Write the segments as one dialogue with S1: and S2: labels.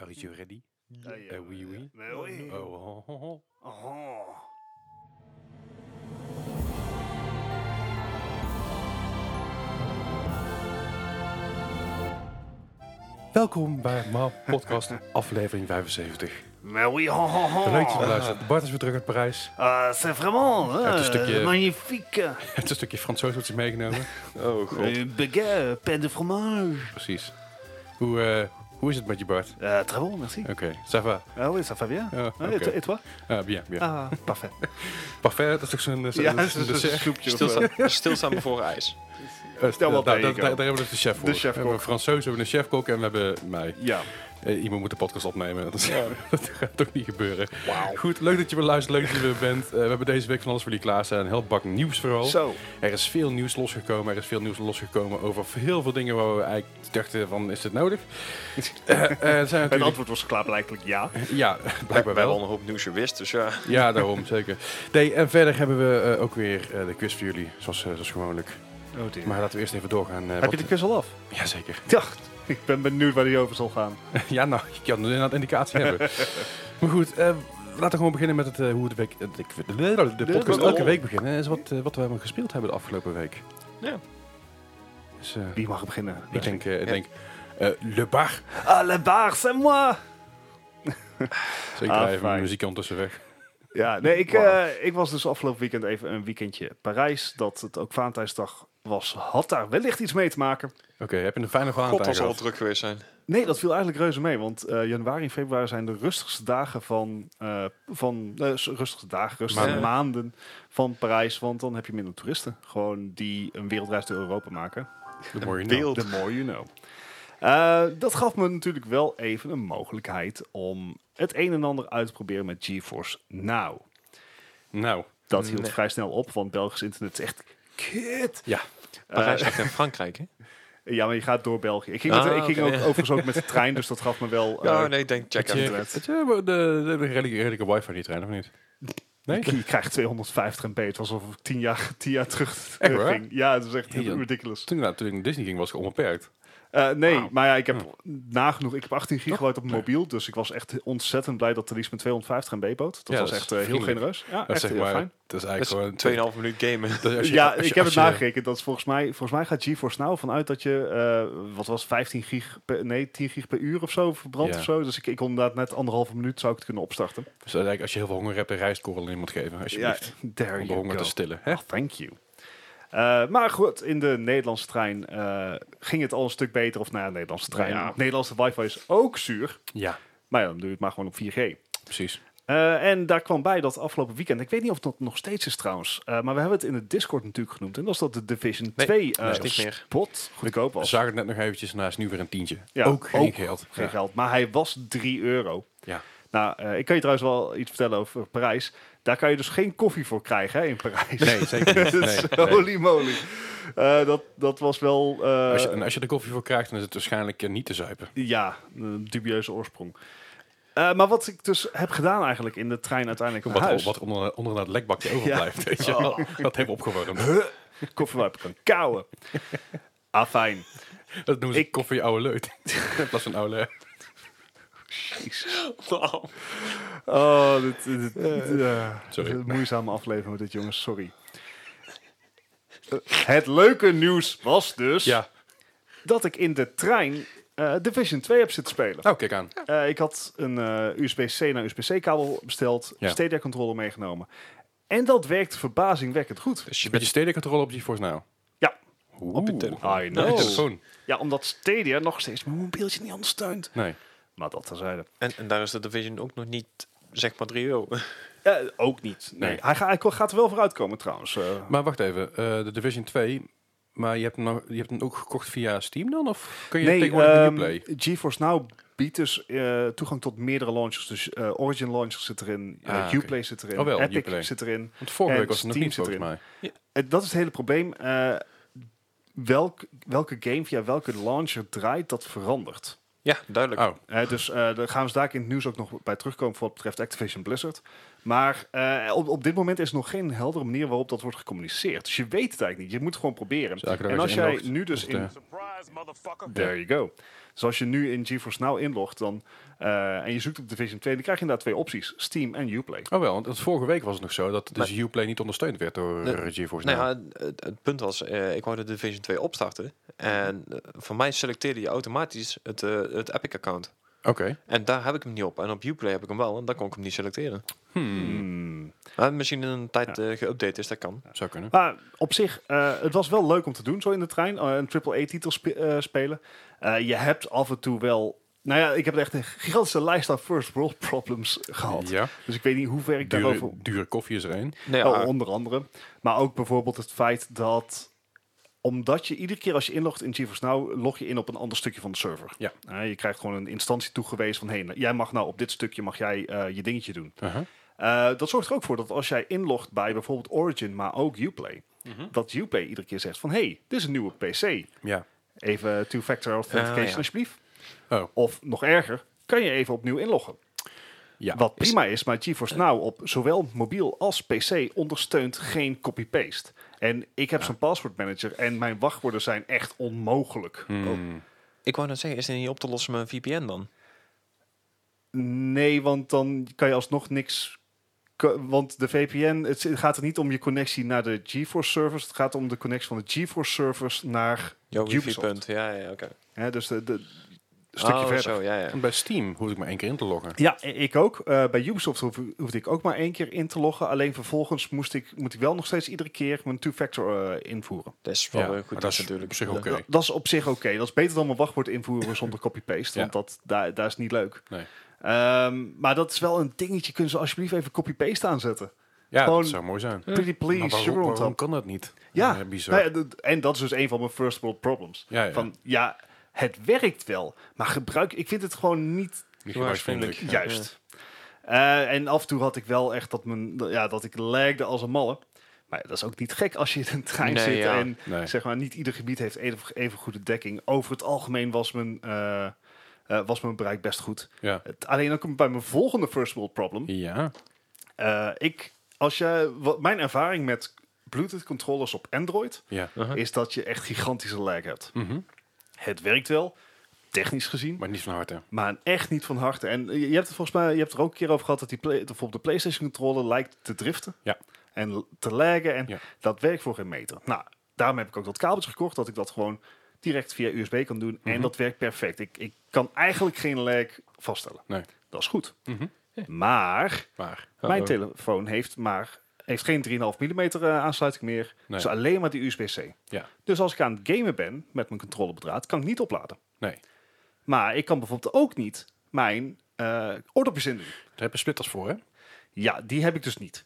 S1: Are you ready?
S2: Ja, ja,
S1: Eh, oui,
S2: ja.
S1: oui.
S2: Maar Ah, oui.
S1: Oh, ho, ho, ho.
S2: Oh.
S1: Welkom bij Ma Podcast, aflevering 75.
S2: Maar oui, oh, ho, ho, ho.
S1: Leuk dat je luistert. Bart is weer terug uit Parijs.
S2: Ah, c'est vraiment
S1: het is
S2: eh,
S1: een stukje-
S2: magnifique.
S1: Hij heeft een stukje Fransoos wat hij meegenomen. Oh, god.
S2: Eh, baguette, pain de fromage.
S1: Precies. Hoe, eh, hoe is het met je Bart?
S2: Ah, très bon, merci.
S1: Oké, ça va.
S2: Ah oui, ça va bien.
S1: Euh. Ah,
S2: Ah, et,
S1: oké.
S2: toi- et toi
S1: Ah, bien, bien.
S2: Ah, parfait.
S1: Parfait, dat is toch zo'n eh, zo'n-
S2: Ja,
S1: zo'n
S2: zo'n
S1: dessert?
S2: soepje of zo.
S3: Stilstaan, stilstaan voor ijs.
S1: Eh,
S2: Stel wat
S1: daar-
S2: tegen,
S1: daar- daar-
S2: ook.
S1: Daar hebben we dus de chef voor.
S2: chefkok.
S1: We hebben een Fransoos, we hebben een chefkok en we hebben mij.
S2: Ja.
S1: Eh, iemand moet de podcast opnemen. Dat, is- dat gaat toch niet gebeuren. Goed, leuk dat je weer luistert. Leuk dat je er weer bent. Eh, we hebben deze week van alles voor jullie klaarstaan. Een heel bak nieuws vooral.
S2: Zo.
S1: Er is veel nieuws losgekomen. Er is veel nieuws losgekomen over heel veel dingen waar we eigenlijk dachten van, is dit nodig? Eh, eh, er zijn
S2: Het
S1: natuurlijk...
S2: antwoord was klaar blijkbaar ja.
S1: Ja, blijkbaar
S3: Wel
S1: wel.
S3: al een hoop nieuws je wist, dus ja.
S1: Ja, daarom, zeker. Nee, en verder hebben we eh, ook weer eh, de quiz voor jullie, zoals, eh, zoals gewoonlijk.
S2: Oh dear.
S1: Maar laten we eerst even doorgaan. eh,
S2: Heb
S1: wat-
S2: je de quiz al af?
S1: Jazeker.
S2: Ja. Ik ben benieuwd waar die over zal gaan.
S1: Ja, nou, ik kan inderdaad indicatie hebben. maar goed, eh, laten we gewoon beginnen met het, eh, hoe de week... eh, ik- de- de, de podcast elke week beginnen. Is wat, eh, wat we hebben gespeeld hebben de afgelopen week.
S3: Ja.
S1: Dus, eh,
S2: Wie mag beginnen?
S1: ik denk, eh, ik denk eh, Le Bar.
S2: Ah, le bar, c'est moi!
S1: Zeker
S2: Ah,
S1: even
S2: fijn.
S1: mijn muziek ondertussen weg.
S2: Ja, nee, ik,
S3: Wow.
S2: eh, ik was dus afgelopen weekend even een weekendje Parijs. Dat het ook Valentijnsdag was, had daar wellicht iets mee te maken.
S1: Oké, heb je een fijne
S3: God,
S1: Valentijn
S3: dat zal wel
S1: gehad?
S3: druk geweest zijn.
S2: Nee, dat viel eigenlijk reuze mee. Want eh, januari en februari zijn de rustigste dagen van... eh, van eh, s- rustigste dagen, rustige
S3: Maanden.
S2: maanden van Parijs. Want dan heb je minder toeristen. Gewoon die een wereldreis door Europa maken. Nou,
S1: De mooie naam.
S3: Beeld.
S2: The more you know. Eh, dat gaf me natuurlijk wel even een mogelijkheid om het een en ander uit te proberen met GeForce Now.
S1: Nou,
S2: Dat hield
S3: Nee.
S2: vrij snel op, want Belgisch internet is echt kut.
S1: ja.
S3: Parijs ligt in Frankrijk, hè?
S2: Eh, ja, maar je gaat door België. Ik ging,
S3: Ah,
S2: met- ik ging
S3: oké.
S2: ook overigens ook met de trein, dus dat gaf me wel... eh,
S3: Ja, nee, ik denk check
S1: Heb je,
S3: out.
S2: internet.
S1: heb je de, de, de redelijke, redelijke wifi die trein, of niet? Nee?
S2: Je krijgt 250 MB. Het was alsof ik 10 jaar, 10 jaar terug
S1: Echt waar?
S2: ging. Ja, het is echt
S1: Heel.
S2: ridiculous.
S1: Toen, nou, toen ik naar Disney ging, was ik onbeperkt.
S2: Eh, nee, maar ja, ik heb nagenoeg... Ik heb 18 gigabyte op mijn mobiel, dus ik was echt ontzettend blij dat de lease met 250 MB bood. Dat
S1: Ja,
S2: was
S1: dat is
S2: echt eh, heel
S1: vriendelijk.
S2: genereus. Ja,
S1: Dat
S2: echt
S1: zeg
S2: heel
S1: maar,
S2: fijn.
S1: dat is
S3: Dat is
S1: eigenlijk gewoon...
S3: 2,5 minuut gamen.
S1: dat is als je-
S2: ja,
S1: als je-
S2: ik heb
S1: als
S2: het
S1: je-
S2: nagerekend. Dat is volgens mij, volgens mij gaat GeForce Now vanuit dat je, eh, wat was het, 15 gig per, nee, 10 gig per uur of zo verbrandt
S1: Ja.
S2: of zo. Dus ik, ik kon inderdaad net anderhalve minuut zou ik het kunnen opstarten.
S1: Dus eigenlijk, als je heel veel honger hebt, een rijstkorrel aan iemand geven, alsjeblieft.
S2: there
S1: om de
S2: you
S1: honger
S2: go.
S1: te stillen. Hè?
S2: Ah, thank you. Eh, maar goed, in de Nederlandse trein eh, ging het al een stuk beter. Of nou ja, Nederlandse trein.
S3: Ja.
S2: Nederlandse wifi is ook zuur.
S1: Ja,
S2: Maar ja, dan doe je het maar gewoon op 4G.
S1: precies.
S2: Eh, en daar kwam bij dat afgelopen weekend, ik weet niet of dat nog steeds is trouwens, eh, maar we hebben het in de Discord natuurlijk genoemd. En dat is dat de Division
S3: Nee,
S2: 2 eh,
S3: dat is niet meer.
S2: spot goedkoop
S1: We
S2: was.
S1: zagen het net nog eventjes, en hij is nu weer een tientje.
S2: Ja,
S1: ook geen
S2: ook
S1: geld.
S2: Geen
S1: Ja.
S2: geld. Maar hij was 3 euro.
S1: Ja.
S2: Nou, eh, ik kan je trouwens wel iets vertellen over Parijs. Daar kan je dus geen koffie voor krijgen hè, in Parijs.
S1: Nee, zeker niet. Nee,
S2: Dus,
S1: nee.
S2: Holy moly. Eh, dat, dat was wel... eh,
S1: Als je, en als je er koffie voor krijgt, dan is het waarschijnlijk eh, niet te zuipen.
S2: Ja, een dubieuze oorsprong. Eh, maar wat ik dus heb gedaan eigenlijk in de trein uiteindelijk naar
S1: Wat,
S2: huis.
S1: wat onder, onderaan het lekbakje overblijft. Weet je? wel. Dat heeft opgewarmd.
S2: Koffiewipe kan kauwen. ah, fijn.
S1: Dat noemen ze
S2: Ik-
S1: koffie oude leut. In plaats van oude leut.
S3: Wauw.
S2: Oh, dit, dit, dit- eh,
S1: Sorry.
S2: dit is een moeizame aflevering met dit jongens, sorry. Eh, Het leuke nieuws was dus
S1: Ja.
S2: dat ik in de trein eh, Division 2 heb zitten spelen.
S1: Nou, kijk aan.
S2: Eh, ik had een eh, USB-C naar USB-C-kabel besteld,
S1: Ja.
S2: Stadia-controller meegenomen. En dat werkt verbazingwekkend goed.
S3: Dus je
S1: Met je
S3: bent...
S1: stedelijke controle op GeForce Now.
S2: Ja.
S1: Op je telefoon.
S2: I
S1: Op je
S2: know.
S1: telefoon.
S2: Ja, omdat Stadia nog steeds mijn mobieltje niet ondersteunt.
S1: Nee.
S2: Maar dat terzijde.
S3: En, en daar is de Division ook nog niet, zeg maar, 3 euro.
S2: Eh, ook niet. Nee.
S1: Nee.
S2: Hij, ga- hij ko- gaat er wel voor uitkomen trouwens. eh.
S1: Maar wacht even. eh, de Division 2. Maar je hebt, hem nog, je hebt hem ook gekocht via Steam dan? Of kun je
S2: nee,
S1: tegenwoordig um,
S2: ehm,
S1: Play?
S2: GeForce Now biedt dus eh, toegang tot meerdere launchers. Dus eh, Origin Launcher zit erin, eh,
S1: Ah, oké.
S2: Uplay zit erin,
S1: Oh, wel,
S2: Epic
S1: Uplay.
S2: zit erin.
S1: Want vorige
S2: en
S1: week was het nog
S2: Steam
S1: niet
S2: zit
S1: volgens mij.
S2: Eh, dat is het hele probleem. eh, welk, welke game via welke launcher draait, dat verandert.
S3: Ja, duidelijk.
S1: Oh,
S2: Eh, dus eh, daar gaan we daar in het nieuws ook nog bij terugkomen voor wat betreft Activision Blizzard. Maar eh, op, op dit moment is nog geen heldere manier waarop dat wordt gecommuniceerd. Dus je weet het eigenlijk niet. Je moet het gewoon proberen.
S1: Dus elke dag
S2: en
S1: als
S2: als
S1: je
S2: jij
S1: inlogt,
S2: nu dus
S1: is het,
S2: in...
S4: Surprise, motherfucker.
S2: There you go. Dus als je nu in GeForce Now inlogt dan, eh, en je zoekt op Division 2, dan krijg je inderdaad twee opties. Steam en Uplay.
S1: Oh wel, want dat vorige week was het nog zo dat dus Uplay niet ondersteund werd door
S3: Nee.
S1: eh, GeForce
S3: Nou
S1: Now.
S3: ja, het, het punt was, eh, ik wou de Division 2 opstarten. En eh, voor mij selecteerde je automatisch het, eh, het Epic-account.
S1: Oké.
S3: En daar heb ik hem niet op. En op Uplay heb ik hem wel. En daar kon ik hem niet selecteren.
S1: Hmm,
S2: Hmm.
S3: Maar misschien in een tijd eh, geüpdate is, dat kan.
S1: Zou kunnen.
S2: Maar op zich, eh, het was wel leuk om te doen zo in de trein. eh, een AAA-titel spe- eh, spelen. Eh, je hebt af en toe wel... Nou ja, ik heb echt een gigantische lijst aan first world problems gehad.
S1: Ja,
S2: Dus ik weet niet hoe ver ik daarover...
S1: dure, dure koffie is er een.
S3: Nee,
S2: Oh,
S3: Nou ja,
S2: onder andere. Maar ook bijvoorbeeld het feit dat omdat je iedere keer als je inlogt in GeForce Now, log je in op een ander stukje van de server.
S1: Ja.
S2: Eh, je krijgt gewoon een instantie toegewezen van, hé, nou, jij mag nou op dit stukje mag jij eh, je dingetje doen.
S1: Aha.
S2: Eh, dat zorgt er ook voor dat als jij inlogt bij bijvoorbeeld Origin, maar ook Uplay,
S1: Mhm.
S2: dat Uplay iedere keer zegt van, hé, hey, dit is een nieuwe PC.
S1: Ja.
S2: Even two-factor authentication
S3: Ah, ja.
S2: alsjeblieft.
S1: Oh.
S2: Of nog erger, kan je even opnieuw inloggen.
S1: Ja.
S2: Wat prima is, maar GeForce Now op zowel mobiel als PC ondersteunt geen copy-paste. En ik heb zo'n password manager en mijn wachtwoorden zijn echt onmogelijk.
S1: Hmm.
S3: ik wou net zeggen, is dit niet op te lossen met een VPN dan?
S2: Nee, want dan kan je alsnog niks. ko- Want de VPN, het s- gaat er niet om je connectie naar de GeForce servers. Het gaat om de connectie van de GeForce servers naar.
S3: Jouw
S2: Ubisoft.
S3: wifi-punt, ja, ja, oké.
S2: Hè, dus de, de, een stukje
S3: Oh,
S2: verder.
S3: zo, ja, ja.
S1: En bij Steam hoef ik maar één keer in te loggen.
S2: Ja, i- ik ook. Eh, bij Ubisoft hoef- hoefde ik ook maar één keer in te loggen. Alleen vervolgens moest ik, moet ik wel nog steeds iedere keer mijn two-factor eh, invoeren.
S3: Dat is wel
S1: Ja,
S3: eh,
S1: maar
S3: goed,
S1: dat
S3: dat
S1: is
S3: natuurlijk.
S1: op zich oké.
S2: Dat, dat is op zich oké. Dat is beter dan mijn wachtwoord invoeren zonder copy-paste.
S1: Ja.
S2: Want dat, daar, daar is niet leuk.
S1: Nee.
S2: Ehm, maar dat is wel een dingetje. Kunnen ze alsjeblieft even copy-paste aanzetten?
S1: Ja,
S2: Gewoon-
S1: dat zou mooi zijn.
S2: Pretty
S1: Maar
S2: please,
S1: waarom,
S2: sugar on
S1: waarom
S2: top.
S1: kan dat niet?
S2: Ja,
S1: bizar.
S2: nou ja, d- en dat is dus een van mijn first world problems.
S1: Ja, ja.
S2: Van, ja, het werkt wel. Maar gebruik, ik vind het gewoon niet
S1: Niet gebruiksvriendelijk.
S3: gebruiksvriendelijk. Ja.
S2: Juist. Eh, en af en toe had ik wel echt dat, mijn, dat- ja, dat ik lagde als een malle. Maar dat is ook niet gek als je in een trein
S3: Nee,
S2: zit.
S3: ja.
S2: En
S1: Nee.
S2: zeg maar, niet ieder gebied heeft even, even goede dekking. Over het algemeen was mijn, eh, eh, was mijn bereik best goed.
S1: Ja.
S2: Het, alleen dan kom ik bij mijn volgende first world problem.
S1: Ja.
S2: Eh, ik, als je, wat, mijn ervaring met Bluetooth controllers op Android
S1: ja.
S3: Huh?
S2: is dat je echt gigantische lag hebt.
S1: Mhm.
S2: Het werkt wel, technisch gezien.
S1: Maar niet van harte.
S2: Maar echt niet van harte. En je je hebt het volgens mij, je hebt er ook een keer over gehad dat die play, bijvoorbeeld de PlayStation controller lijkt te driften.
S1: Ja.
S2: En l- te laggen. En
S1: Ja.
S2: dat werkt voor geen meter. Nou, daarom heb ik ook dat kabeltje gekocht, dat ik dat gewoon direct via USB kan doen. En
S1: Mhm.
S2: dat werkt perfect. Ik, ik kan eigenlijk geen lag vaststellen.
S1: Nee.
S2: Dat is goed.
S1: Mhm. Oh.
S2: Maar
S1: Maar
S2: mijn telefoon heeft maar heeft geen 3,5 mm aansluiting meer.
S1: Nee.
S2: Dus alleen maar die USB-C.
S1: Ja.
S2: Dus als ik aan het gamen ben met mijn controller bedraad, kan ik niet opladen.
S1: nee.
S2: Maar ik kan bijvoorbeeld ook niet mijn eh oordopjes in doen.
S1: Daar heb je splitters voor, hè?
S2: Ja, die heb ik dus niet.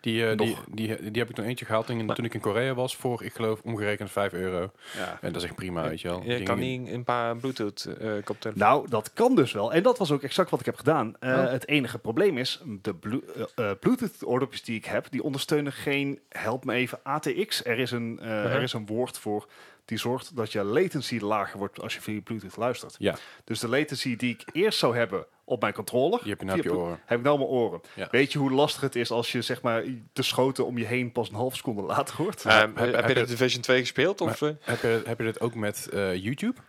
S1: Die, eh, die,
S2: Nog.
S1: die, die heb ik toen eentje gehaald toen, toen ik in Korea was voor, ik geloof, omgerekend 5 euro.
S2: Ja.
S1: En dat is echt prima, weet je wel.
S3: Je
S1: Dingen
S3: kan
S1: die-
S3: niet een paar eh, Bluetooth-koptelefoons...
S2: Nou, dat kan dus wel. En dat was ook exact wat ik heb gedaan. Eh,
S1: Oh.
S2: Het enige probleem is, de blu- eh, eh, Bluetooth-oordopjes die ik heb, die ondersteunen geen, help me even, ATX. Er is, een, eh,
S3: Mhm.
S1: Uh-huh.
S2: er is een woord voor die zorgt dat je latency lager wordt als je via Bluetooth luistert.
S1: Ja.
S2: Dus de latency die ik eerst zou hebben op mijn controller,
S1: Die heb je nou op
S2: via
S1: je
S2: Blu-
S1: oren.
S2: heb ik nou op mijn oren.
S1: Ja.
S2: Weet je hoe lastig het is als je zeg maar, de schoten om je heen pas een half seconde later hoort?
S3: Ehm,
S1: heb-
S3: heb,
S1: heb
S3: je
S1: je-
S3: de Division 2 gespeeld? Of, eh?
S1: Heb je, heb je dit ook met eh, YouTube?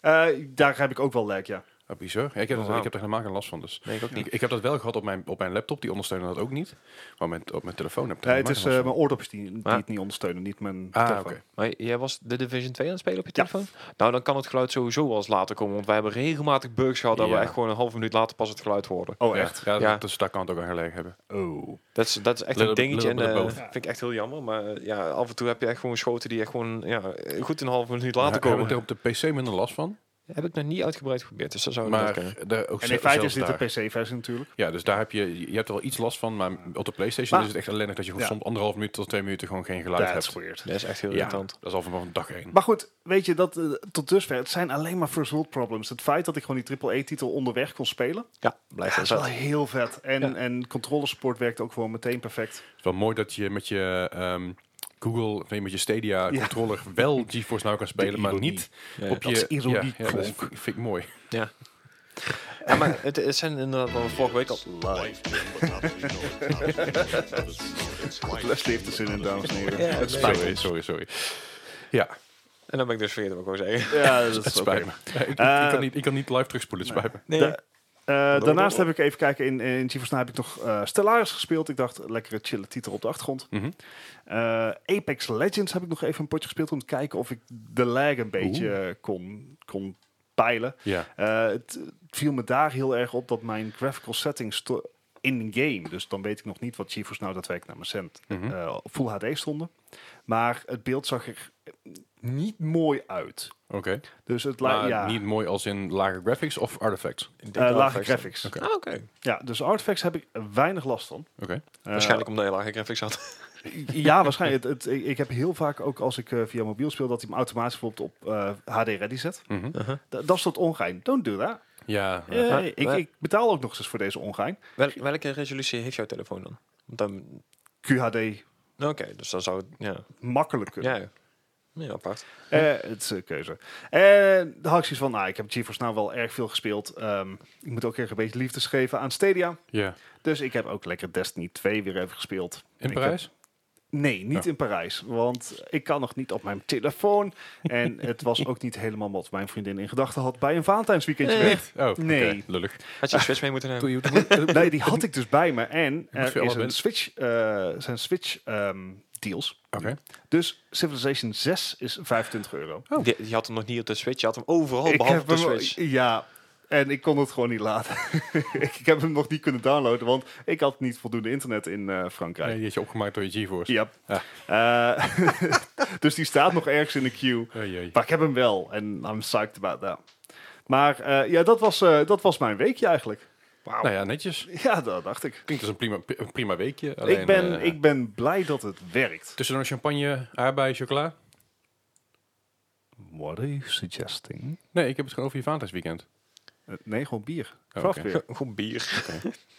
S2: Eh, daar heb ik ook wel lag, ja.
S1: Oh, bizar. Ja, ik, heb
S3: Oh,
S1: dat-
S3: wauw.
S1: ik heb er helemaal geen last van, dus...
S3: Nee, ik ook niet.
S1: Ik, ik heb dat wel gehad op mijn, op mijn laptop, die ondersteunen dat ook niet. Maar met, op mijn telefoon heb ik er
S2: Nee, het is
S1: helemaal
S2: eh,
S1: geen
S2: mijn
S1: last
S2: oordopjes die, die
S3: Ah.
S2: het niet ondersteunen, niet mijn
S1: van. Ah,
S2: telefoon.
S1: oké.
S3: Maar jij was de Division 2 aan het spelen op je
S2: Ja.
S3: telefoon? Nou, dan kan het geluid sowieso wel eens later komen. Want wij hebben regelmatig bugs gehad dat we
S1: Ja.
S3: echt gewoon een half minuut later pas het geluid hoorden.
S2: Oh,
S1: Ja,
S2: echt?
S1: Ja,
S3: Ja.
S1: Dat, dus daar kan het ook aan gelegen hebben.
S2: Oh.
S3: Dat is, dat is echt
S1: Little-
S3: een dingetje. En,
S1: little bit of
S3: eh,
S1: both.
S3: vind ik echt heel jammer. Maar eh, ja, af en toe heb je echt gewoon schoten die echt gewoon ja, goed een half minuut later
S1: Daar heb
S3: komen.
S1: ik er op de PC minder last van.
S3: Heb ik nog niet uitgebreid geprobeerd, dus Oh, dat zou maar, kunnen.
S1: Maar daar ook
S2: En in
S1: zelf-
S2: feite is
S1: zelfs
S2: dit
S1: daar.
S2: de PC-versie natuurlijk.
S1: Ja, dus daar heb je, je hebt er wel iets last van, maar op de PlayStation
S2: Maar-
S1: is het echt ellendig dat je gewoon
S2: Ja.
S1: soms anderhalf minuut tot twee minuten gewoon geen geluid
S2: That's
S1: hebt.
S2: weird.
S3: Dat is echt heel
S1: Ja,
S3: irritant.
S1: dat is al vanaf dag één.
S2: Maar goed, weet je, dat, eh, tot dusver, het zijn alleen maar first world problems. Het feit dat ik gewoon die AAA-titel onderweg kon spelen,
S3: Ja,
S2: ja,
S3: blijft
S2: dat
S3: wel
S2: is wel
S3: vet.
S2: heel vet. En,
S3: Ja.
S2: en controller support werkt ook gewoon meteen perfect.
S1: Het is wel mooi dat je met je ehm, Google, of nee, met je Stadia
S2: Ja.
S1: controller wel GeForce Now kan spelen, maar
S2: ironie.
S1: niet
S3: Ja,
S1: op
S2: dat
S1: je...
S2: is ironie,
S1: ja, ja, dat
S2: klonk.
S1: vind, vind ik mooi.
S3: Ja. Ja, maar het, het zijn inderdaad wat we vorige week al...
S2: Live. Leslie heeft er zin in, dames en heren.
S3: Ja,
S2: Het
S3: nee.
S2: spijt
S1: Sorry,
S2: ons.
S1: sorry, sorry. Ja,
S3: En dan ben ik dus vergeten wat ik wil zeggen.
S2: Ja, dat
S1: Het
S2: is
S1: spijt
S2: oké.
S1: me. Ja, ik, ik
S2: Eh,
S1: kan niet, ik kan niet live terugspoelen, het spijt me.
S3: Nee.
S2: Da- Eh, daarnaast
S3: door.
S2: heb ik even kijken in, in GeForce Now heb ik nog eh, Stellaris gespeeld. Ik dacht, lekkere chille titel op de achtergrond.
S1: Mhm.
S2: Eh, Apex Legends heb ik nog even een potje gespeeld om te kijken of ik de lag een beetje eh, kon, kon peilen.
S1: Ja.
S2: Eh, het, het viel me daar heel erg op dat mijn graphical settings sto- in-game, dus dan weet ik nog niet wat GeForce Now daadwerkelijk naar mijn cent
S1: Mhm.
S2: eh, op Full HD stonden. Maar het beeld zag er niet mooi uit.
S1: Oké.
S2: Dus het
S1: Maar
S2: lijkt ja,
S1: niet mooi als in lage graphics of artifacts?
S3: Ik denk
S2: eh,
S3: wel
S2: lage
S3: effects.
S2: graphics.
S1: Oké.
S3: Ah, oké.
S2: Ja, dus artifacts heb ik weinig last van.
S1: Oké.
S2: Eh,
S3: Waarschijnlijk omdat je lage graphics had.
S2: Ja, waarschijnlijk. Het, het- ik, ik heb heel vaak ook als ik eh, via mobiel speel dat hij hem automatisch bijvoorbeeld op eh, HD ready zet.
S1: Mhm.
S3: Uh-huh.
S2: Da- dat is dat ongein. Don't do that.
S1: Ja. ja.
S2: Eh,
S3: maar-
S2: ik,
S3: maar-
S2: ik betaal ook nog eens voor deze ongein.
S3: Wel- welke resolutie heeft jouw telefoon dan? Want dan
S2: QHD
S3: Oké, dus dan zou het... Ja,
S2: makkelijk kunnen.
S3: ja. ja apart.
S2: Eh, het is een keuze. En de had ik zoiets van, nou, ik heb GeForce nou wel erg veel gespeeld. Ehm, ik moet ook echt een beetje liefde geven aan Stadia. Dus ik heb ook lekker Destiny 2 weer even gespeeld.
S1: In
S2: Ik
S1: Parijs?
S2: Nee, niet in Parijs. Want ik kan nog niet op mijn telefoon. En het was ook niet helemaal wat mijn vriendin in gedachten had bij een Valentijnsweekendje.
S3: Nee.
S2: weg.
S1: Oh, oké.
S2: Nee.
S1: Lullig.
S3: Had je een switch mee moeten nemen?
S1: je
S2: Nee, die had ik dus bij me. En
S1: moet
S2: er
S1: veel
S2: is
S1: af-
S2: een Switch, eh, zijn Switch ehm, deals.
S1: Oké.
S2: Dus Civilization 6 is 25 euro.
S1: Oh.
S3: Die, die had hem nog niet op de Switch. Je had hem overal
S2: Ik
S3: Oh, behalve op
S2: heb
S3: de
S2: hem,
S3: Switch.
S2: Ja, en ik kon het gewoon niet laten. ik heb hem nog niet kunnen downloaden, want ik had niet voldoende internet in eh, Frankrijk.
S1: Nee, die had je opgemaakt door je GeForce.
S2: Ja. Eh, dus die staat nog ergens in de queue.
S1: Oei, oei.
S2: Maar ik heb hem wel en I'm psyched about that. Maar eh, ja, dat was, eh, dat was mijn weekje eigenlijk.
S1: Nou ja, netjes.
S2: Ja, dat dacht ik.
S1: Klinkt als een prima, een prima weekje. Alleen,
S2: ik, ben,
S1: eh,
S2: ik ben blij dat het werkt.
S1: Tussendoor champagne, aardbei, chocola.
S2: What are you suggesting?
S1: Nee, ik heb het gewoon over je Valentijnsweekend.
S2: Eh, nee, gewoon bier.
S1: Oh, oké.
S2: Kraftbier.
S3: Goed bier.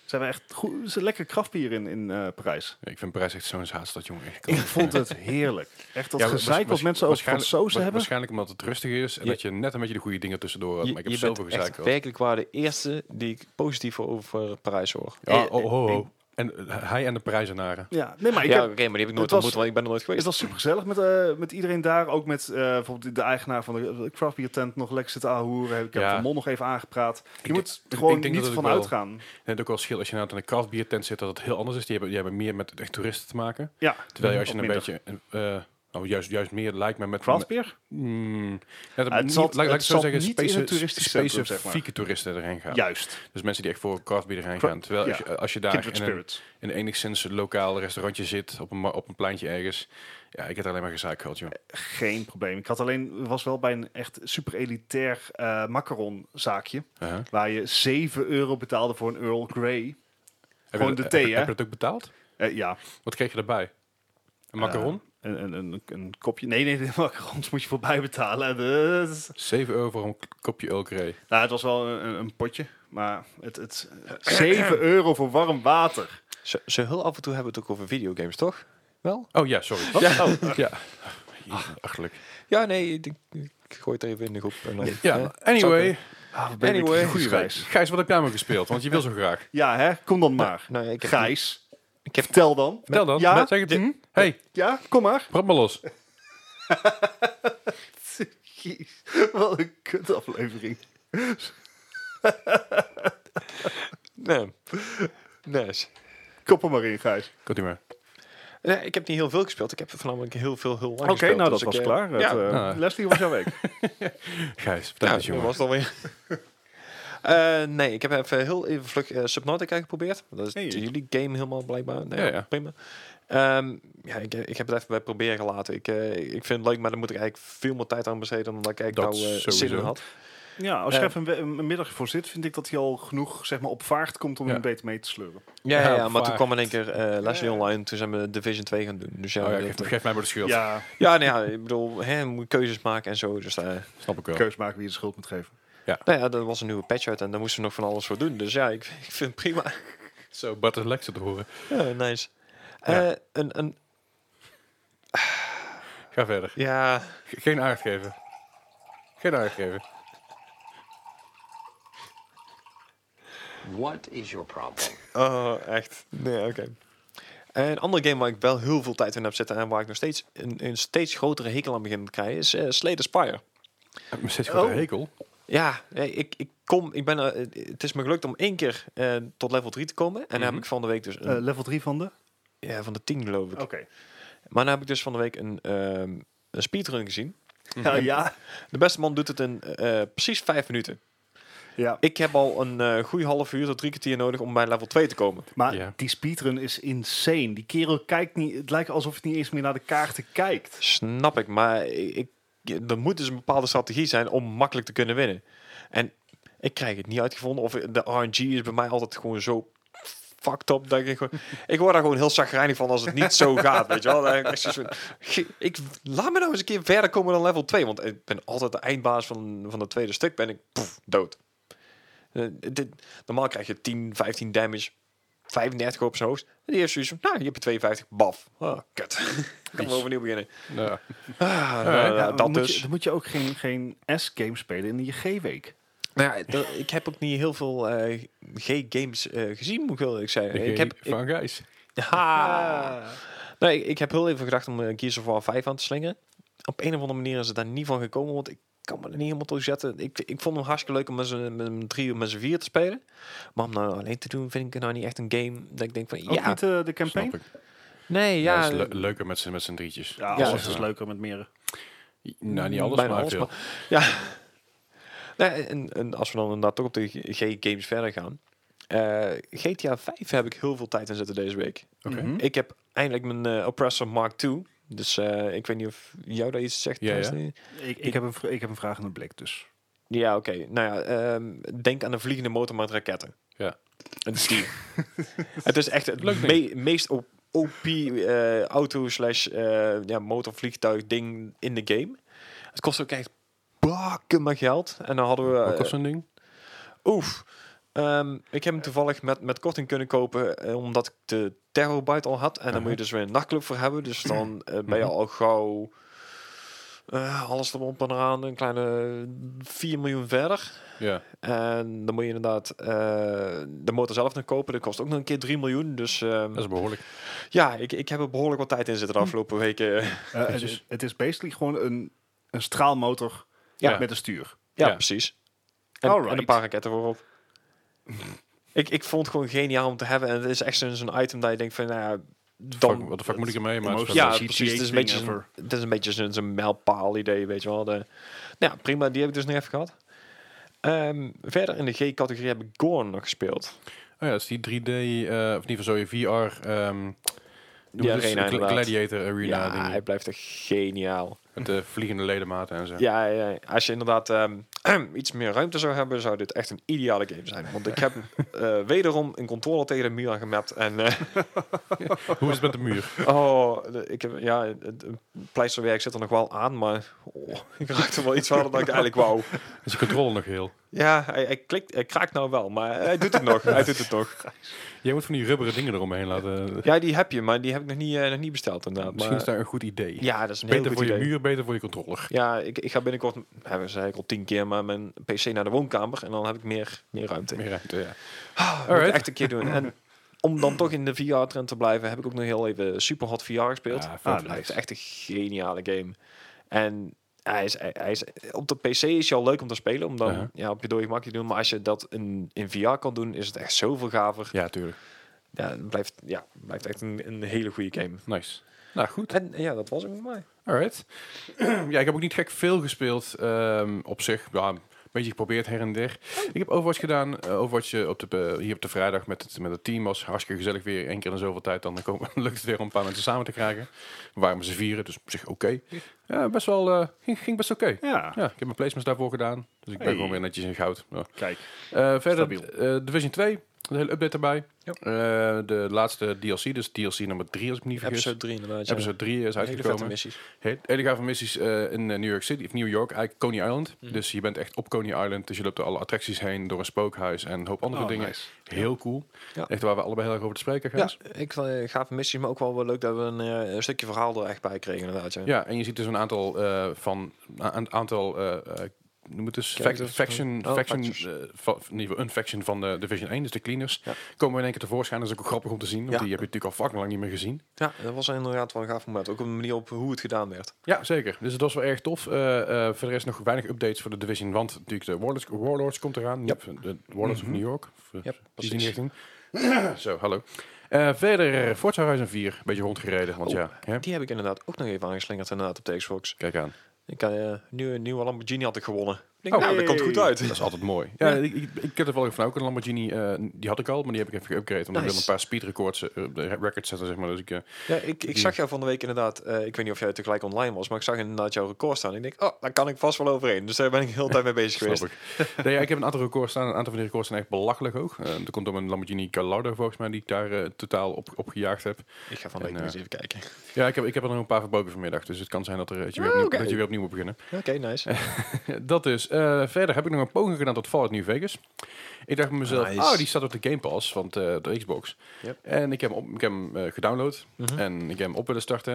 S2: Zijn we echt goed, is een lekker kraftbier in, in eh, Parijs.
S1: Ik vind Parijs echt zo'n zaadstad, jongen. Ik
S2: Ik vond het heerlijk. Echt dat
S1: Ja, wa-
S2: gezeik wat
S1: waarsch-
S2: mensen over
S1: waarschijnlijk-
S2: Fransozen
S1: wa-
S2: hebben.
S1: Waarschijnlijk omdat het rustig is en
S3: Je-
S1: dat je net een beetje de goede dingen tussendoor had.
S3: Je,
S1: Maar ik
S3: je
S1: heb zoveel
S3: bent echt
S1: gezeik gehad.
S3: werkelijk waar de eerste die ik positief over eh, Parijs hoor.
S1: Ja,
S2: eh,
S1: oh, ho, ho. En eh, hij en de Parijzenaren.
S2: Ja, nee, maar ik
S3: ja,
S2: heb,
S3: oké, maar die heb ik
S2: het
S3: nooit
S2: was-
S3: ontmoet, want ik ben er nooit
S2: het
S3: geweest.
S2: was super gezellig met, eh, met iedereen daar. Ook met eh, bijvoorbeeld de eigenaar van de craftbeer tent nog lekker zitten ahoeren. Ik heb
S1: Ja.
S2: de mond nog even aangepraat. Je
S1: Ik-
S2: moet
S1: ik
S2: er gewoon
S1: denk dat
S2: niet
S1: het ook
S2: van
S1: wel-
S2: uitgaan.
S1: En het ook wel schil als je nou in een kraftbiertent zit dat het heel anders is. Die hebben, die hebben meer met echt toeristen te maken.
S2: Ja,
S1: Terwijl je als je
S2: Of
S1: een
S2: minder.
S1: beetje... eh, nou, juist, juist meer lijkt me met...
S2: Craftbeer?
S1: Mm, ja, dat
S2: Ah, het
S1: niet-
S2: zat-
S1: laat- laat ik
S2: het
S1: zo
S2: zat
S1: zeggen,
S2: niet in een
S1: speci-
S2: toeristisch
S1: specifieke
S2: centrum, zeg maar.
S1: toeristen erheen gaan.
S2: Juist.
S1: Dus mensen die echt voor craft beer erheen
S2: Cra-
S1: gaan. Terwijl als,
S2: ja.
S1: je, als je daar
S2: Kindred
S1: in een,
S2: Spirits.
S1: in een enigszins lokaal restaurantje zit, op een, ma- op een pleintje ergens. Ja, ik heb alleen maar gezeik gehad,
S2: Eh,
S1: joh.
S2: Geen probleem. Ik had alleen, was wel bij een echt super elitair eh macaronzaakje.
S1: Uh-huh.
S2: Waar je 7 euro betaalde voor een Earl Grey.
S1: Heb
S2: Gewoon
S1: je-
S2: de thee,
S1: heb-
S2: hè?
S1: Heb je dat ook betaald?
S2: Eh, ja.
S1: Wat kreeg je erbij? Een
S2: Eh,
S1: macaron?
S2: Een, een, een, een kopje. Nee, nee, de macarons moet je voorbij betalen. Dus.
S1: 7 euro voor een k- kopje Earl Grey.
S2: Nou, het was wel een, een potje. Maar het, het 7 euro voor warm water.
S3: Ze, ze heel af en toe hebben we het ook over videogames, toch? Wel?
S1: Oh ja, sorry. Wat?
S3: Ja.
S1: Ja. Jezus, Achterlijk.
S3: Ja, nee, ik, denk- ik gooi het er even in de groep. En dan,
S1: Ja,
S3: eh, zou
S1: anyway.
S3: ik-
S2: Ah, wat
S3: Anyway,
S2: kritisch,
S1: Goeie week.
S2: Gijs.
S1: Gijs, wat heb jij maar gespeeld? Want je wil zo graag.
S2: Ja, hè? Kom dan maar.
S3: nou, ik heb-
S2: Gijs,
S3: ik heb
S2: vertel dan.
S1: Vertel dan.
S2: Ja,
S1: Zeg het. Hm? Hey,
S2: Ja, kom maar.
S1: brand maar los.
S2: Jeez, wat een kut aflevering.
S3: Nee. Nice.
S2: Kop er maar in, Gijs.
S1: Komt ie maar.
S3: Nee, ik heb niet heel veel gespeeld. Ik heb voornamelijk heel veel, heel lang
S2: Oké,
S3: gespeeld.
S2: nou dat
S3: dus
S2: was
S3: ik, eh,
S2: klaar.
S3: ja,
S2: Het, eh,
S1: Nou.
S2: Leslie, hoe was jouw week?
S1: Gijs, vertel
S3: Ja,
S1: het,
S3: dat
S1: jongen.
S3: was het alweer. Eh, nee, ik heb even heel even vlug eh, Subnautica geprobeerd. Dat is
S1: Hey.
S3: jullie game helemaal blijkbaar. Nee,
S1: Ja, ja.
S3: Prima. Ehm, ja, ik, ik heb het even bij proberen gelaten. Ik, eh, ik vind het leuk, maar daar moet ik eigenlijk veel meer tijd aan besteden dan dat ik eigenlijk
S1: Dat
S3: nou eh,
S1: sowieso.
S3: zin in had.
S2: Ja, als
S3: Eh.
S2: je even een, we- een middag voor zit, vind ik dat hij al genoeg zeg maar, op vaart komt om
S1: Ja.
S2: hem beter mee te sleuren.
S3: Ja, ja,
S1: Ja,
S3: ja, maar toen
S1: vaart.
S3: kwam in één keer eh Leslie
S2: Ja.
S3: online. Toen zijn we Division 2 gaan doen. Dus ja,
S1: Oh ja,
S3: dat-
S1: geef, geef mij maar de schuld.
S2: Ja,
S3: ja, nee, ja, ik bedoel, hè, moet je keuzes maken en zo. Dus eh,
S1: Snap ik wel.
S2: keus maken wie je de schuld moet geven.
S3: nou ja, dat was een nieuwe patch uit en daar moesten we nog van alles voor doen. Dus ja, ik, ik vind het prima.
S1: Zo, Bart is lekker te horen.
S3: Ja, nice.
S1: Ja.
S3: Eh, een, een,
S1: Ga verder.
S3: ja,
S1: Ge- Geen aard geven. Geen aard geven.
S4: What is your problem?
S3: Oh, echt. Nee, oké. Een andere game waar ik wel heel veel tijd in heb zitten en waar ik nog steeds een, een steeds grotere hekel aan begin te krijgen is eh Slay the Spire. Eh,
S1: Heb je steeds grote
S2: Oh.
S1: hekel?
S3: Ja, eh, ik, ik kom, ik ben, er- eh, het is me gelukt om één keer eh, tot level 3 te komen. En dan heb
S1: Mhm.
S3: ik van de week dus
S2: Eh,
S3: een,
S2: level 3 van de?
S3: ja, van de 10 geloof ik.
S2: Oké.
S3: Maar dan heb ik dus van de week een, ehm, een speedrun gezien.
S2: Ja, ja.
S3: De beste man doet het in eh, precies 5 minuten.
S2: ja.
S3: Ik heb al een eh goede half uur tot drie kwartier nodig om bij level 2 te komen.
S2: Maar
S1: Ja.
S2: die speedrun is insane. Die kerel kijkt niet... Het lijkt alsof hij niet eens meer naar de kaarten kijkt.
S3: Snap ik, maar ik, er moet dus een bepaalde strategie zijn om makkelijk te kunnen winnen. En ik krijg het niet uitgevonden. Of de RNG is bij mij altijd gewoon zo fucked up. Dat ik, gewoon, ik word daar gewoon heel chagrijnig van als het niet zo gaat, weet je wel. Dan heb ik echt zoiets van, ik, laat me nou eens een keer verder komen dan level 2. Want ik ben altijd de eindbaas van, van het tweede stuk, ben ik poef, dood. Eh, dit, normaal krijg je 10, 15 damage, 35 op zijn hoogst. En die heeft zoiets van, nou, je hebt er 52, baf. Ah, kut. Kan we overnieuw beginnen.
S1: Ja.
S3: Ah,
S1: Ja,
S3: nou,
S2: Ja,
S3: dat
S2: moet
S3: dus.
S2: Je, dan moet je ook geen, geen S-game spelen in je G-week.
S3: Nou ja, d- ik heb ook niet heel veel eh, G-games eh, gezien, moet ik wel eerlijk zeggen. Ik heb, ik,
S1: eh, van Gijs.
S3: Ha!
S2: Ah.
S3: Nee, ik, ik heb heel even gedacht om eh, Gears of War 5 aan te slingeren. Op een of andere manier is het daar niet van gekomen, want ik kan me er niet helemaal toe zetten. Ik, ik vond hem hartstikke leuk om met z'n- met z'n drie of met z'n vier te spelen. Maar om nou alleen te doen, vind ik nou niet echt een game dat ik denk van...
S2: Ook
S3: ja,
S2: niet eh, de campaign?
S1: Snap ik.
S3: nee,
S1: Ja,
S3: ja... eh,
S1: dat is le- leuker met z'n met z'n drietjes.
S2: Ja,
S3: Ja.
S2: alles is leuker met meren.
S1: Nou, niet alles,
S3: Bijna
S1: maar
S3: alles,
S1: veel.
S3: Ja. Nou, en, en als we dan inderdaad toch op de G-games verder gaan. eh, GTA 5 heb ik heel veel tijd in zitten deze week.
S1: Oké.
S2: Mhm.
S3: Ik heb eindelijk mijn eh, Oppressor Mark II. Dus eh, ik weet niet of jou daar iets zegt.
S1: Ja, ja.
S3: Dustin.
S2: Ik, ik, heb een, vr- ik heb een vraag in de blik, dus.
S3: Ja, oké. Nou ja, ehm, denk aan een vliegende motor met raketten.
S1: Ja.
S3: Het is die. het is echt het
S1: Leuk
S3: me- meest op- OP eh, auto slash eh, ja, motorvliegtuig ding in de game. Het kost ook echt bakken met geld. En dan hadden we...
S1: Wat
S3: eh,
S1: kost zo'n ding?
S3: Oef. Ehm, ik heb hem toevallig met, met korting kunnen kopen, eh, omdat ik de terabyte al had. En dan
S1: Uh-huh.
S3: moet je dus weer een nachtclub voor hebben. Dus dan eh, ben je al gauw eh, alles erop en eraan, een kleine 4 miljoen verder.
S1: Ja.
S3: En dan moet je inderdaad eh, de motor zelf nog kopen. Dat kost ook nog een keer 3 miljoen. Dus ehm,
S1: Dat is behoorlijk.
S3: ja, ik, ik heb er behoorlijk wat tijd in zitten de afgelopen weken. ja,
S2: Eh, het, is, het is basically gewoon een, een straalmotor
S1: Ja.
S2: met een stuur.
S1: Ja.
S3: precies. En,
S2: Alright.
S3: en een paar raketten voorop. ik, ik vond het gewoon geniaal om te hebben. En het is echt zo'n zo'n item dat je denkt van, nou ja, dan,
S1: Fuck, Wat de fuck moet ik ermee? Maar het is
S2: Emotie.
S1: wel
S3: Ja,
S1: leuk.
S2: Zo'n
S3: precies. Het is een
S2: GTA-ding
S3: beetje, zo'n-
S2: ever.
S3: het is een beetje zo'n zo'n mijlpaal idee, weet je wel. De, nou ja, prima, die heb ik dus nog even gehad. Ehm, verder in de G-categorie heb ik Gorn nog gespeeld.
S1: Oh ja, dat is die 3D, eh, of niet van zo, VR... ehm
S3: Die arena
S1: een
S3: inderdaad.
S1: Gladiator Arena
S3: ja,
S1: ding.
S3: hij blijft echt geniaal.
S1: Met de vliegende ledematen en zo.
S3: Ja, ja, ja. als je inderdaad ehm, iets meer ruimte zou hebben, zou dit echt een ideale game zijn. Want ik heb eh, wederom een controller tegen de muur gemapt. En eh,
S1: Hoe is het met de muur?
S3: oh, de- ik heb, ja, het, het pleisterwerk zit er nog wel aan, maar oh, ik raakte wel iets harder dan ik eigenlijk wou.
S1: Is de controle nog heel?
S3: Ja, hij, hij, klikt, hij kraakt nou wel, maar hij doet het nog. Hij doet het nog.
S1: Jij moet van die rubberen dingen eromheen laten.
S3: Ja, die heb je, maar die heb ik nog niet, eh, nog niet besteld inderdaad.
S1: Misschien is
S3: Maar,
S1: daar een goed idee.
S3: ja, dat is een heel
S1: beter
S3: goed
S1: voor je
S3: idee.
S1: muur, beter voor je controller.
S3: Ja, ik, ik ga binnenkort, ja, dat zei ik al tien keer, maar mijn pc naar de woonkamer. En dan heb ik meer, meer ruimte.
S1: Meer ruimte, ja.
S3: Ah, moet ik
S1: Alright.
S3: echt een keer doen. En om dan toch in de VR-trend te blijven, heb ik ook nog heel even Superhot VR gespeeld.
S1: Ah,
S2: Ah,
S1: vet.
S2: nice.
S3: Het is echt een geniale game. En hij is, hij hij is, op de PC is je al leuk om te spelen, om dan
S1: Ja.
S3: ja, op je dode gemak te doen. Maar als je dat in, in VR kan doen, is het echt zoveel gaver.
S1: Ja, tuurlijk.
S3: Ja, het blijft, ja, het blijft echt een, een hele goede game.
S1: Nice. Nou, goed.
S3: En ja, dat was het voor mij.
S1: Alright. ja, ik heb ook niet gek veel gespeeld ehm, op zich. Ja, een beetje geprobeerd her en der. Ik heb Overwatch gedaan. Eh, Overwatch eh, op de, eh, hier op de vrijdag met het, met het team was hartstikke gezellig weer. Eén keer in zoveel tijd, dan komen, lukt het weer om een paar mensen samen te krijgen. We waren met z'n vieren, dus op zich oké. Ja, best wel, eh, ging, ging best oké.
S2: Ja,
S1: Ja, ik heb mijn placements daarvoor gedaan. Dus ik ben
S2: Hey.
S1: gewoon weer netjes in goud. Ja.
S2: kijk.
S1: Eh, verder,
S2: Stabiel.
S1: eh, Division 2, de hele update erbij.
S3: Ja.
S1: Eh, de laatste DLC, dus DLC nummer 3 als ik me niet vergis.
S3: Episode 3 inderdaad.
S1: Episode 3 is
S3: Hele vette
S1: uitgekomen.
S3: missies.
S1: Hele, hele gave missies eh, in eh, New York City, of New York, eigenlijk Coney Island.
S3: Mhm.
S1: Dus je bent echt op Coney Island, dus je loopt door alle attracties heen, door een spookhuis en een hoop andere
S2: Oh,
S1: dingen.
S2: nice.
S1: Heel cool.
S3: Ja.
S1: Echt waar we allebei heel erg over te spreken gaan.
S3: Ja, ik eh, gaaf missies, maar ook wel wel leuk dat we een, eh, een stukje verhaal er echt bij kregen inderdaad. Ja.
S1: Ja, en je ziet dus een aantal eh, van a- een aantal eh, eh, noem het dus,
S3: Characters.
S1: faction,
S3: Oh,
S1: faction,
S3: factions.
S1: eh, va- in ieder geval een faction van de Division 1, dus de cleaners,
S3: Ja.
S1: komen in één keer tevoorschijn. Dat is ook grappig om te zien, want
S3: Ja.
S1: die heb je natuurlijk al fucking lang niet meer gezien.
S3: Ja, dat was inderdaad wel een gaaf moment. Ook op de manier op hoe het gedaan werd.
S1: Ja, zeker. Dus dat was wel erg tof. Eh eh verder is nog weinig updates voor de Division, want natuurlijk de Warlords, Warlords komt eraan.
S3: Yep. Mhm.
S1: De Warlords of New York. Of, eh,
S3: Yep,
S1: iets in
S3: precies.
S1: die richting. Zo, hallo. Eh, verder, Forza Horizon 4, een beetje rondgereden, want
S3: Oh,
S1: ja, hè?
S3: Die heb ik inderdaad ook nog even aangeslingerd inderdaad op de Xbox.
S1: kijk aan.
S3: Ik, eh nieuwe, nieuwe Lamborghini had ik gewonnen. Ik denk,
S1: Oh,
S3: nou, dat komt goed uit.
S1: Dat is altijd mooi. Ja, Ik, ik, ik had er wel even van ook een Lamborghini. eh, die had ik al, maar die heb ik even geüpgrade. Omdat ik
S3: Nice.
S1: wil een paar speedrecords, eh, op de records zetten, zeg maar. Dus ik, eh,
S3: Ja, ik, ik zag jou van de week inderdaad, eh, ik weet niet of jij tegelijk online was, maar ik zag inderdaad jouw record staan. Ik denk, oh, daar kan ik vast wel overheen. Dus daar ben ik heel de tijd mee bezig
S1: snap
S3: geweest.
S1: ik. nee, ja, ik heb een aantal records staan. Een aantal van die records zijn echt belachelijk hoog. Eh, dat komt door mijn Lamborghini Gallardo, volgens mij, die ik daar eh, totaal op, op gejaagd heb.
S3: Ik ga van de
S1: En,
S3: week nog eens
S1: eh,
S3: even kijken.
S1: Ja, ik heb, ik heb er nog een paar verboden vanmiddag. Dus het kan zijn dat, er, dat, je, weer
S3: Ah,
S1: opnieuw,
S3: oké.
S1: dat je weer opnieuw moet beginnen.
S3: Oké, nice.
S1: dat dus. Eh, verder heb ik nog een poging gedaan tot Fallout New Vegas. Ik dacht bij mezelf,
S3: Nice.
S1: oh, die staat op de Game Pass, want eh, de Xbox.
S3: Yep.
S1: En ik heb hem, op, ik heb hem eh, gedownload
S3: Mhm.
S1: en ik heb hem op willen starten.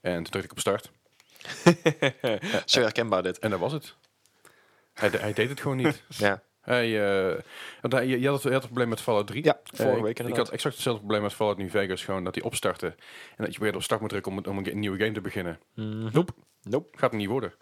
S1: En toen drukte ik op start.
S3: Zo herkenbaar dit.
S1: En dat was het. Hij, de- hij deed het gewoon niet.
S3: Ja,
S1: Hij, eh, want hij- je, je had, je had het probleem met Fallout 3.
S3: ja
S1: Eh,
S3: vorige
S1: ik-
S3: week
S1: ik,
S3: inderdaad.
S1: had exact hetzelfde probleem met Fallout New Vegas. Gewoon dat hij opstartte. En dat je weer op start moet drukken om, om een ge- nieuwe game te beginnen.
S3: Mhm.
S1: Nope.
S3: Nope.
S1: Gaat het niet worden.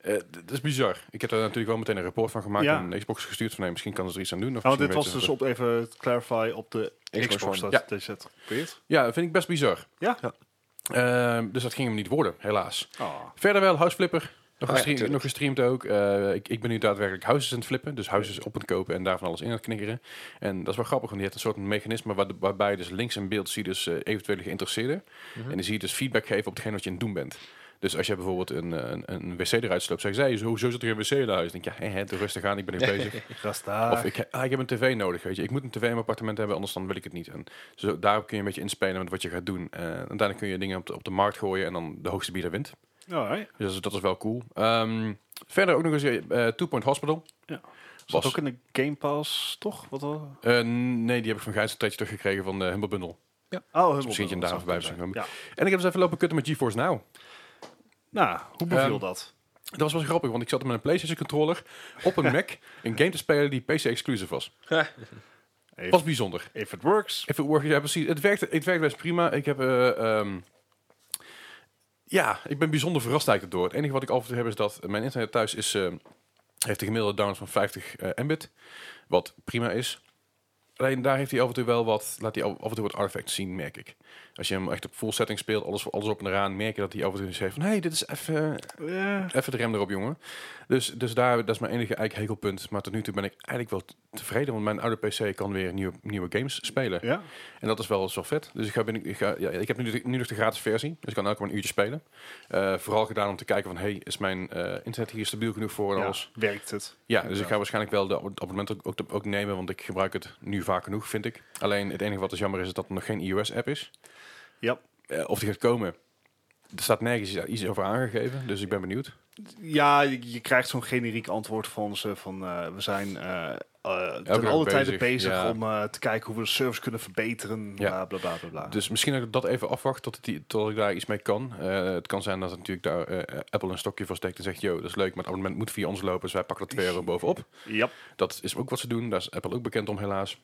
S1: Eh, d- dat is bizar. Ik heb daar natuurlijk wel meteen een rapport van gemaakt.
S2: Ja.
S1: En een Xbox gestuurd van nee, misschien kan ze er iets aan doen. Of
S2: Nou, want
S1: misschien
S2: dit was
S1: weten
S2: dus
S1: ze-
S2: op even te clarify op de
S3: Xbox
S2: Xbox
S3: One.
S2: dat ja. zet. Weet
S1: Ja, dat vind ik best bizar.
S2: Ja.
S3: Ja.
S1: Ehm, dus dat ging hem niet worden, helaas.
S2: Ah.
S1: Verder wel, Houseflipper. Nog,
S3: Ah, ja,
S1: gestreamd,
S3: tuurlijk.
S1: nog gestreamd ook. Eh, ik, ik ben nu daadwerkelijk houses aan het flippen. Dus houses op aan het kopen en daarvan alles in aan het knikkeren. En dat is wel grappig, want die heeft een soort mechanisme waar, waarbij je dus links in beeld zie je dus eh, eventuele geïnteresseerden.
S3: Mhm.
S1: En die zie je dus feedback geven op hetgeen wat je aan het doen bent. Dus als je bijvoorbeeld een, eh, een, een wc eruit sloopt, zeg je, "Hey, zo, zo zit er een wc in huis. Dan denk je, ja, hè, hè, doe rustig aan, ik ben er bezig. Of
S2: Gasta.
S1: ik, he- ah, ik heb een tv nodig, weet je. Ik moet een tv in mijn appartement hebben, anders dan wil ik het niet. En zo, daarop kun je een beetje inspelen met wat je gaat doen. Eh, en uiteindelijk kun je dingen op de, op de markt gooien en dan de hoogste bieder wint.
S2: Alright.
S1: Dus dat is- dat is wel cool. Ehm, verder ook nog eens eh Two Point Hospital.
S2: Was
S1: Was-
S2: ook in de Game Pass, toch? Wat Oh, al?
S1: Eh, nee, die heb ik van Gijs een tijdje teruggekregen van de Humble Bundle.
S2: Oh, helemaal.
S1: misschien dat je hem daar even bij zou
S2: Ja.
S1: En ik heb eens even lopen kutten met GeForce Now.
S2: Nou, hoe beviel
S1: Ehm,
S2: dat?
S1: Dat was wel grappig, want ik zat met een PlayStation controller op een Mac een game te spelen die PC-exclusive was.
S2: Even
S1: Was bijzonder.
S2: If it works.
S1: If it works, ja precies. Het werkt, het werkt best prima. Ik heb... eh, ehm, ja, ik ben bijzonder verrast eigenlijk door. Het enige wat ik al te hebben is dat mijn internet thuis is, eh, heeft een gemiddelde download van 50 eh, mbit. Wat prima is. Alleen daar heeft hij af en toe wel wat, laat hij af af en toe wat artifacts zien, merk ik. Als je hem echt op full setting speelt, alles, alles op en eraan, merk je dat hij af en toe zegt van... Hé, hey, dit is even
S2: Ja.
S1: even de rem erop, jongen. Dus, dus daar, dat is mijn enige eigenlijk hekelpunt. Maar tot nu toe ben ik eigenlijk wel t- tevreden, want mijn oude PC kan weer nieuwe, nieuwe games spelen.
S2: ja.
S1: En dat is wel zo vet. Dus ik, ga binnen, ik, ga, ja, ik heb nu, de- nu nog de gratis versie, dus ik kan elke keer een uurtje spelen. Eh, vooral gedaan om te kijken van, hey, is mijn eh, internet hier stabiel genoeg voor en
S2: Ja,
S1: alles.
S2: Werkt het?
S1: Ja, dus ik ga waarschijnlijk wel de ab- abonnement ook, ook, ook nemen, want ik gebruik het nu vaak genoeg, vind ik. Alleen het enige wat is jammer is, is dat er nog geen iOS-app is.
S2: Ja.
S1: Eh, of die gaat komen. Er staat nergens iets over aangegeven, dus ik ben benieuwd.
S2: Ja, je, je krijgt zo'n generiek antwoord van ze van eh, we zijn eh, eh, ten
S1: dag
S2: alle tijden
S1: bezig,
S2: bezig
S1: ja.
S2: om eh, te kijken hoe we de service kunnen verbeteren.
S1: Ja.
S2: Bla bla bla bla. bla.
S1: Dus misschien dat ik dat even afwacht tot, het, tot ik daar iets mee kan. Eh, het kan zijn dat het natuurlijk daar eh, Apple een stokje voor steekt en zegt: Yo, dat is leuk, maar het abonnement moet via ons lopen, dus wij pakken er 2 euro bovenop.
S2: ja.
S1: Dat is ook wat ze doen, daar is Apple ook bekend om, helaas.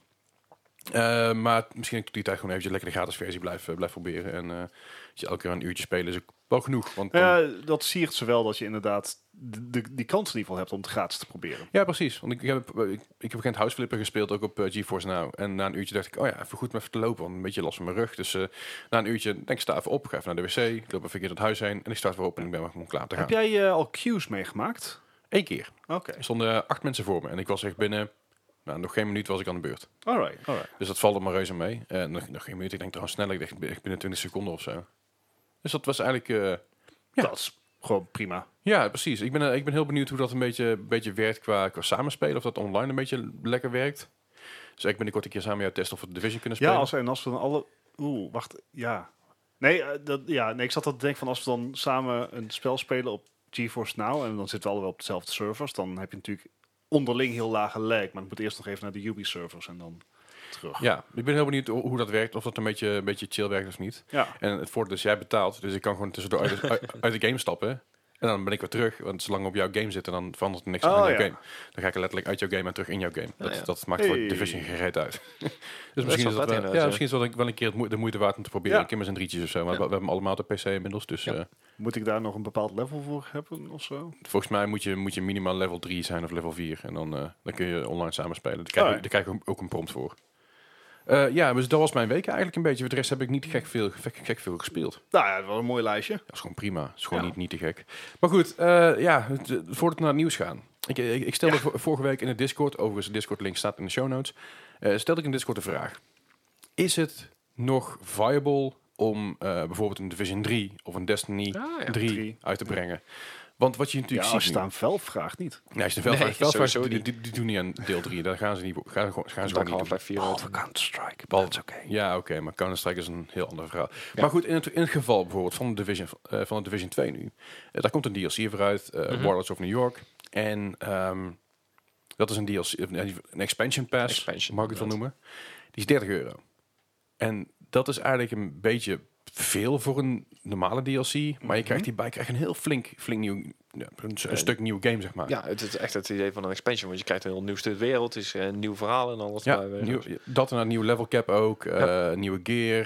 S1: Eh, maar misschien dat ik tot die tijd gewoon eventjes lekker de gratis versie blijf, eh, blijf proberen. En eh, als je elke keer een uurtje spelen is ook wel genoeg. Want dan- ja.
S2: Nou ja, dat siert ze wel dat je inderdaad de, de- die kans in ieder geval hebt om het gratis te proberen.
S1: precies. Want ik heb, eh, ik, ik heb geen houseflipper gespeeld, ook op eh, GeForce Now. En na een uurtje dacht ik, oh ja, even goed om even te lopen, want een beetje last van mijn rug. Dus eh, na een uurtje denk ik, sta even op, ga even naar de wc, ik loop even een keer het huis heen en ik start weer op en ik ben weer gewoon klaar te gaan.
S2: Heb jij eh, al queues meegemaakt?
S1: Eén keer.
S2: Oké.
S1: Er stonden acht mensen voor me. En ik was echt binnen... Nou, nog geen minuut was ik aan de beurt.
S2: Alright, alright.
S1: Dus dat valt op mijn reuze mee. En nog, nog geen minuut. Ik denk trouwens sneller. Ik denk echt binnen 20 seconden of zo. Dus dat was eigenlijk... eh, Ja.
S2: Dat is gewoon prima.
S1: ja, precies. Ik ben, eh, ik ben heel benieuwd hoe dat een beetje, een beetje werkt qua, qua samenspelen. Of dat online een beetje lekker werkt. Dus ik binnenkort een keer samen jou testen of we de Division kunnen spelen.
S2: Ja, als, en als we dan alle... Oeh, wacht. Ja. Nee, eh, dat, ja, nee, ik zat dat te denken van als we dan samen een spel spelen op GeForce Now... en dan zitten we allemaal op dezelfde servers... dan heb je natuurlijk onderling heel lage lag. Maar het moet eerst nog even naar de Ubi-servers en dan terug.
S1: Ja, ik ben heel benieuwd ho- hoe dat werkt. Of dat een beetje, een beetje chill werkt of niet.
S2: Ja.
S1: En het voordeel is, jij betaalt. Dus ik kan gewoon tussendoor uit, de- uit, uit de game stappen. En dan ben ik weer terug, want zolang we op jouw game zitten, dan verandert er niks
S2: Oh,
S1: aan jouw
S2: ja.
S1: game. Dan ga ik letterlijk uit jouw game en terug in jouw game. Dat,
S3: ja.
S1: dat maakt voor
S2: Hey.
S1: Division gereed uit. dus
S3: wel
S1: misschien is,
S3: vet
S1: dat wel,
S3: inderdaad,
S1: ja,
S3: ja.
S1: misschien is dat wel een keer het moe- de moeite waard om te proberen.
S2: Ja.
S1: Ik heb maar zijn drietjes of zo, maar
S3: Ja.
S1: we, we hebben hem allemaal op de PC inmiddels. Dus
S3: Ja.
S1: eh,
S2: Moet ik daar nog een bepaald level voor hebben of zo?
S1: volgens mij moet je, moet je minimaal level 3 zijn of level 4. En dan, eh, dan kun je online samen spelen. Daar krijg, je-
S2: Oh, ja.
S1: daar krijg je ook een prompt voor. Eh, ja, dus dat was mijn week eigenlijk een beetje. Voor de rest heb ik niet gek veel, gek, gek veel gespeeld.
S2: Nou ja, wel een mooi lijstje.
S1: Dat is gewoon prima. Dat is gewoon
S2: Ja.
S1: niet, niet te gek. Maar goed, eh, ja, het- eh, voordat we naar het nieuws gaan. Ik, eh, ik, ik stelde vo- vorige week in de Discord, overigens de Discord link staat in de show notes, eh, stelde ik in de Discord de vraag. Is het nog viable om eh, bijvoorbeeld een Division 3 of een Destiny
S3: Ah, ja,
S1: 3
S2: drie.
S1: uit te brengen? Want wat je natuurlijk
S2: Ja,
S1: ziet
S2: als je
S1: nu-
S2: het aan Valve vraagt niet.
S1: Nee, als je de
S3: Nee,
S1: Veldvraag- Veldvraag-
S3: sowieso
S1: die,
S3: niet.
S1: die, die doen niet aan deel 3. Daar gaan ze, niet, gaan, gewoon- gaan ze
S3: Dat ik
S1: gewoon niet doen.
S3: Half-Life 4 had.
S2: Oh, Counter-Strike,
S1: Bal-
S2: is oké.
S1: Ja, oké, maar Counter-Strike is een heel ander verhaal.
S3: Ja.
S1: Maar goed, in het, in het geval bijvoorbeeld van de Division, eh, van de Division 2 nu, eh, daar komt een DLC vooruit, eh
S3: Mhm.
S1: Warlords of New York. En ehm, dat is een DLC, of nee, een expansion pass,
S3: Expansion,
S1: mag ik het wel noemen. Die is 30 euro. En dat is eigenlijk een beetje veel voor een normale DLC, maar
S3: Mhm.
S1: je krijgt hierbij krijg je een heel flink, flink nieuw, ja, een, s- een
S3: Eh,
S1: stuk nieuw game, zeg maar.
S3: Ja, het is echt het idee van een expansion. Want je krijgt een heel nieuw stuk wereld. Het is eh, een nieuw verhaal en alles.
S1: Ja,
S3: maar, eh,
S1: nieuw- dat en een nieuwe level cap ook,
S3: Ja.
S1: eh, nieuwe gear. eh,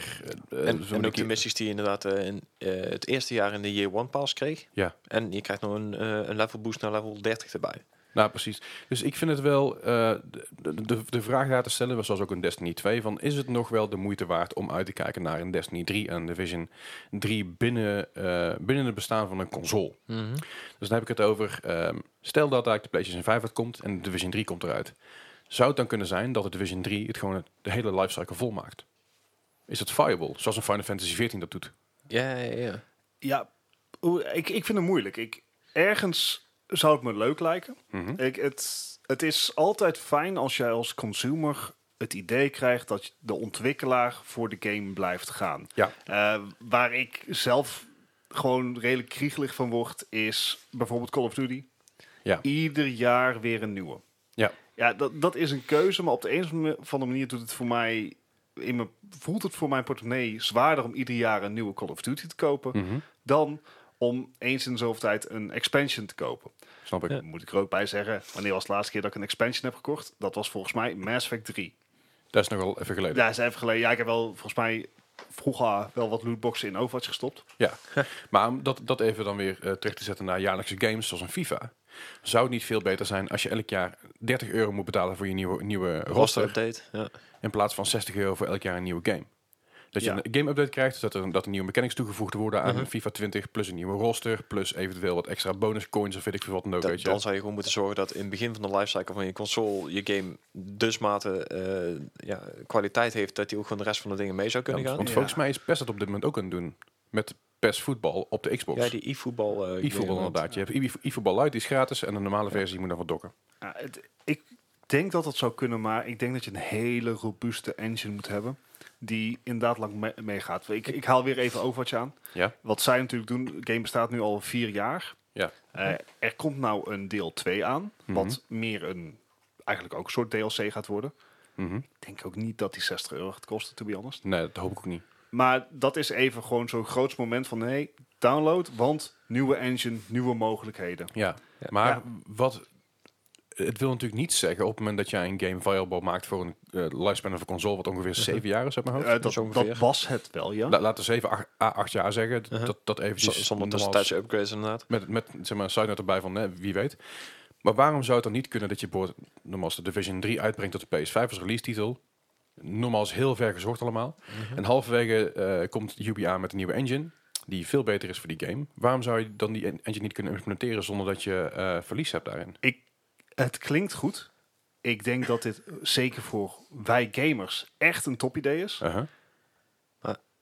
S1: eh,
S3: en,
S1: zo'n
S3: en ook de
S1: keer-
S3: missies die je inderdaad eh, in, eh, het eerste jaar in de Year One Pass kreeg.
S1: Ja.
S3: En je krijgt nog een, eh, een level boost naar level 30 erbij.
S1: Nou, precies. Dus ik vind het wel, eh, de, de, de vraag daar te stellen, was zoals ook in Destiny 2, van is het nog wel de moeite waard om uit te kijken naar een Destiny 3 en een Division 3 binnen, eh, binnen het bestaan van een console? Dus dan heb ik het over, ehm, stel dat eigenlijk de PlayStation 5 uitkomt en de Division 3 komt eruit. Zou het dan kunnen zijn dat de Division 3 het gewoon de hele lifecycle volmaakt? Is dat viable, zoals een Final Fantasy 14 dat doet?
S3: Ja, ja, ja.
S2: Ja, oeh, ik, ik vind het moeilijk. Ik, ergens zou het me leuk lijken.
S1: Mhm.
S2: Ik, het, het is altijd fijn als jij als consumer het idee krijgt dat de ontwikkelaar voor de game blijft gaan.
S1: Ja.
S2: Eh, waar ik zelf gewoon redelijk kriegelig van word, is bijvoorbeeld Call of Duty.
S1: Ja.
S2: Ieder jaar weer een nieuwe.
S1: Ja.
S2: Ja, dat, dat is een keuze, maar op de een of andere- van de manier doet het voor mij... In mijn, voelt het voor mijn portemonnee zwaarder om ieder jaar een nieuwe Call of Duty te kopen...
S1: Mhm.
S2: dan om eens in de zoveel tijd een expansion te kopen.
S1: Snap ik.
S3: Ja.
S2: Moet ik er ook bij zeggen, wanneer was de laatste keer dat ik een expansion heb gekocht? Dat was volgens mij Mass Effect 3.
S1: Dat is nogal even geleden.
S2: Ja, is even geleden. Ja, ik heb wel volgens mij vroeger wel wat lootboxen in Overwatch gestopt.
S1: Ja, maar om dat, dat even dan weer eh, terug te zetten naar jaarlijkse games zoals een FIFA. Zou het niet veel beter zijn als je elk jaar 30 euro moet betalen voor je nieuwe, nieuwe
S3: Roster
S1: roster.
S3: update. Ja.
S1: In plaats van 60 euro voor elk jaar een nieuwe game. Dat je
S2: Ja.
S1: een game update krijgt, dat er, dat er nieuwe mechanics toegevoegd worden
S3: Mhm.
S1: aan FIFA 20. Plus een nieuwe roster, plus eventueel wat extra bonus coins of weet ik veel wat dan ook.
S3: Da-
S1: weet je.
S3: dan zou je gewoon moeten zorgen dat in het begin van de lifecycle van je console je game dusmate eh, ja, kwaliteit heeft dat die ook gewoon de rest van de dingen mee zou kunnen
S1: Ja,
S3: gaan.
S1: want
S2: Ja.
S1: volgens mij is PES dat op dit moment ook aan het doen. Met PES voetbal op de Xbox.
S3: Ja, die e-voetbal. eh,
S1: e-voetbal
S3: game,
S1: inderdaad. Je hebt E-, e-voetbal Lite, die is gratis. En de normale versie moet nog wat dokken.
S2: Ja, het- ik denk dat dat zou kunnen, maar ik denk dat je een hele robuuste engine moet hebben. Die inderdaad lang me- meegaat. ik, ik haal weer even Overwatch aan.
S1: Ja.
S2: Wat zij natuurlijk doen, de game bestaat nu al vier jaar.
S1: Ja.
S2: Eh, er komt nou een deel 2 aan, wat meer een, eigenlijk ook een soort DLC gaat worden.
S1: Mhm.
S2: Ik denk ook niet dat die 60 euro gaat kosten, to be honest.
S1: Nee, dat hoop ik ook niet.
S2: Maar dat is even gewoon zo'n groots moment van, hey, download, want nieuwe engine, nieuwe mogelijkheden.
S1: Ja,
S3: Ja.
S1: maar
S2: Ja.
S1: wat... Het wil natuurlijk niet zeggen op het moment dat jij een game viable maakt voor een eh, lifespan van een console wat
S3: Mhm.
S1: ongeveer 7 jaar is uit mijn hoofd.
S2: Eh, dat,
S3: zo ongeveer.
S2: dat was het wel, ja.
S1: La- laten we 7 8, à 8 jaar zeggen. D-
S3: Uh-huh.
S1: Dat, dat
S3: Z-
S1: eventjes
S3: Zonder
S1: normaal-
S3: tussentijds upgrades inderdaad.
S1: met, met zeg maar, een side note erbij van hè, wie weet. Maar waarom zou het dan niet kunnen dat je bijvoorbeeld, normaal als de Division 3 uitbrengt tot de PS5 als release titel. Normaal is heel ver gezocht allemaal.
S3: Mhm.
S1: En halverwege eh, komt Ubi aan met een nieuwe engine die veel beter is voor die game. Waarom zou je dan die en- engine niet kunnen implementeren zonder dat je eh, verlies hebt daarin?
S2: Het klinkt goed. Ik denk dat dit zeker voor wij gamers echt een top idee is.
S1: Uh-huh.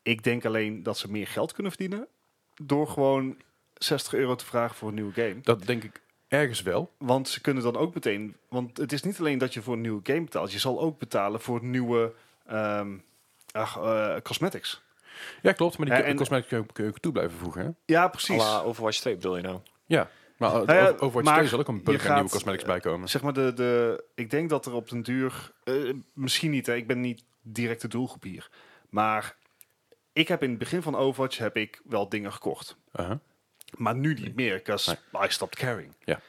S2: Ik denk alleen dat ze meer geld kunnen verdienen door gewoon 60 euro te vragen voor een nieuwe game.
S1: Dat denk ik ergens wel.
S2: Want ze kunnen dan ook meteen. Want het is niet alleen dat je voor een nieuwe game betaalt. Je zal ook betalen voor nieuwe ehm, ach, eh, cosmetics.
S1: Ja, klopt. Maar die
S2: Ja,
S1: en,
S2: en-
S1: cosmetic kun je ook- kun je ook toe blijven voegen. Hè?
S2: Ja,
S3: À
S2: precies.
S3: la Overwatch 2 bedoel je nou?
S1: Ja. Maar over
S2: Nou ja,
S1: Overwatch
S2: maar
S1: 2 zal ook een
S2: je
S1: bunker aan nieuwe
S2: gaat,
S1: cosmetics
S2: eh,
S1: bij komen.
S2: Zeg maar de, de. Ik denk dat er op den duur. eh, misschien niet, hè, ik ben niet direct de doelgroep hier. Maar ik heb in het begin van Overwatch heb ik wel dingen gekocht.
S1: Uh-huh.
S2: Maar nu niet meer, because I stopped caring.
S1: Ja.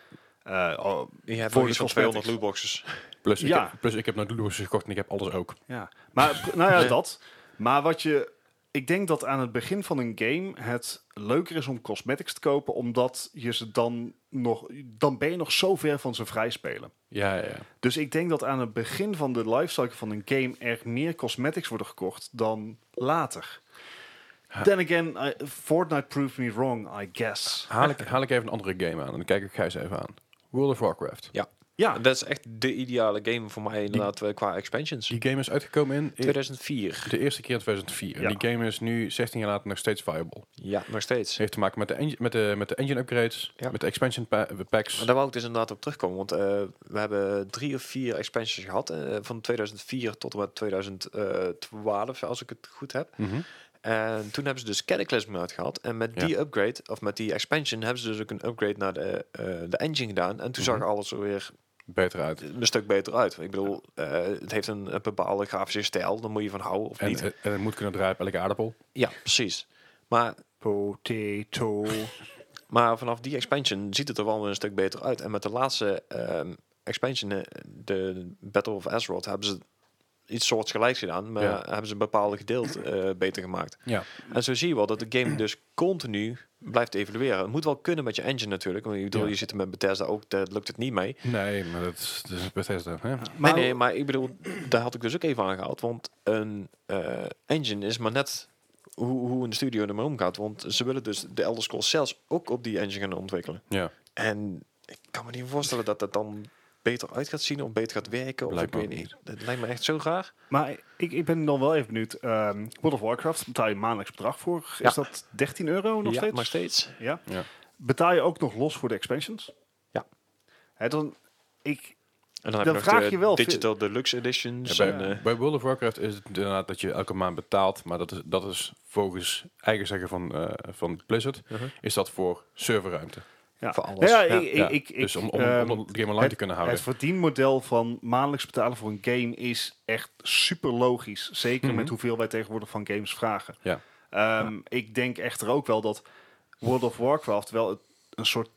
S2: Eh, oh,
S3: Je hebt
S2: Voor
S3: voor
S2: de
S3: iets van
S2: cosmetics.
S3: 200 lootboxes.
S1: Plus, ik
S2: Ja.
S1: heb, plus ik heb nou Doodles gekocht en ik heb alles ook.
S2: Ja, maar nou ja, dat. Maar wat je. Ik denk dat aan het begin van een game het leuker is om cosmetics te kopen, omdat je ze dan nog. Dan ben je nog zo ver van ze vrijspelen.
S1: Ja, ja, ja.
S2: Dus ik denk dat aan het begin van de lifecycle van een game er meer cosmetics worden gekocht dan later. Then again, I- Fortnite proved me wrong, I guess.
S1: Haal, ik, haal ik even een andere game aan en dan kijk ik Gijs even aan. World of Warcraft. Ah.
S2: Ja,
S3: Dat is echt de ideale game voor mij inderdaad eh, qua expansions.
S1: Die game is uitgekomen in, in
S3: 2004.
S1: de eerste keer in 2004.
S2: Ja.
S1: En die game is nu 16 jaar later nog steeds viable.
S3: Ja, nog steeds.
S1: Het heeft te maken met de, engi- met de, met de engine upgrades,
S3: Ja.
S1: met de expansion pa- packs.
S3: Maar daar wou ik dus inderdaad op terugkomen. Want eh, we hebben drie of vier expansions gehad. eh, van 2004 tot en met 2012, als ik het goed heb.
S1: Mhm.
S3: En toen hebben ze dus Cataclysm uitgehaald. En met die upgrade, of met die expansion, hebben ze dus ook een upgrade naar de, eh, de engine gedaan. En toen
S1: Mhm.
S3: zag alles er weer
S1: Beter uit.
S3: een stuk beter uit. Ik bedoel, eh, het heeft een, een bepaalde grafische stijl. Daar moet je van houden of
S1: En,
S3: niet.
S1: en het moet kunnen draaien op elke aardappel.
S3: Ja, precies. Maar,
S2: potato.
S3: maar vanaf die expansion ziet het er wel weer een stuk beter uit. En met de laatste ehm, expansion, eh, de Battle of Azeroth, hebben ze iets soortgelijks gedaan. Maar
S1: Ja.
S3: hebben ze een bepaalde gedeelte eh, beter gemaakt.
S1: Ja.
S3: En zo zie je wel dat de game dus continu blijft evolueren. Het moet wel kunnen met je engine natuurlijk. Want ik bedoel,
S1: Ja.
S3: je zit er met Bethesda ook, daar lukt het niet mee.
S1: Nee, maar dat is, dat is Bethesda. Hè?
S3: Maar nee, nee, maar ik bedoel, daar had ik dus ook even aan gehaald. Want een eh, engine is maar net hoe, hoe een studio ermee omgaat. Want ze willen dus de Elder Scrolls zelfs ook op die engine gaan ontwikkelen.
S1: Ja.
S3: En ik kan me niet voorstellen dat dat dan beter uit gaat zien of beter gaat werken. Of ik
S1: Blijkbaar
S3: weet
S1: ook
S3: niet. Het lijkt me echt zo raar.
S2: Maar ik, ik ben dan wel even benieuwd. Ehm World of Warcraft betaal je maandelijks bedrag voor. Is
S3: Ja.
S2: dat 13 euro nog
S3: ja,
S2: steeds?
S3: nog steeds.
S2: Ja.
S1: Ja.
S2: Betaal je ook nog los voor de expansions?
S3: Ja.
S2: Hè, dan, ik,
S3: En dan,
S2: Dan
S3: heb je nog
S2: vraag
S3: de
S2: je wel veel-
S3: Digital Deluxe
S2: Dus,
S3: Editions.
S1: Ja,
S3: en,
S1: bij,
S3: eh,
S1: bij World of Warcraft is het inderdaad dat je elke maand betaalt, maar dat is, dat is volgens eigen zeggen van, eh, van Blizzard,
S3: Mhm.
S1: is dat voor serverruimte.
S2: ja. Nou
S3: Voor alles,
S2: Ja,
S3: ja.
S2: Uh-huh. Ik,
S1: Ja,
S2: ik, ik,
S1: dus om, om,
S2: ehm,
S1: om de game online
S2: het-
S1: te kunnen
S2: het
S1: houden.
S2: verdienmodel van maandelijks betalen voor een game is echt super logisch. Zeker
S1: Mhm.
S2: met hoeveel wij tegenwoordig van games vragen.
S1: Ja.
S2: Ehm, Ik denk echter ook wel dat World of Warcraft wel het- een soort...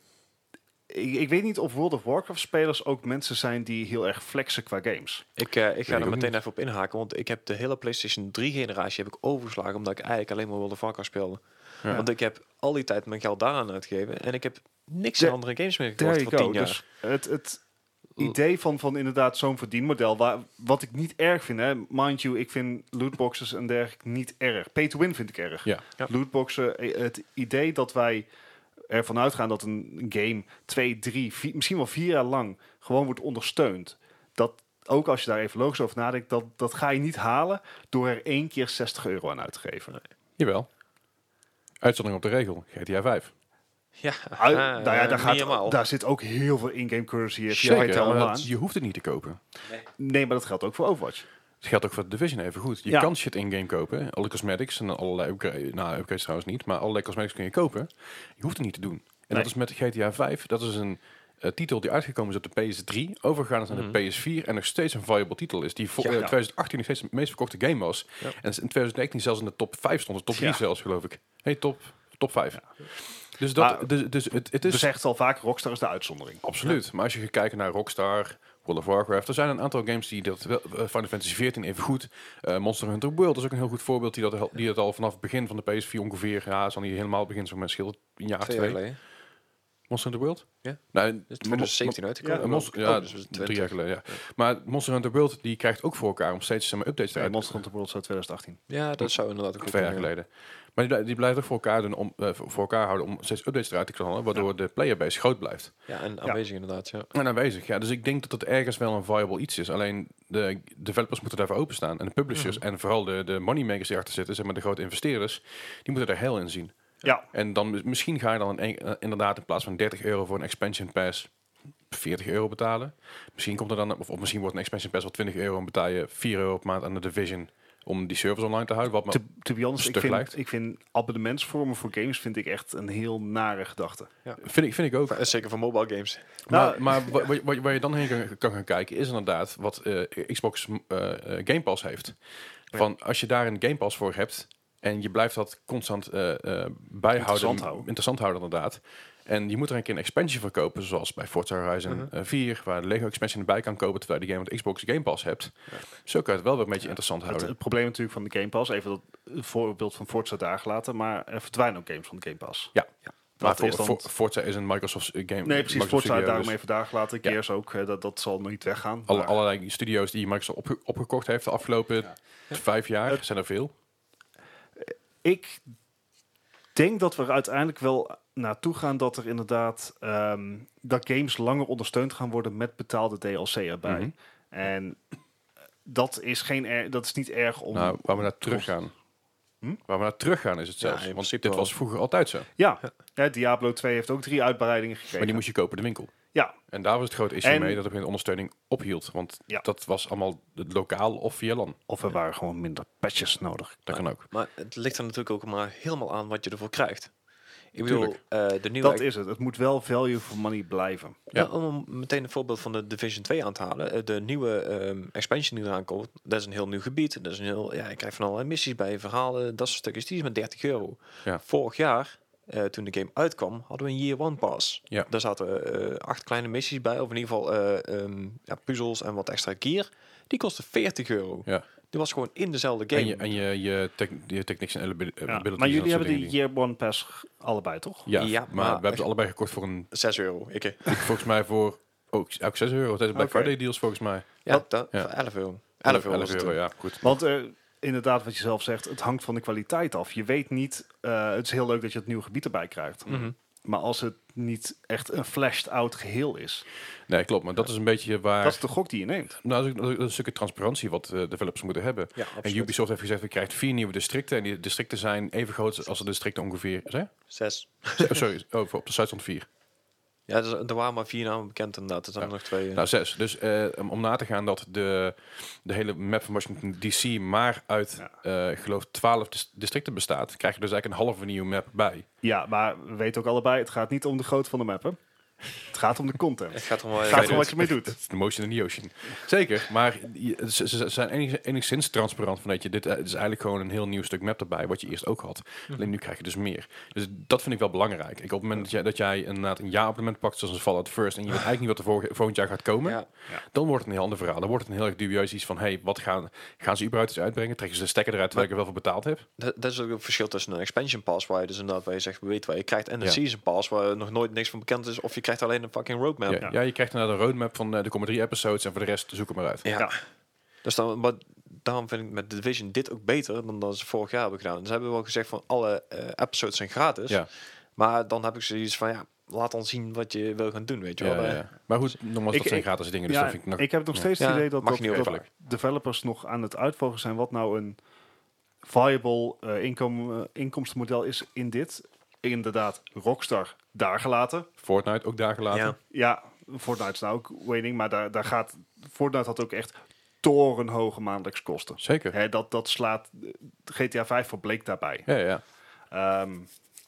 S2: Ik, ik weet niet of World of Warcraft spelers ook mensen zijn die heel erg flexen qua games.
S3: Ik, eh, ik
S1: ik
S3: ga er
S1: ook
S3: meteen even op inhaken, want ik heb de hele PlayStation 3 generatie heb ik overgeslagen omdat ik eigenlijk alleen maar World of Warcraft speelde.
S1: Ja.
S3: Want ik heb al die tijd mijn geld daaraan uitgegeven en ik heb niks
S2: There-
S3: aan andere games meer gekocht
S2: There
S3: voor
S2: you go.
S3: tien jaar.
S2: Dus het, het idee van, van inderdaad zo'n verdienmodel, waar, wat ik niet erg vind. Hè. Mind you, ik vind lootboxes en dergelijke niet erg. Pay to win vind ik erg.
S1: Ja.
S3: Ja.
S2: Lootboxen, eh, het idee dat wij ervan uitgaan dat een game twee, drie, vier, misschien wel vier jaar lang gewoon wordt ondersteund. Dat ook als je daar even logisch over nadenkt, dat, dat ga je niet halen door er één keer 60 euro aan uit te geven.
S1: Jawel. Uitzondering op de regel, GTA 5.
S3: Ja,
S2: Ui-
S3: eh,
S2: nou ja, daar,
S3: niet
S2: gaat,
S3: helemaal.
S2: daar zit ook heel veel in-game currency in. via
S1: Zeker,
S2: Hotel
S1: maar dat-
S2: Online.
S1: je hoeft het niet te kopen.
S2: Nee, maar dat geldt ook voor Overwatch.
S1: Het geldt ook voor de Division even goed. Je
S2: Ja.
S1: kan shit in-game kopen, hè. alle cosmetics en allerlei upgrades, nou upgrades trouwens niet, maar allerlei cosmetics kun je kopen. Je hoeft het niet te doen. En
S2: Nee.
S1: dat is met GTA 5, dat is een eh, titel die uitgekomen is op de PS3, overgegaan is naar de PS4 en nog steeds een viable titel is, die voor
S2: Mhm. Ja.
S1: eh, 2018 nog steeds de meest verkochte game was.
S3: Ja.
S1: En in 2019 zelfs in de top 5 stond, de top 3
S2: Ja.
S1: zelfs geloof ik. Hey, top, top 5. Dus, dat,
S2: Maar-
S1: dus, dus het, het
S2: Dus,
S1: is...
S2: echt al vaak, Rockstar is de uitzondering.
S1: Absoluut. Maar als je gaat kijken naar Rockstar, World of Warcraft, er zijn een aantal games die dat wel. eh, Final Fantasy XIV even goed. Eh, Monster Hunter World is ook een heel goed voorbeeld die dat, al- die dat al vanaf het begin van de PS4 ongeveer, ja, is al niet helemaal het begin, zo'n verschil een jaar
S3: Twee
S1: twee.
S3: jaar geleden.
S1: Monster Hunter World.
S3: Ja.
S1: Nou,
S3: Dus
S1: Mon- Mon-
S3: 2017
S1: ja,
S3: uitgekomen.
S1: Monster-
S3: Oh,
S1: ja,
S3: dus we zijn
S1: drie
S3: 20.
S1: jaar geleden. Ja. Maar Monster Hunter World die krijgt ook voor elkaar om steeds zeg maar, updates te
S2: Ja,
S1: uit-
S2: Monster Hunter World zou 2018.
S3: Ja, dat zou inderdaad ook
S1: twee jaar
S3: kunnen.
S1: geleden. Maar die, blij- die blijft ook voor elkaar, doen om, eh, voor elkaar houden om steeds updates eruit te knallen, waardoor de playerbase groot blijft.
S3: Ja, en aanwezig inderdaad, ja.
S1: En aanwezig, ja. Dus ik denk dat het ergens wel een viable iets is. Alleen de developers moeten daarvoor openstaan. En de publishers en vooral de, de moneymakers die achter zitten, zeg maar de grote investeerders, die moeten daar heel in zien.
S2: Ja,
S1: En dan mis- misschien ga je dan in- eh, inderdaad in plaats van 30 euro voor een expansion pass 40 euro betalen. Misschien komt er dan, of, of misschien wordt een expansion pass wel 20 euro en betaal je 4 euro per maand aan de Division om die service online te houden. Wat maar
S2: to, to be honest, ik
S1: stuk lijkt.
S2: vind, ik vind abonnementsvormen voor games vind ik echt een heel nare gedachte.
S1: vind, ik, vind ik ook.
S3: Maar, eh, Zeker voor mobile games.
S2: Nou,
S1: Maar, maar wa- wa- wa- waar je dan heen kan, kan gaan kijken is inderdaad wat eh, Xbox eh, eh, Game Pass heeft. Van als je daar een Game Pass voor hebt, En je blijft dat constant eh, eh, bijhouden.
S2: Interessant houden.
S1: Interessant houden, inderdaad. En je moet er een keer een expansion voor kopen, zoals bij Forza Horizon
S3: Mhm.
S1: eh, 4, waar de Lego expansion erbij kan kopen, terwijl je die game met Xbox Game Pass hebt. Zo kan je het wel weer een beetje interessant
S2: Het, eh,
S1: houden.
S2: het probleem natuurlijk van de Game Pass, even dat voorbeeld van Forza daar gelaten, maar er verdwijnen ook games van de Game Pass.
S1: Ja. Maar
S2: Dat
S1: voor,
S2: is dan...
S1: voor- Forza is een Microsoft eh, game.
S2: nee, precies.
S1: Microsoft
S2: Forza
S1: studio,
S2: daarom
S1: dus
S2: even daar gelaten.
S1: Ja.
S2: Gears ook, eh, dat, dat zal niet weggaan.
S1: alle-
S2: maar-
S1: allerlei studio's die Microsoft opge- opgekocht heeft de afgelopen vijf jaar,
S2: Het-
S1: zijn er veel.
S2: ik denk dat we er uiteindelijk wel naartoe gaan dat er inderdaad ehm, dat games langer ondersteund gaan worden met betaalde DLC erbij.
S1: Mhm.
S2: En dat is geen er- dat is niet erg om.
S1: Nou, waar we naar terug gaan.
S2: Hm?
S1: Waar we naar terug gaan is het
S3: Ja,
S1: zelfs.
S3: in
S1: Want
S3: principe
S1: dit
S3: wel.
S1: was vroeger altijd zo.
S2: ja, hè, Diablo 2 heeft ook drie uitbreidingen gekregen.
S1: Maar die moest je kopen in de winkel.
S2: Ja.
S1: En daar was het grote issue
S2: En-
S1: mee dat op een gegeven moment ondersteuning ophield. Want
S2: Ja.
S1: dat was allemaal het lokaal of via LAN.
S2: Of er waren gewoon minder patches nodig.
S1: Dat kan ook.
S3: Maar het ligt er natuurlijk ook maar helemaal aan wat je ervoor krijgt. Ik bedoel, eh, de nieuwe...
S2: Dat is het. Het moet wel value for money blijven.
S1: ja.
S3: Nou, om meteen een voorbeeld van de Division 2 aan te halen. eh, De nieuwe ehm, expansion die eraan komt, dat is een heel nieuw gebied. Dat is een heel, ja, ik krijg van allerlei missies bij, verhalen, dat soort stukjes. Die is maar 30 euro.
S1: Ja.
S3: Vorig jaar, eh, toen de game uitkwam, hadden we een Year One Pass.
S1: Ja.
S3: Daar zaten eh, acht kleine missies bij, of in ieder geval eh, ehm, ja, puzzels en wat extra gear. Die kostte 40 euro.
S1: Ja.
S3: Die was gewoon in dezelfde game.
S1: En je, en je, je, tech, je technics en abili-
S2: Ja,
S1: abilities.
S2: Maar
S1: en dat
S2: jullie
S1: soort
S2: hebben die
S1: dingen die-
S2: Year One Pass g- allebei toch?
S1: Ja,
S3: Ja,
S1: maar,
S3: maar-
S1: we hebben ze allebei gekocht voor een...
S3: 6 euro. Ik, eh,
S1: ik- volgens mij voor ook, ook 6 euro. Dat is bij
S2: Oké.
S1: Friday deals volgens mij.
S3: ja,
S2: Wat?
S3: dat,
S1: Ja.
S3: voor 11 euro. 11 euro, was het toen.
S1: ja. Goed.
S2: Want eh, inderdaad, wat je zelf zegt, het hangt van de kwaliteit af. Je weet niet, eh, het is heel leuk dat je het nieuwe gebied erbij krijgt.
S3: Mhm.
S2: Maar als het niet echt een flashed out geheel is,
S1: Nee, klopt. Maar dat is een beetje waar...
S2: dat is de gok die je neemt.
S1: Nou, dat is ook- dat is een stukje transparantie wat eh, developers moeten hebben.
S3: Ja,
S1: En
S3: absoluut.
S1: Ubisoft heeft gezegd, we krijgen vier nieuwe districten. En die districten zijn even groot als de districten ongeveer... Zijn?
S3: 6.
S1: Sorry, over op de site stond vier.
S3: Ja, dus er waren maar vier namen bekend inderdaad. Er zijn er nog twee. eh.
S1: Nou, zes. Dus eh, om- om na te gaan dat de, de hele map van Washington DC maar uit, eh, ik geloof, twaalf districten bestaat, krijg je dus eigenlijk een halve nieuwe map bij.
S2: Ja, maar we weten ook allebei, het gaat niet om de grootte van de map, hè? Het gaat om de content.
S3: het gaat om,
S2: Het
S3: eh,
S2: gaat om
S3: eh,
S2: wat je mee doet.
S1: De motion in the ocean. Zeker, maar je- ze, ze zijn enig- enigszins transparant van dat je dit eh, is eigenlijk gewoon een heel nieuw stuk map erbij, wat je eerst ook had.
S2: Hm.
S1: Alleen nu krijg je dus meer. Dus dat vind ik wel belangrijk. Ik, op het moment dat jij, dat jij inderdaad een jaarabonnement pakt, zoals een Fallout First, en je weet eigenlijk niet wat er vorige- volgend jaar gaat komen,
S3: Ja.
S1: dan wordt het een heel ander verhaal. Dan wordt het een heel erg dubieus iets van, hey, wat gaan, gaan ze überhaupt iets uitbrengen? Trekken ze de stekker eruit terwijl ik er wel voor betaald heb?
S3: Dat, dat is ook het verschil tussen een expansion pass, waar je dus inderdaad waar je zegt, weet waar je krijgt, en een
S1: Ja.
S3: season pass, waar nog nooit niks van bekend is, of je krijgt alleen een fucking roadmap.
S1: Ja, ja, je krijgt inderdaad een roadmap van eh, de komende drie episodes en voor de rest zoek het maar uit.
S3: Ja.
S2: Ja.
S3: Dus dan, maar daarom vind ik met The Division dit ook beter dan dat ze vorig jaar hebben gedaan. Ze hebben wel gezegd van alle eh, episodes zijn gratis,
S1: Ja.
S3: maar dan heb ik zoiets van, ja, laat ons zien wat je wil gaan doen, weet je
S1: Ja,
S3: wel.
S1: ja,
S3: Eh,
S1: ja. Maar goed, nogmaals,
S2: Ik-
S1: dat zijn
S2: ik-
S1: gratis dingen, dus
S2: ja,
S1: dat vind ik nog...
S2: ik heb nog
S1: ja.
S2: steeds
S3: Ja,
S2: het idee dat,
S3: mag
S2: dat,
S3: je niet
S2: dat
S1: overvallen.
S2: developers nog aan het uitvogelen zijn wat nou een viable eh, inkom- eh, inkomstenmodel is in dit. Inderdaad, Rockstar daar gelaten.
S1: Fortnite ook daar gelaten.
S3: Ja.
S2: Ja, Fortnite is nou ook winning, maar daar, daar gaat Fortnite had ook echt torenhoge maandelijks kosten.
S1: Zeker.
S2: Hè, dat, dat slaat eh, GTA 5 verbleekt daarbij.
S1: Ja, ja.
S2: Ehm,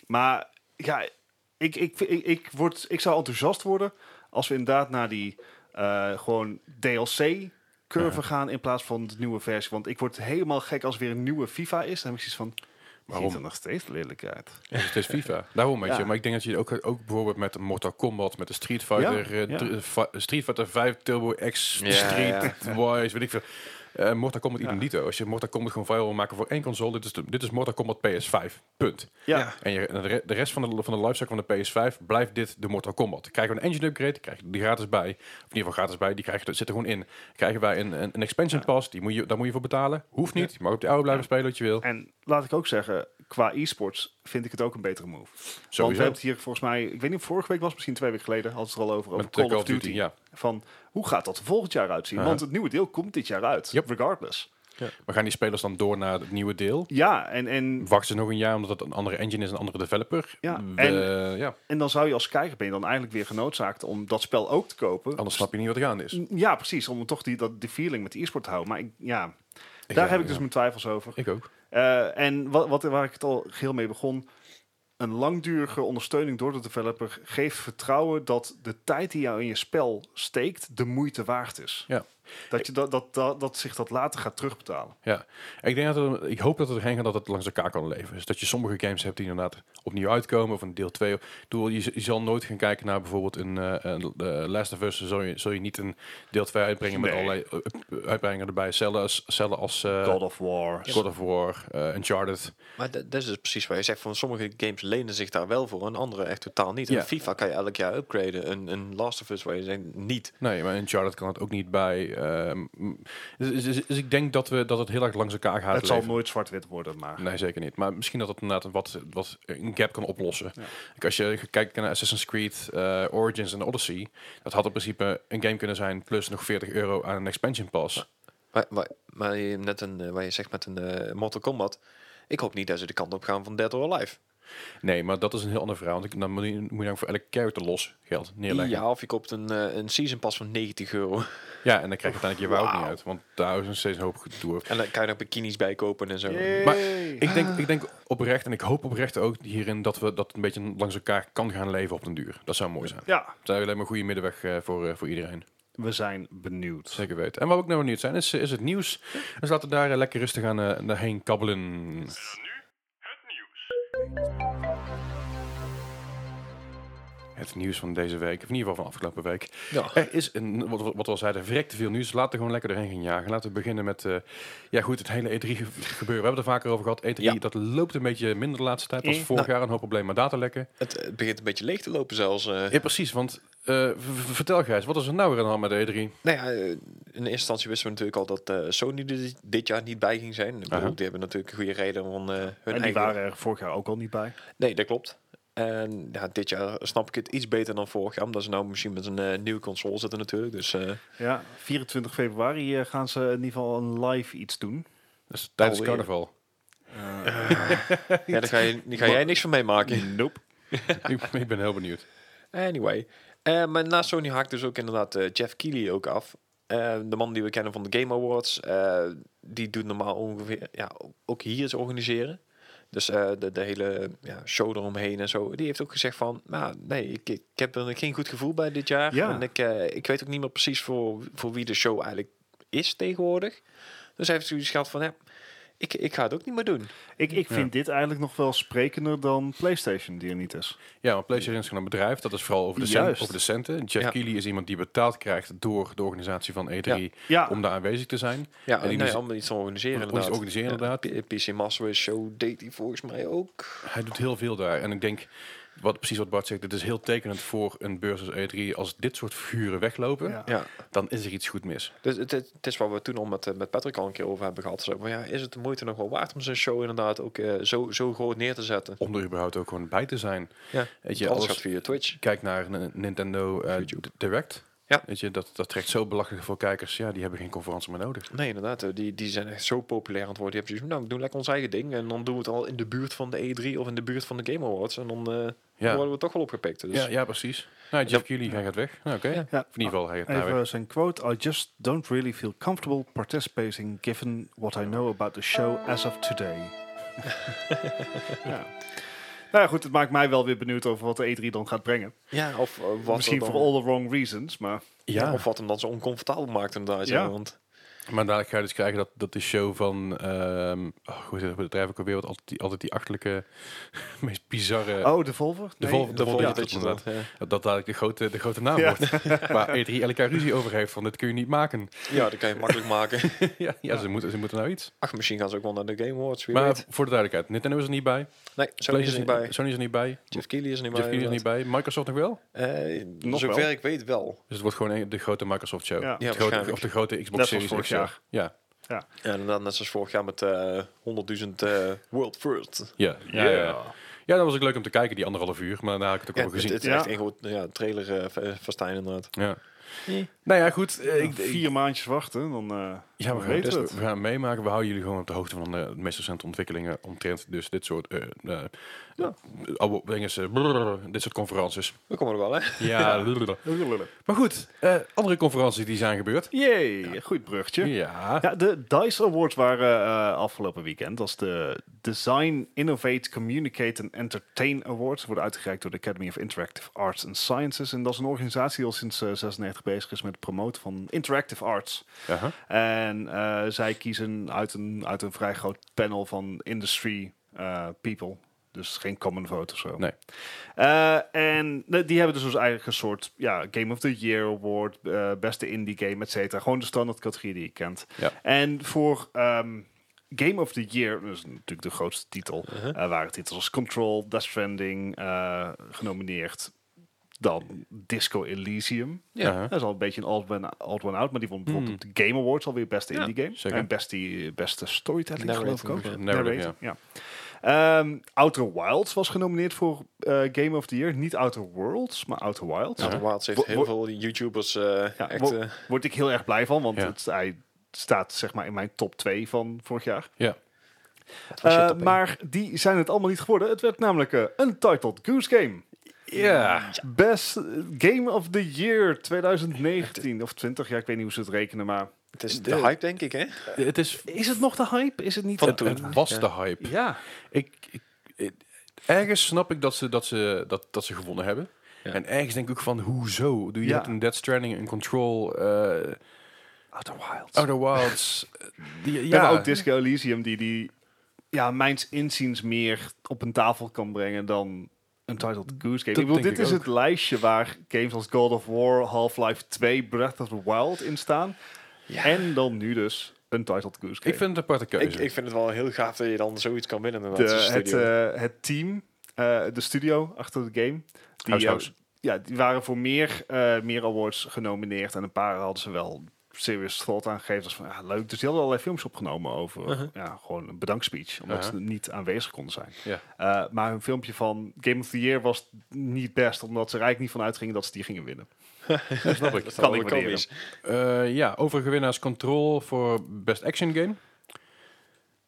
S2: maar ja, ik, ik, ik, ik, word, ik zou enthousiast worden als we inderdaad naar die eh, gewoon DLC-curve gaan in plaats van de nieuwe versie. Want ik word helemaal gek als weer een nieuwe FIFA is. Dan heb ik zoiets van,
S1: Waarom?
S2: waarom? ziet er nog steeds lelijk uit.
S1: Dus het is FIFA. Daarom, weet
S2: Ja.
S1: je. Maar ik denk dat je ook, ook bijvoorbeeld met Mortal Kombat, met de Street Fighter,
S2: Ja,
S1: eh,
S2: ja.
S1: dr- va- Street Fighter 5, Turbo X,
S3: Ja,
S1: Street Wise, weet ik veel. Eh, Mortal Kombat idem
S2: Ja.
S1: dito. Als je Mortal Kombat gewoon viral wil maken voor één console, dit is, de- dit is Mortal Kombat PS5. Punt.
S2: Ja,
S3: Ja.
S1: En je, en de re- de rest van de, van de lifecycle van de PS5 blijft dit de Mortal Kombat. Krijgen we een engine upgrade, krijg je die gratis bij. Of in ieder geval gratis bij, die krijg je, zit er gewoon in. Krijgen wij een, een, een expansion pass, die moet je, daar moet je voor betalen. Hoeft niet, je mag op de oude blijven spelen wat je wil.
S2: En laat ik ook zeggen, qua e-sports vind ik het ook een betere move. Want we
S1: Sowieso.
S2: hebben het hier volgens mij, ik weet niet of vorige week was, misschien twee weken geleden, hadden we het er al over, over
S1: Met eh, Call of Duty, ja.
S2: Van, hoe gaat dat er volgend jaar uitzien?
S1: Aha.
S2: Want het nieuwe deel komt dit jaar uit,
S1: Yep.
S2: regardless.
S1: Maar gaan die spelers dan door naar het nieuwe deel?
S2: Ja, en, en,
S1: Wachten ze nog een jaar omdat het een andere engine is, een andere developer?
S2: Ja,
S1: We-
S2: en-
S1: ja
S2: en dan zou je als kijker ben je dan eigenlijk weer genoodzaakt om dat spel ook te kopen.
S1: anders snap je niet wat er gaande is.
S2: Ja, precies, om toch die, dat, die feeling met de e-sport te houden. Maar ik, ja,
S1: Ik,
S2: daar
S1: eh,
S2: heb ik dus
S1: ja.
S2: mijn twijfels over.
S1: Ik ook.
S2: Eh, en wat, wat, waar ik het al geheel mee begon. Een langdurige ondersteuning door de developer geeft vertrouwen dat de tijd die jou in je spel steekt de moeite waard is.
S1: Ja.
S2: Dat, je dat, dat, dat, dat zich dat later gaat terugbetalen.
S1: Ik, denk dat er- ik hoop dat het erheen gaat dat het langs elkaar kan leven. Dus dat je sommige games hebt die inderdaad opnieuw uitkomen of een deel 2. Doe, je, z- je zal nooit gaan kijken naar bijvoorbeeld een, eh, een eh, Last of Us. Zul je, zul je niet een deel 2 uitbrengen met
S2: Nee.
S1: allerlei eh, eh, uitbreidingen erbij. Cellen als, cellen als eh,
S2: God of War.
S1: God of War, eh, Uncharted.
S3: Maar dat dat is dus precies wat je zegt. Van sommige games lenen zich daar wel voor en andere echt totaal niet.
S1: Ja.
S3: Een FIFA kan je elk jaar upgraden. Een, een Last of Us waar je zegt niet.
S1: Nee, maar Uncharted kan het ook niet bij. ehm, mm. dus, dus- dus- dus ik denk dat, we, dat het heel erg langs elkaar gaat
S2: het zal
S1: leven.
S2: nooit zwart-wit worden, maar...
S1: Nee, zeker niet. Maar misschien dat het inderdaad een wat, wat een gap kan oplossen.
S2: Ja.
S1: Kijk, Als je kijkt naar Assassin's Creed eh, Origins en Odyssey, dat had in principe een game kunnen zijn plus nog 40 euro aan een expansion pass.
S3: Maar, maar, maar je, hebt net een, eh, waar je zegt met een eh, Mortal Kombat. Ik hoop niet dat ze de kant op gaan van Dead or Alive.
S1: Nee, maar dat is een heel ander verhaal. Want ik- dan moet je, moet je dan voor elke character los geld neerleggen. Ja,
S3: Ja, of je koopt een, eh, een season pass van 90 euro.
S1: en dan krijg je uiteindelijk je wou ook niet uit. Want daar is nog steeds een hoop gedoe over.
S3: En dan kan je er bikinis bij kopen en zo.
S1: Maar
S2: Yay.
S1: ik denk, ik denk oprecht, en ik hoop oprecht ook hierin, dat we dat een beetje langs elkaar kan gaan leven op den duur. Dat zou mooi zijn.
S2: Ja,
S1: Dat zou alleen maar een goede middenweg eh, voor, eh, voor iedereen.
S2: we zijn benieuwd.
S1: Zeker weten. En waar we ook naar benieuwd zijn, is, eh, is het nieuws. Dus laten we daar eh, lekker rustig aan eh, naarheen kabbelen. Het nieuws van deze week, of in ieder geval van afgelopen week.
S3: Ja.
S1: Er is, een, wat, wat- wat we al zeiden, verrekte veel nieuws. Laten we gewoon lekker erheen gaan jagen. Laten we beginnen met, eh, ja goed, het hele E3 ge- gebeuren. We hebben het er vaker over gehad. E3,
S3: Ja.
S1: dat loopt een beetje minder de laatste tijd. Dat was
S2: Eh,
S1: vorig jaar een hoop probleem met datalekken.
S3: Het, het begint een beetje leeg te lopen zelfs. eh.
S1: Ja, precies, want eh, v- v- vertel Gijs, wat is er nou weer aan de hand met E3?
S3: Nou ja, eh, in eerste instantie wisten we natuurlijk al dat eh, Sony er dit- dit jaar niet bij ging zijn. Ik bedoel,
S1: Aha.
S3: Die hebben natuurlijk een goede reden om eh, hun
S2: En die
S3: eigen-
S2: waren er vorig jaar ook al niet bij.
S3: Nee, dat klopt. En ja, dit jaar snap ik het iets beter dan vorig jaar. Omdat ze nou misschien met een eh, nieuwe console zitten natuurlijk. Dus eh,
S2: Ja, 24 februari eh, gaan ze in ieder geval een live iets doen.
S1: Dat is tijdens
S3: Alweer.
S1: carnaval.
S3: ja, daar ga, je, daar ga jij niks van meemaken.
S2: Nope.
S1: ik, ik ben heel benieuwd.
S3: Anyway. Eh, maar na Sony haakt dus ook inderdaad eh, Jeff Keighley ook af. Eh, de man die we kennen van de Game Awards. eh, die doet normaal ongeveer... Ja, ook hier is organiseren. Dus eh, de, de hele ja, show eromheen en zo. Die heeft ook gezegd van... Nou, nee, ik, ik heb er geen goed gevoel bij dit jaar.
S2: Ja.
S3: En ik, eh, ik weet ook niet meer precies voor, voor wie de show eigenlijk is tegenwoordig. Dus hij heeft zoiets gehad van... Ja, ik, ik ga het ook niet meer doen.
S2: Ik, ik vind dit eigenlijk nog wel sprekender dan PlayStation, die er niet is.
S1: Ja, want PlayStation is gewoon een bedrijf. Dat is vooral over de,
S2: Juist.
S1: cent, over de centen. Jeff
S3: Ja.
S1: Keighley is iemand die betaald krijgt door de organisatie van E3
S2: Ja,
S1: om daar aanwezig te zijn.
S3: Ja,
S1: En die
S3: nee,
S1: dus-
S3: allemaal iets van organiseren
S1: Om iets
S3: inderdaad.
S1: te organiseren, inderdaad.
S3: Ja, P- PC Master Show deed hij volgens mij ook.
S1: Hij doet heel veel daar. En ik denk, wat, precies wat Bart zegt, het is heel tekenend voor een beurs als E3. Als dit soort figuren weglopen,
S2: ja.
S3: Ja,
S1: dan is er iets goed mis.
S3: dus het, het, het is waar we toen al met, eh, met Patrick al een keer over hebben gehad. Zo, van, ja, is het de moeite nog wel waard om zijn show inderdaad ook eh, zo, zo groot neer te zetten?
S1: Om er überhaupt ook gewoon bij te zijn.
S3: Ja,
S1: Oh, Weet je,
S3: alles
S1: als-
S3: gaat via Twitch.
S1: Kijk naar een Nintendo eh,
S3: YouTube.
S1: Direct.
S3: Ja.
S1: Weet je, dat, dat trekt zo belachelijk veel kijkers. Ja, die hebben geen conferentie meer nodig.
S3: Nee, inderdaad. eh, Die, die zijn echt zo populair aan het worden. Die hebben zoiets van, nou, we doen lekker ons eigen ding. En dan doen we het al in de buurt van de E3 of in de buurt van de Game Awards. En dan eh,
S1: Ja.
S3: worden we toch wel opgepikt. Dus
S1: Ja, ja precies. Nou, Jeff Keighley, hij gaat weg. Nou, Oké.
S3: Ja.
S2: Ja.
S1: Of in ieder geval, hij gaat daar weg.
S2: Even zijn quote. I just don't really feel comfortable participating given what I know about the show as of today. ja. Nou ja, goed, het maakt mij wel weer benieuwd over wat de E3 dan gaat brengen.
S3: ja of eh, wat
S2: Misschien
S3: er
S2: voor
S3: dan-
S2: all the wrong reasons, maar
S3: Ja. Of wat hem dan zo oncomfortabel maakt inderdaad. Ja.
S2: Ja.
S3: want
S1: Maar dadelijk ga je dus krijgen dat, dat de show van... ehm oh, hoe heet dat bedrijf ook alweer? Wat altijd die, altijd die achterlijke, meest bizarre...
S2: Oh, de Volver?
S1: de
S2: Nee.
S1: Volvo,
S3: de
S1: de Volvo,
S3: volgende
S1: ja,
S3: dat je
S1: dat-
S3: dat... eh,
S1: Dat dat dadelijk de grote, de grote naam
S2: Ja.
S1: wordt. Waar E E3 elk jaar ruzie over heeft van dit kun je niet maken.
S3: eh, ja, dat kan je makkelijk maken.
S1: ja, ja, Ze, moeten, ze moeten nou iets.
S3: Ach, misschien gaan ze ook wel naar de Game Awards. Wie
S1: maar
S3: weet.
S1: voor de duidelijkheid, Nintendo is er niet bij.
S3: Nee, Sony is er niet bij.
S1: Sony is er niet bij.
S3: Jeff Keighley is er niet
S1: Jeff
S3: bij.
S1: Keighley is er niet bij. Microsoft nog wel?
S3: Eh,
S2: Nog
S3: zover
S2: wel.
S3: ik weet wel.
S1: Dus het wordt gewoon een- de grote Microsoft show.
S2: Ja. Ja,
S1: Het grote-
S3: waarschijnlijk.
S1: of de grote Xbox
S2: Net zoals
S1: Series
S2: vorig
S1: X show.
S2: jaar.
S1: Ja.
S3: En inderdaad, net zoals vorig jaar met eh, 100.000 eh, World First.
S1: Ja. Ja, ja, ja. Ja, dat was ook leuk om te kijken, die anderhalf uur. Maar daarna heb ik het ook
S3: Ja,
S1: al
S3: het,
S1: gezien.
S3: het dus is
S2: Ja.
S3: echt een goed ja, trailer eh, v- eh, festijn inderdaad.
S1: ja. Nou ja, goed. eh,
S2: Nou,
S1: ik, ik-
S2: vier maandjes wachten, dan... eh,
S1: Ja, we gaan,
S2: We
S1: het
S2: weten
S1: testen.
S2: het.
S1: we gaan het meemaken. We houden jullie gewoon op de hoogte van de meest recente ontwikkelingen omtrent dus dit soort eh eh,
S3: Ja.
S1: eh, oude dingen, eh, brrr, dit soort conferences.
S3: We komen er wel, hè?
S1: Ja, brrr. maar goed, eh, andere conferenties die zijn gebeurd.
S2: Jee, goed bruggetje.
S1: Ja,
S2: Ja, de DICE Awards waren eh, afgelopen weekend. Dat is de Design, Innovate, Communicate and Entertain Awards. Worden uitgereikt door de Academy of Interactive Arts and Sciences. En dat is een organisatie die al sinds eh, 96 bezig is met het promoten van interactive arts.
S1: Aha.
S2: En eh, zij kiezen uit een, uit een vrij groot panel van industry eh, people. Dus geen common vote of zo.
S1: Nee.
S2: Eh, en de- die hebben dus dus eigenlijk een soort ja, Game of the Year Award, eh, beste indie game, et cetera. Gewoon de standaard categorie die je kent.
S1: Ja.
S2: En voor ehm, Game of the Year, dat is natuurlijk de grootste titel,
S1: Uh-huh.
S2: eh, waren titels als Control, Death Stranding eh, genomineerd. Dan Disco Elysium.
S3: Ja.
S1: Aha.
S2: Dat is al een beetje een old one, old one out, maar die won bijvoorbeeld
S3: Hmm.
S2: op de Game Awards alweer beste
S3: Ja,
S2: indie game.
S1: zeker.
S2: En beste, beste storytelling geloof ik ook.
S3: Narrating,
S1: Narrative,
S2: Narrating, ja. Ehm, Outer Wilds was genomineerd voor eh, Game of the Year. Niet Outer Worlds, maar Outer Wilds.
S3: Ja.
S2: Ja.
S3: Outer Wilds heeft
S2: Wo- wo-
S3: heel veel YouTubers eh,
S2: Ja,
S3: echt...
S2: wo-
S3: eh,
S2: Word ik heel erg blij van, want
S1: Ja.
S2: het, hij staat zeg maar in mijn top 2 van vorig jaar.
S1: ja.
S3: wat was je
S2: Eh,
S3: top één?
S2: maar die zijn het allemaal niet geworden. Het werd namelijk eh, een Untitled Goose Game.
S3: Ah,
S1: Ja.
S2: Best eh, Game of the Year
S3: eh.
S2: 2019 of 20. Ja, ik weet niet hoe ze het rekenen, maar...
S3: het is de
S1: de-
S3: hype, denk ik, hè?
S1: Het, is,
S2: Is het nog de hype? Is het niet...
S3: Van
S1: het,
S3: toen.
S1: het was
S3: Ja.
S1: de hype.
S2: Ja.
S1: Ik, ik, ik- ergens snap ik dat ze, dat ze, dat, dat ze gewonnen hebben.
S3: Ja.
S1: En ergens denk ik ook van, hoezo? Doe je
S2: Ja.
S1: hebt een Dead Stranding, een Control, eh
S2: Outer Wilds.
S1: Outer Wilds. die, ja,
S2: Ja, maar Oh, ook Disco Elysium die, die ja, mijns inziens meer op een tafel kan brengen dan een titled Goose Game. Ik bedoel,
S1: denk
S2: dit
S1: ik
S2: is
S1: ook.
S2: het lijstje waar games als God of War, Half-Life 2, Breath of the Wild in staan.
S3: Ja.
S2: En dan nu dus een titled Goose Game.
S1: ik vind het een aparte
S3: Ik,
S1: keuze.
S3: ik vind het wel heel gaaf dat je dan zoiets kan winnen. inderdaad,
S2: de,
S3: als
S2: het,
S3: studio.
S2: eh, het team, eh, de studio achter de game,
S1: House
S2: die, eh,
S1: House.
S2: ja, die waren voor meer, eh, meer awards genomineerd en een paar hadden ze wel serious thought aangegeven. Dus van, ja, leuk. Dus die hadden allerlei films opgenomen over ja, gewoon een bedankspeech, omdat
S1: Uh-huh.
S2: ze niet aanwezig konden zijn.
S1: ja.
S2: Eh, maar hun filmpje van Game of the Year was niet best, omdat ze er eigenlijk niet van uitgingen dat ze die gingen winnen.
S1: snap ik.
S2: kan
S3: dat kan
S2: ik
S3: ik
S2: waarderen.
S3: komisch.
S1: Eh, ja, overige winnaars Control voor Best Action Game.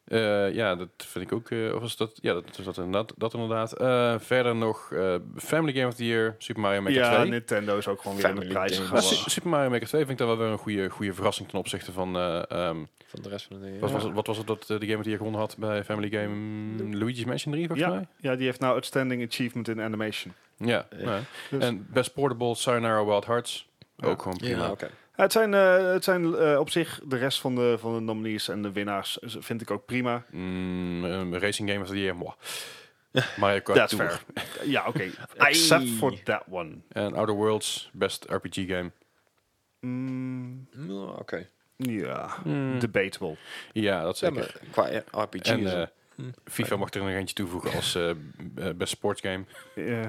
S1: Eh, ja, dat vind ik ook. eh, of was dat? Ja, dat is dat inderdaad. Dat inderdaad. Eh, verder nog eh, Family Game of the Year, Super Mario Maker
S2: ja,
S1: 2.
S2: Nintendo is ook gewoon weer aan de
S3: Family
S2: prijs
S3: Game.
S1: Maar
S2: gegaan.
S1: Su- Super Mario Maker 2 vind ik daar wel weer een goede, goede verrassing ten opzichte van... eh, ehm,
S3: Van de rest van de
S1: wat,
S3: ja.
S1: was het, wat was het dat eh, de game die je gewonnen had bij Family Game Luigi's Mansion 3, volgens
S2: Ja,
S1: mij?
S2: ja, die heeft nou Outstanding Achievement in Animation.
S1: Ja.
S3: Ja.
S1: nou ja.
S2: Dus-
S1: En Best Portable Sayonara Wild Hearts.
S2: Ja.
S1: Ook gewoon prima.
S3: Ja,
S1: Ja.
S3: oké.
S2: Ja, het zijn, eh, het zijn eh, op zich de rest van de, van de nominees en de winnaars eh, vind ik ook prima.
S1: Mm, racing Game of the Year, moi. Mario Kart
S2: That's
S1: Tour.
S2: fair. ja, oké. Except for that one.
S1: En Outer Worlds, best RPG game.
S2: Mm,
S3: Nou, oké.
S2: ja, debatable.
S1: Ja, dat
S3: Ja,
S1: zeker.
S3: maar Hm. qua eh, RPG
S1: en
S3: is
S1: eh,
S3: het-
S1: FIFA mag er nog eentje toevoegen als eh, b- eh, best sportsgame.
S2: Ja.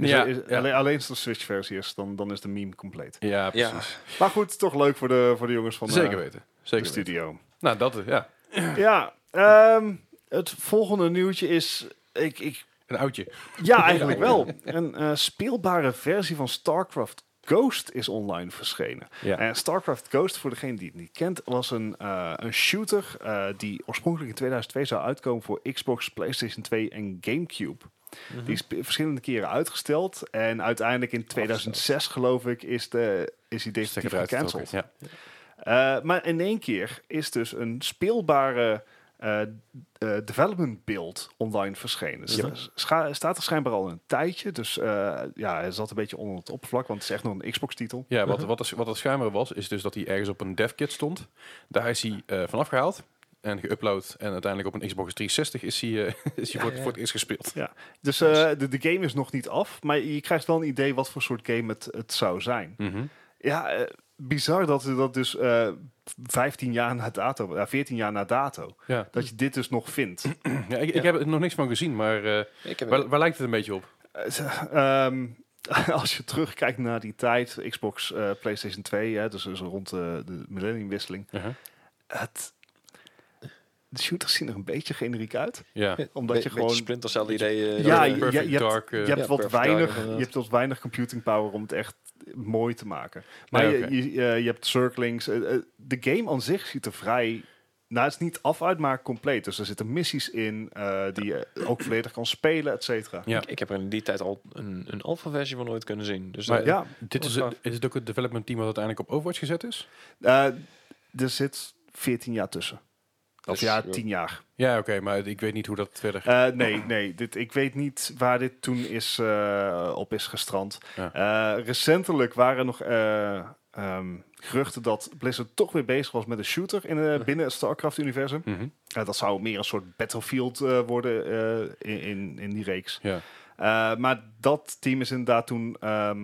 S1: Ja,
S2: Eh, Is- is-
S1: ja.
S2: Alleen, alleen als de Switch versie is, dan, dan is de meme compleet.
S1: Ja,
S3: Ja.
S1: precies.
S2: Maar goed, toch leuk voor de, voor de jongens van eh,
S1: Zeker weten.
S2: de
S1: Zeker weten.
S2: studio.
S1: Nou, dat eh, ja.
S2: ja, ehm, het volgende nieuwtje is... Ik, ik,
S1: Een oudje.
S2: ja, eigenlijk wel. Een eh, speelbare versie van StarCraft Ghost is online verschenen.
S1: Ja.
S2: En StarCraft Ghost, voor degene die het niet kent, was een, eh, een shooter eh, die oorspronkelijk in 2002 zou uitkomen voor Xbox, PlayStation 2 en GameCube.
S1: Mhm.
S2: Die is pe- verschillende keren uitgesteld en uiteindelijk in 2006 geloof ik is, de, is die definitief
S1: Stekker eruit getrokken,
S2: gecanceld. Eh, maar in één keer is dus een speelbare eh, eh, development build online verschenen. Dus
S3: Ja.
S2: dat scha- staat er schijnbaar al een tijdje, dus eh, ja, het zat een beetje onder het oppervlak, want het is echt nog een Xbox-titel.
S1: Ja, ja wat,
S3: Uh-huh.
S1: wat, er- wat het schijnbaar was, is dus dat hij ergens op een devkit stond. Daar is hij eh vanaf gehaald en geüpload. En uiteindelijk op een Xbox 360 is hij, eh, is hij voor,
S3: ja.
S1: voor het eerst gespeeld.
S2: Ja, dus eh, de, de game is nog niet af, maar je krijgt wel een idee wat voor soort game het, het zou zijn.
S1: Mhm.
S2: Ja, eh, bizar dat we dat dus eh 15 jaar na dato, ja, 14 jaar na dato,
S1: Ja.
S2: dat je dit dus nog vindt.
S1: Ja, ik, ik heb er nog niks van gezien, maar eh,
S3: Ik heb het-
S1: waar, waar lijkt het een beetje op?
S2: Eh, ehm, als je terugkijkt naar die tijd, Xbox, eh, PlayStation 2, hè, dus, dus rond de, de millenniumwisseling,
S1: Uh-huh.
S2: het, de shooters zien er een beetje generiek uit,
S1: Ja.
S2: omdat
S3: Be-
S2: je
S3: beetje
S2: gewoon...
S3: Splinter Cell idee. eh,
S2: Ja,
S3: dat,
S2: je-
S3: eh,
S1: Perfect
S2: je hebt-
S1: Dark. eh,
S2: Je hebt,
S3: Ja,
S2: wat
S3: perfect
S2: weinig,
S3: dagen,
S2: je
S3: inderdaad.
S2: hebt wat weinig computing power om het echt mooi te maken. Maar
S1: Nee,
S2: je-
S1: oké.
S2: je, eh, je hebt circlings. eh, eh, De game aan zich ziet er vrij... Nou, het is niet af uit, maar compleet. Dus er zitten missies in eh, die je ook volledig kan spelen, et cetera.
S1: Ja.
S3: Ik, ik heb er in die tijd al een, een alpha versie van nooit kunnen zien. Dus
S1: Maar-
S3: dat-
S2: Ja,
S1: Dit is,
S3: Gaaf.
S1: is het ook het development team wat uiteindelijk op Overwatch gezet is?
S2: eh, er zit 14 jaar tussen. Of
S3: Dus,
S2: ja,
S3: eh,
S2: 10 jaar.
S1: Ja, oké, maar ik weet niet hoe dat verder gaat.
S2: Eh, nee, nee. Dit, ik weet niet waar dit toen is, eh, op is gestrand. Eh, recentelijk waren nog eh, ehm, geruchten dat Blizzard toch weer bezig was met een shooter in, eh, binnen het StarCraft-universum.
S1: Mhm.
S2: Eh, dat zou meer een soort Battlefield eh, worden eh, in, in, in die reeks.
S1: Ja.
S2: Eh, maar dat team is inderdaad toen... ehm,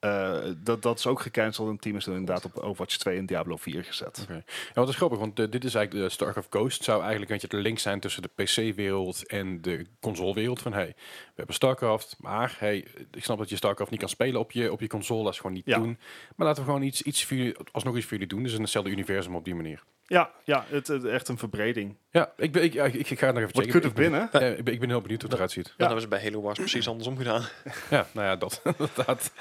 S2: eh, dat, dat is ook gecanceld. Een team is toen inderdaad op Overwatch 2 en Diablo 4 gezet.
S1: Ja, wat is grappig, want eh, dit is eigenlijk de Starcraft Ghost. Zou eigenlijk een beetje de link zijn tussen de PC-wereld en de consolewereld. Van hey, we hebben Starcraft, maar hey, ik snap dat je Starcraft niet kan spelen op je, op je console. Dat is gewoon niet
S2: Ja.
S1: doen. Maar laten we gewoon iets, iets voor jullie, alsnog iets voor jullie doen. Dus in hetzelfde universum op die manier.
S2: Ja, ja het, het- echt een verbreding.
S1: Ja, ik, ben, ik, ja, ik, ik ga het nog even
S2: Wat
S1: checken.
S2: kun
S1: Ik
S2: je
S1: ben-
S2: binnen?
S1: eh, ik, ben, ik ben heel benieuwd hoe het eruit ziet.
S3: Dat hebben ze bij Halo Wars precies andersom gedaan.
S1: Ja, nou ja, dat. dat.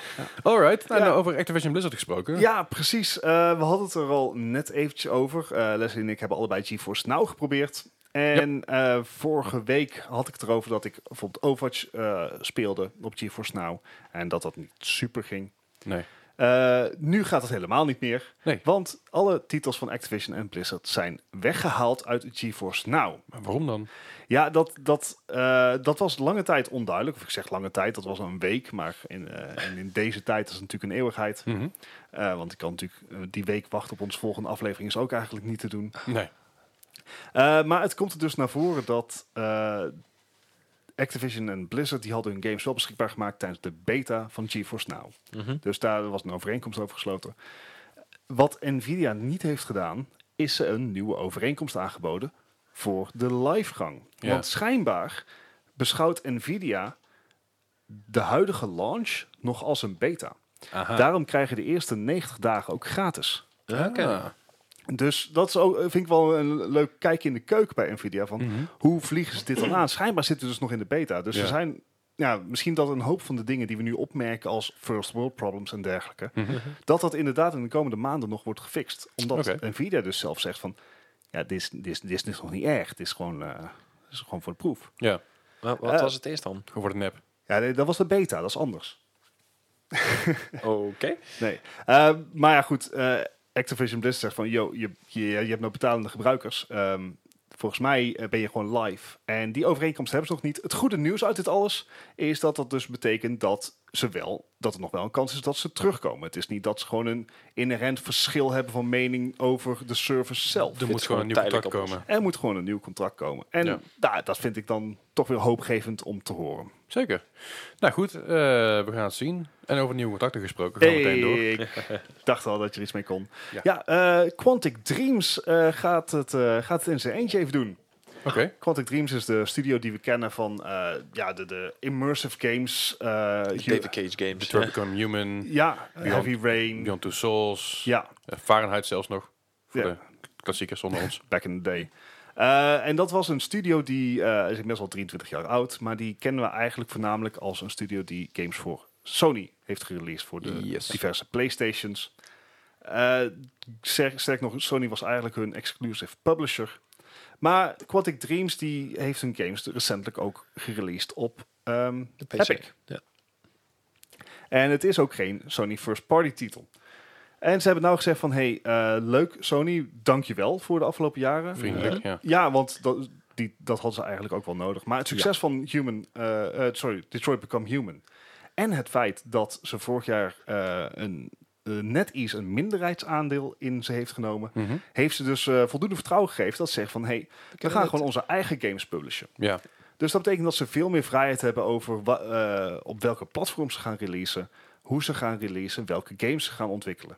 S1: Alright, nou,
S2: Ja.
S1: nou, over Activision Blizzard gesproken.
S2: Ja, precies. Eh, we hadden het er al net eventjes over. Eh, Leslie en ik hebben allebei GeForce Now geprobeerd. En eh, vorige week had ik het erover dat ik bijvoorbeeld Overwatch eh, speelde op GeForce Now. En dat dat niet super ging.
S1: Nee.
S2: Eh, nu gaat het helemaal niet meer.
S1: Nee.
S2: Want alle titels van Activision en Blizzard zijn weggehaald uit GeForce Now.
S1: Maar waarom dan?
S2: Ja, dat, dat, eh, dat was lange tijd onduidelijk. Of ik zeg lange tijd, dat was een week. Maar in, eh, en in deze tijd is het natuurlijk een eeuwigheid.
S1: Mhm.
S2: Eh, want ik kan natuurlijk eh, die week wachten op onze volgende aflevering is ook eigenlijk niet te doen.
S1: Nee.
S2: Eh, maar het komt er dus naar voren dat eh, Activision en Blizzard die hadden hun games wel beschikbaar gemaakt tijdens de beta van GeForce Now.
S1: Mhm.
S2: Dus daar was een overeenkomst over gesloten. Wat Nvidia niet heeft gedaan, is ze een nieuwe overeenkomst aangeboden voor de livegang.
S1: Ja.
S2: Want schijnbaar beschouwt Nvidia de huidige launch nog als een beta.
S1: Aha.
S2: Daarom krijgen de eerste 90 dagen ook gratis.
S1: Ah.
S3: Oké.
S2: Dus dat is ook, eh, vind ik wel een leuk kijkje in de keuken bij Nvidia. Van
S1: Mhm.
S2: Hoe vliegen ze dit dan aan? Schijnbaar zitten we dus nog in de beta. Dus
S1: Ja.
S2: er zijn ja, misschien dat een hoop van de dingen die we nu opmerken als first world problems en dergelijke,
S1: Mhm.
S2: dat dat inderdaad in de komende maanden nog wordt gefixt. Omdat
S1: Oké.
S2: Nvidia dus zelf zegt van, ja, dit is, dit is, dit is dus nog niet erg. Dit is gewoon, eh, dit is gewoon voor de proef.
S1: Ja,
S3: Maar wat
S2: Eh.
S3: was het eerst dan?
S1: gewoon voor de nep.
S2: Ja, nee, dat was de beta, dat is anders.
S3: Oké.
S2: Nee. Ehm, maar ja, goed. eh, Activision Blizzard zegt van, yo, je, je, je hebt nou betalende gebruikers. Ehm, volgens mij eh, ben je gewoon live. En die overeenkomst hebben ze nog niet. Het goede nieuws uit dit alles is dat dat dus betekent dat ze wel, dat er nog wel een kans is dat ze terugkomen. Het is niet dat ze gewoon een inherent verschil hebben van mening over de service zelf.
S1: Er moet gewoon een nieuw
S3: tijdelijk
S1: contract
S3: oplossen.
S1: komen.
S2: Er moet gewoon een nieuw contract komen. En
S1: Ja.
S2: nou, dat vind ik dan toch weer hoopgevend om te horen.
S1: Zeker. Nou goed, eh, we gaan het zien. En over nieuwe contacten gesproken gaan we meteen door.
S2: Hey, ik dacht al dat je er iets mee kon.
S1: Ja.
S2: Ja, eh, Quantic Dreams eh, gaat, het, eh, gaat het in zijn eentje even doen.
S1: Oké.
S2: Quantic Dreams is de studio die we kennen van eh, ja, de, de immersive games. eh, hu-
S3: David Cage Games.
S1: Detroit Become Human,
S2: ja,
S1: Beyond-
S2: Heavy Rain.
S1: Beyond Two Souls,
S2: Ja,
S1: eh, Fahrenheit zelfs nog. Voor
S2: Ja.
S1: de klassiekers onder ons.
S2: back in the day. Eh, en dat was een studio die eh, is inmiddels al 23 jaar oud, maar die kennen we eigenlijk voornamelijk als een studio die games voor Sony heeft gereleased voor de
S1: Yes.
S2: diverse PlayStations. Eh, sterk, sterk nog, Sony was eigenlijk hun exclusive publisher. Maar Quantic Dreams die heeft hun games recentelijk ook gereleased op ehm,
S3: De PC.
S2: Epic.
S3: Ja.
S2: En het is ook geen Sony First Party titel. En ze hebben nou gezegd van, hey, eh, leuk Sony, dankjewel voor de afgelopen jaren. Eh,
S1: Vriendelijk, ja.
S2: Ja, want dat, die, dat hadden ze eigenlijk ook wel nodig. Maar het succes van Human, eh, eh, sorry, Detroit Become Human. En het feit dat ze vorig jaar eh, een eh, NetEase een minderheidsaandeel in ze heeft genomen,
S1: Mhm.
S2: heeft ze dus eh, voldoende vertrouwen gegeven dat ze zegt van hey, we gaan
S3: het.
S2: gewoon onze eigen games publishen.
S1: Ja,
S2: Dus dat betekent dat ze veel meer vrijheid hebben over wa- eh, op welke platforms ze gaan releasen, hoe ze gaan releasen, welke games ze gaan ontwikkelen.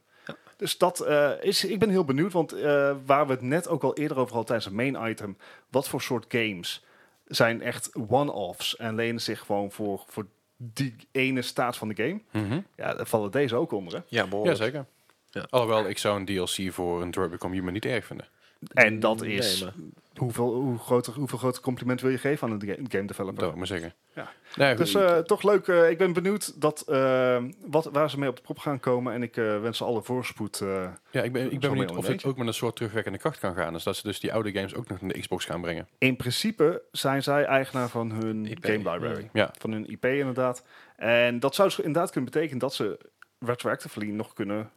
S2: Dus dat eh, is, ik ben heel benieuwd, want eh, waar we het net ook al eerder over hadden tijdens het main item, wat voor soort games zijn echt one-offs en lenen zich gewoon voor, voor die ene staat van de game.
S1: Mhm.
S2: Ja, daar vallen deze ook onder. Hè?
S3: Ja,
S1: ja
S3: behoorlijk.
S1: zeker.
S3: Ja.
S1: Alhoewel, ik zou een DLC voor een Detroit Become Human niet erg vinden.
S2: En dat is
S3: Mm, Nee, maar-
S2: hoeveel, hoe groter, hoeveel groter compliment wil je geven aan een ga- game developer?
S1: Dat wil ik maar zeggen.
S2: Ja.
S1: Nee,
S2: Dus
S1: goed.
S2: eh, toch leuk. eh, ik ben benieuwd dat, eh, wat, waar ze mee op de prop gaan komen. En ik eh, wens ze alle voorspoed. eh.
S1: ja, ik ben, ik
S2: zo
S1: ben
S2: mee
S1: benieuwd
S2: om
S1: of
S2: een
S1: dit ook met een soort terugwerkende kracht kan gaan. Dus dat ze dus die oude games ook nog naar de Xbox gaan brengen.
S2: in principe zijn zij eigenaar van hun
S3: IP.
S2: game library.
S1: Ja.
S2: Van hun IP inderdaad. En dat zou dus inderdaad kunnen betekenen dat ze retroactively nog kunnen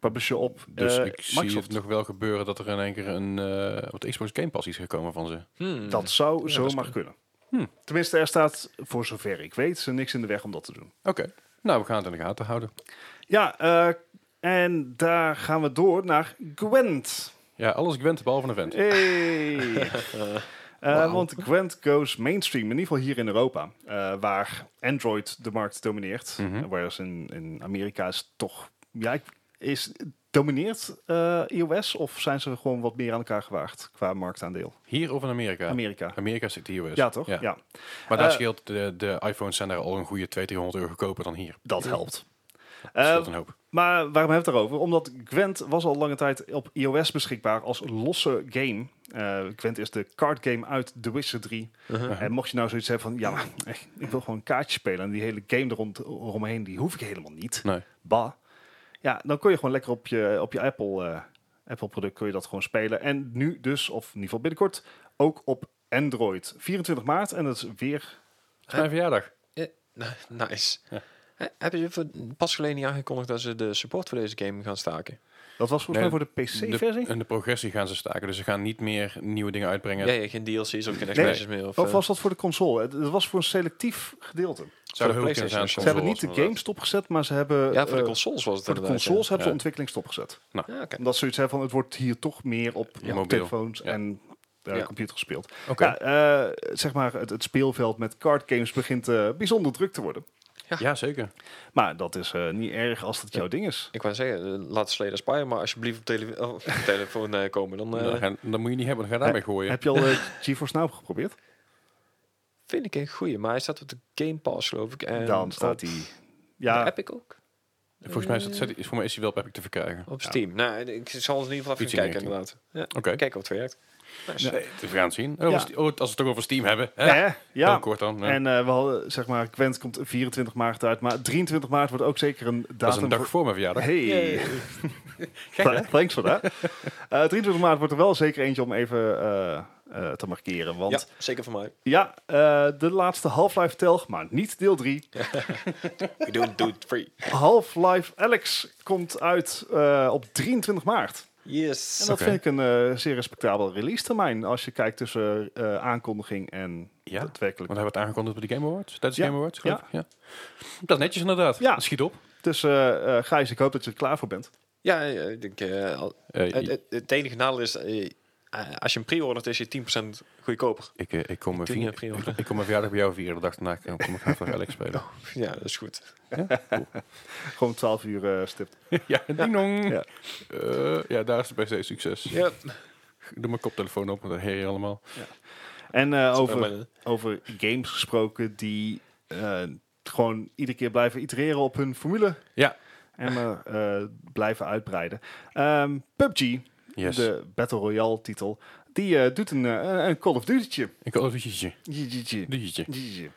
S2: publishen op
S1: Dus
S2: eh,
S1: ik zie
S2: Microsoft.
S1: het nog wel gebeuren dat er in één keer een eh op de Xbox Game Pass is gekomen van ze.
S3: Hmm.
S2: Dat zou
S3: dat is
S2: zomaar
S3: cool.
S2: kunnen.
S1: Hmm.
S2: Tenminste, er staat, voor zover ik weet, ze niks in de weg om dat te doen.
S1: Oké, nou we gaan het in de gaten houden.
S2: Ja, eh, en daar gaan we door naar Gwent.
S1: Ja, alles Gwent behalve een vent.
S2: Hey. Eh,
S3: Wauw.
S2: Want Gwent goes mainstream, in ieder geval hier in Europa, eh, waar Android de markt domineert.
S1: Mhm.
S2: Eh, Whereas in, in Amerika is het toch, ja, ik- is, domineert eh, iOS of zijn ze gewoon wat meer aan elkaar gewaagd qua marktaandeel?
S1: Hier of in Amerika?
S2: Amerika.
S1: Amerika zit hier dus.
S2: Ja, toch?
S1: Ja.
S2: ja.
S1: Maar daar
S2: Eh,
S1: scheelt, de, de iPhones zijn daar al een goede 200, 300 euro goedkoper dan hier.
S2: dat helpt.
S1: Dat scheelt
S2: Eh,
S1: een hoop.
S2: Maar waarom hebben we het daarover? Omdat Gwent was al lange tijd op iOS beschikbaar als losse game. Eh, Gwent is de card game uit The Witcher 3.
S3: Uh-huh.
S2: En mocht je nou zoiets hebben van, ja, maar echt, ik wil gewoon een kaartje spelen... en die hele game er rond, eromheen, die hoef ik helemaal niet.
S1: Nee.
S2: Bah. Ja, dan kon je gewoon lekker op je, op je Apple, eh, Apple product kon je dat gewoon spelen. En nu dus, of in ieder geval binnenkort, ook op Android. 24 maart en dat is weer...
S1: Het
S2: eh,
S1: is mijn verjaardag.
S3: eh, nou, Nice.
S1: Ja.
S3: Hè, Hebben ze voor- pas geleden niet aangekondigd dat ze de support voor deze game gaan staken?
S2: Dat was volgens
S1: Nee,
S2: mij voor de
S1: De,
S2: PC-versie.
S1: en de progressie gaan ze staken. Dus ze gaan niet meer nieuwe dingen uitbrengen.
S3: Ja, ja, geen DLC's of geen expansions meer. Of,
S2: Of
S3: eh,
S2: was dat voor de console? Het- Het was voor een selectief gedeelte.
S1: Zou de
S3: voor de
S1: hulp kunnen
S3: PlayStation
S1: zijn.
S3: of
S2: Ze
S3: zo.
S1: console
S2: hebben
S1: was,
S2: niet de game
S1: inderdaad.
S2: stopgezet, maar ze hebben
S3: ja, voor de
S2: eh,
S3: consoles was het
S2: voor de
S3: inderdaad, ja.
S2: consoles hebben
S1: Ja.
S2: ze ontwikkeling stopgezet.
S3: Ja, oké.
S2: Omdat ze zoiets hebben van het wordt hier toch meer op,
S1: Ja,
S2: op
S1: mobiel.
S2: telefoons
S1: Ja.
S2: en eh,
S3: Ja.
S2: computer gespeeld.
S1: Oké.
S2: Ja, eh, zeg maar, het, het speelveld met card games begint eh, bijzonder druk te worden.
S1: Ja. zeker.
S2: Maar dat is eh, niet erg als dat jouw ding is.
S3: Ik wou zeggen, eh, laat Slade Spire maar alsjeblieft op, tele oh, op telefoon eh, komen. Dan eh,
S1: dan, gaan- dan moet je niet hebben. Dan ga je daarmee gooien.
S2: Heb je al eh, GeForce Now geprobeerd?
S3: vind ik een goeie. Maar hij staat op de Game Pass, geloof ik. En
S2: Dan staat
S3: Eh, op
S2: die.
S3: de
S2: Ja,
S3: Epic ook.
S1: Volgens mij is, dat, is, voor mij is die wel op Epic te verkrijgen.
S3: Op
S2: Ja.
S3: Steam. Nou, ik zal eens in ieder geval even
S1: Iets in
S3: kijken,
S1: die
S3: inderdaad. Ja.
S1: Oké.
S3: Kijken hoe het werkt. Nice.
S1: Nee, we gaan het zien. Oh,
S2: Ja.
S1: als- oh, als we het toch over Steam hebben. Hè?
S2: hè? ja.
S1: Heel kort dan. hè.
S2: En eh, we hadden, zeg maar, Gwent komt 24 maart uit, maar 23 maart wordt ook zeker een datum.
S1: dat is een dag
S2: voor-
S1: voor mijn verjaardag.
S2: Hey.
S1: Eh,
S2: Tha- Thanks voor dat. Eh 23 maart wordt er wel zeker eentje om even eh, eh, te markeren. Want
S3: Ja, zeker voor mij.
S2: ja, eh, de laatste Half-Life telg, maar niet deel 3.
S3: We doen dude free.
S2: Half-Life Alex komt uit eh, op 23 maart.
S3: Yes.
S2: En dat
S1: Oké.
S2: vind ik een eh, zeer respectabel release termijn. Als je kijkt tussen eh, aankondiging en
S1: Ja, want
S2: daadwerkelijk.
S1: hebben we het aangekondigd bij de Game Awards. Tijdens de
S2: Ja.
S1: Game Awards,
S2: Ja.
S1: geloof ik. Ja. Dat is netjes inderdaad.
S2: Ja.
S1: Schiet op.
S2: Dus eh, eh, Gijs, ik hoop dat je er klaar voor bent.
S3: Ja, ja, ik denk, eh, al-
S1: Eh,
S3: het, het- het enige nadeel is, eh, eh, als je een pre-ordert is je 10% goedkoper.
S1: ik, eh, ik, kom mijn
S3: doe niet
S1: vier-
S3: aan
S1: ik,
S3: pre-order.
S1: ik kom mijn verjaardag bij jou vieren. De dag daarna kom ik graag voor Alex spelen.
S2: Oh.
S3: Ja, dat is goed.
S2: Gewoon 12 uur eh, stipt.
S1: ja, ding dong.
S2: Ja.
S1: Ja. ja, daar is de PC succes.
S3: Ja.
S1: Doe mijn koptelefoon op, want dat heer je allemaal.
S2: En eh, over,
S3: Over.
S2: over games gesproken die eh, gewoon iedere keer blijven itereren op hun formule.
S1: Ja.
S2: En maar eh, blijven uitbreiden. Ehm, PUBG,
S1: Yes.
S2: de Battle Royale titel, die eh, doet een, eh, een Call of Duty'tje.
S1: Ik kan even een
S2: Jijijij.
S1: dingetje.
S2: Jijijij.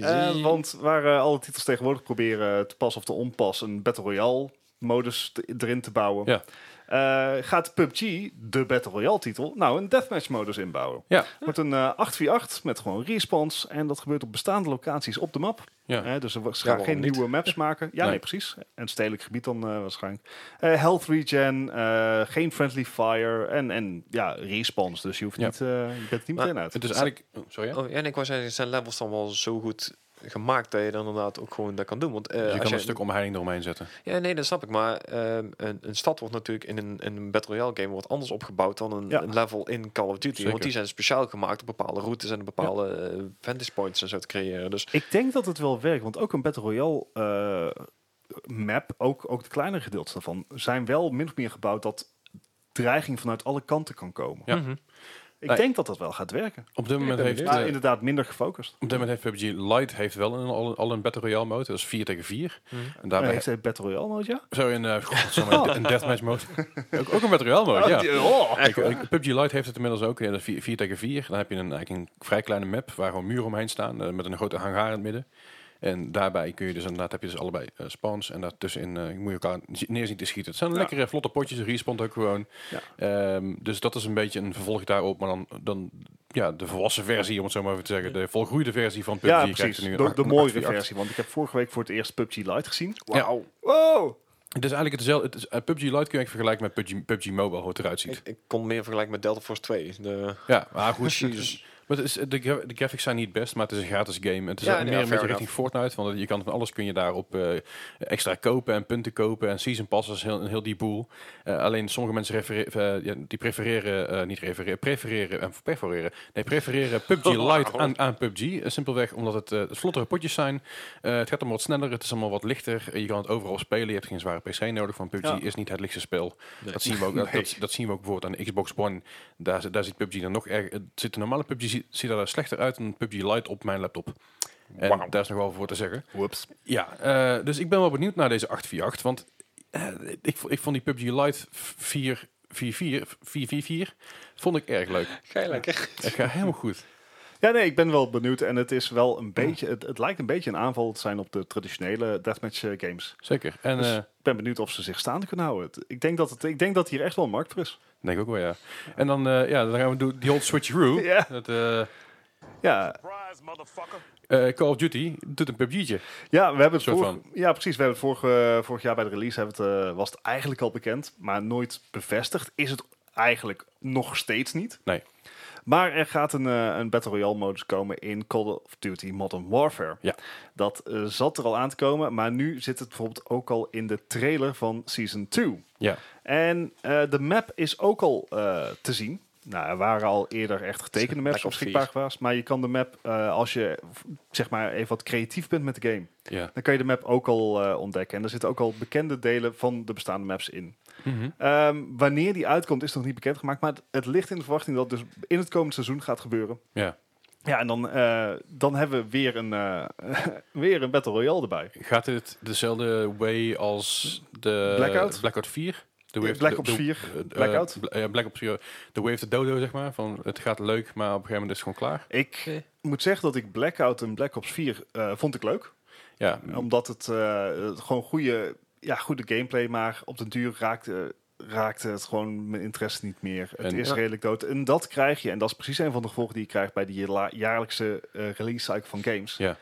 S2: Eh, want waar eh, alle titels tegenwoordig proberen eh, te pas of te onpas een Battle Royale modus te- erin te bouwen.
S1: Ja.
S2: Eh, gaat PUBG, de Battle Royale titel, nou een deathmatch modus inbouwen.
S1: Ja.
S2: Wordt een eh, 8v8 met gewoon respawns en dat gebeurt op bestaande locaties op de map.
S1: Ja.
S2: Eh, dus ze ze gaan
S3: waarom
S2: geen
S3: niet?
S2: nieuwe maps maken. Ja, nee,
S1: Nee.
S2: precies. En stedelijk gebied dan eh, waarschijnlijk. Eh, health regen, eh, geen friendly fire en, en ja, respawns. Dus je, hoeft
S1: Ja.
S2: niet, eh, je bent er niet
S3: Maar
S2: meteen uit. Dus
S1: Het is eigenlijk... oh, sorry, ja?
S3: Oh, ja, en ik was zeggen, zijn levels dan wel zo goed gemaakt dat je dan inderdaad ook gewoon dat kan doen. Want eh,
S1: Dus je
S3: als
S1: kan
S3: je-
S1: een stuk omheining eromheen zetten.
S3: Ja, nee, dat snap ik. Maar ehm, een, een stad wordt natuurlijk in een, in een Battle Royale game wordt anders opgebouwd dan een,
S2: Ja.
S3: een level in Call of Duty.
S1: Zeker.
S3: Want die zijn speciaal gemaakt op bepaalde routes en bepaalde eh, vantage points en zo te creëren. Dus
S2: Ik denk dat het wel werkt, want ook een Battle Royale eh, map, ook, ook de kleinere gedeeltes daarvan, zijn wel min of meer gebouwd dat dreiging vanuit alle kanten kan komen.
S1: Ja.
S3: Mhm.
S2: Ik Ik
S1: Nee.
S2: denk dat dat wel gaat werken.
S1: Op dit moment
S3: ben
S1: heeft...
S2: Maar
S1: eh,
S2: inderdaad minder gefocust.
S1: Op dit moment heeft PUBG Lite heeft wel een, al, al een Battle Royale mode. Dat is 4 tegen 4.
S3: Mhm.
S1: En
S2: Maar
S1: daarbij
S2: heeft hij Battle Royale mode, ja?
S1: zo in eh, godsamme, een de- een deathmatch mode. ook, ook een Battle Royale mode, ja. Ik- ik- eh, PUBG Lite heeft het inmiddels ook. Ja, dat is 4, 4 tegen 4. Dan heb je een, eigenlijk een vrij kleine map waar gewoon muren omheen staan. eh, met een grote hangar in het midden. En daarbij kun je dus inderdaad heb je dus allebei eh, spawns. En daartussenin eh, moet je elkaar zi- neer zien te schieten. Het zijn
S2: Ja.
S1: lekkere vlotte potjes. Respond ook gewoon.
S2: Ja.
S1: Ehm, dus dat is een beetje een vervolg daarop. Maar dan, dan ja, de volwassen versie, om het zo maar even te zeggen. De volgroeide versie van PUBG.
S2: Ja,
S1: krijgt
S2: precies.
S1: nu een
S2: De,
S1: acht-
S2: de
S1: een
S2: mooiere
S1: 8v8.
S2: versie. Want ik heb vorige week voor het eerst PUBG Lite gezien.
S1: Ja.
S3: Wauw.
S2: Wow!
S1: Het is eigenlijk hetzelfde. Het is, eh, PUBG Lite kun je echt vergelijken met PUBG, PUBG Mobile, hoe het eruit ziet.
S3: Ik, ik kon meer vergelijken met Delta Force 2. De,
S1: Ja, maar goed. dus- maar het is, de, gra- de graphics zijn niet best, maar het is een gratis game. En Het is
S3: Ja,
S1: ook
S3: ja,
S1: meer een
S3: fair
S1: beetje richting Fortnite, want je kan van alles kun je daarop eh, extra kopen en punten kopen en season passes, heel, een heel die boel. Eh, alleen sommige mensen refere- eh, ja, die prefereren, eh, niet refereren, prefereren en prefereren, nee prefereren PUBG Lite aan, aan PUBG. Eh, simpelweg omdat het eh, vlottere potjes zijn. Eh, het gaat allemaal wat sneller, het is allemaal wat lichter. Eh, je kan het overal spelen, je hebt geen zware PC nodig, want PUBG
S2: Ja.
S1: is niet het lichtste spel.
S3: Nee.
S1: Dat, zien we ook, dat, dat, dat zien we ook bijvoorbeeld aan de Xbox One. Daar, zit- daar ziet PUBG dan nog erg. Het zit de normale PUBG ziet, ziet er daar slechter uit dan PUBG Lite op mijn laptop. En
S3: Wauw.
S1: daar is nog wel voor te zeggen.
S2: Whoops.
S1: Ja, eh, dus ik ben wel benieuwd naar deze 848. Want eh, ik, vo- ik vond die PUBG Lite 4. 4-4, 4-4-4, vond ik erg leuk.
S3: Ga lekker.
S1: Het gaat helemaal goed.
S2: Ja, nee, ik ben wel benieuwd. En het is wel een beetje... Het, het lijkt een beetje een aanval te zijn op de traditionele deathmatch eh, games.
S1: Zeker. En
S2: Dus
S1: eh,
S2: ik ben benieuwd of ze zich staande kunnen houden. Het- Ik denk dat, het, ik denk dat hier echt wel een markt voor is.
S1: denk ook wel, ja. En dan, eh, ja, dan gaan we doen die old switcheroo.
S2: Ja.
S1: Dat, eh,
S2: Ja,
S1: eh, Call of Duty doet een PUBG'tje.
S2: ja we hebben het,
S1: Soort
S2: vorig, ja, precies, we hebben het vorige, eh, vorig jaar bij de release hebben we het, eh, was het eigenlijk al bekend. Maar nooit bevestigd is het eigenlijk nog steeds niet.
S1: Nee.
S2: Maar er gaat een, eh, een Battle Royale modus komen in Call of Duty Modern Warfare.
S1: Ja.
S2: Dat eh, zat er al aan te komen, maar nu zit het bijvoorbeeld ook al in de trailer van Season 2.
S1: Ja.
S2: En eh, de map is ook al eh, te zien. Nou, er waren al eerder echt getekende maps op
S3: Black Ops vier.
S2: beschikbaar geweest. Maar je kan de map, eh, als je f- zeg maar even wat creatief bent met de game,
S1: Ja.
S2: dan kan je de map ook al eh, ontdekken. En er zitten ook al bekende delen van de bestaande maps in.
S1: Mhm.
S2: Ehm, wanneer die uitkomt is nog niet bekendgemaakt. Maar het, het ligt in de verwachting dat het dus in het komende seizoen gaat gebeuren.
S1: ja.
S2: Ja, en dan, eh, dan hebben we weer een, eh, weer een Battle Royale erbij.
S1: Gaat dit dezelfde way als de
S2: Blackout?
S1: 4? De
S2: Eh,
S1: Way of-
S2: Black
S1: de-
S2: Ops
S1: de-
S2: 4,
S1: eh, eh,
S2: Blackout?
S1: Bla- ja, Black Ops 4. De Way of the Dodo, zeg maar. Van, het gaat leuk, maar op een gegeven moment is het gewoon klaar.
S2: Ik
S3: Oké.
S2: moet zeggen dat ik Blackout en Black Ops 4 eh, vond ik leuk.
S1: Ja,
S2: Omdat het eh, het gewoon goede, ja, goede gameplay, maar op den duur raakte, raakte het gewoon mijn interesse niet meer. Het
S1: En-
S2: is
S3: Ja.
S2: redelijk dood. En dat krijg je. En dat is precies een van de gevolgen die je krijgt bij die la- jaarlijkse eh, release cycle van games.
S1: ja.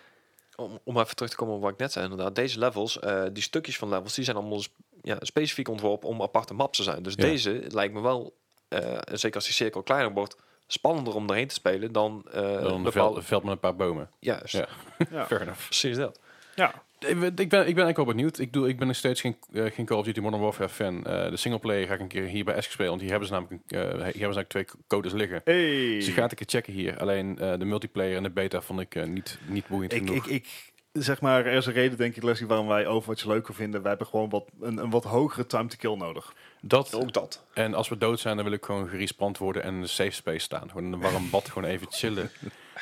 S3: Om, om even terug te komen op wat ik net zei, inderdaad. Deze levels, eh, die stukjes van levels, die zijn allemaal sp- ja, specifiek ontworpen om aparte maps te zijn. Dus
S1: Ja.
S3: deze lijkt me wel, eh, en zeker als die cirkel kleiner wordt, spannender om erheen te spelen dan, eh
S1: Dan een
S3: bepaalde...
S1: veld, veld met een paar bomen.
S3: Juist,
S1: Ja.
S2: Ja.
S1: Fair enough.
S3: precies dat.
S2: Ja.
S1: Ik ben, ik ben eigenlijk wel benieuwd. Ik, doe, ik ben nog steeds geen, eh, geen Call of Duty Modern Warfare fan. Eh de singleplayer ga ik een keer hier bij Esk spelen. Want hier hebben ze namelijk, een- eh, hier hebben ze eigenlijk twee codes liggen.
S2: Hey.
S1: Dus die gaat ik een keer checken hier. Alleen eh, de multiplayer en de beta vond ik eh, niet, niet boeiend
S2: ik,
S1: genoeg.
S2: ik, ik, zeg maar, er is een reden, denk ik, Leslie, waarom wij Overwatch leuker vinden. Wij hebben gewoon wat, een, een wat hogere time to kill nodig.
S1: dat
S3: Ook dat.
S1: En als we dood zijn, dan wil ik gewoon gerespand worden en in een safe space staan. Gewoon in een warm bad, gewoon even chillen.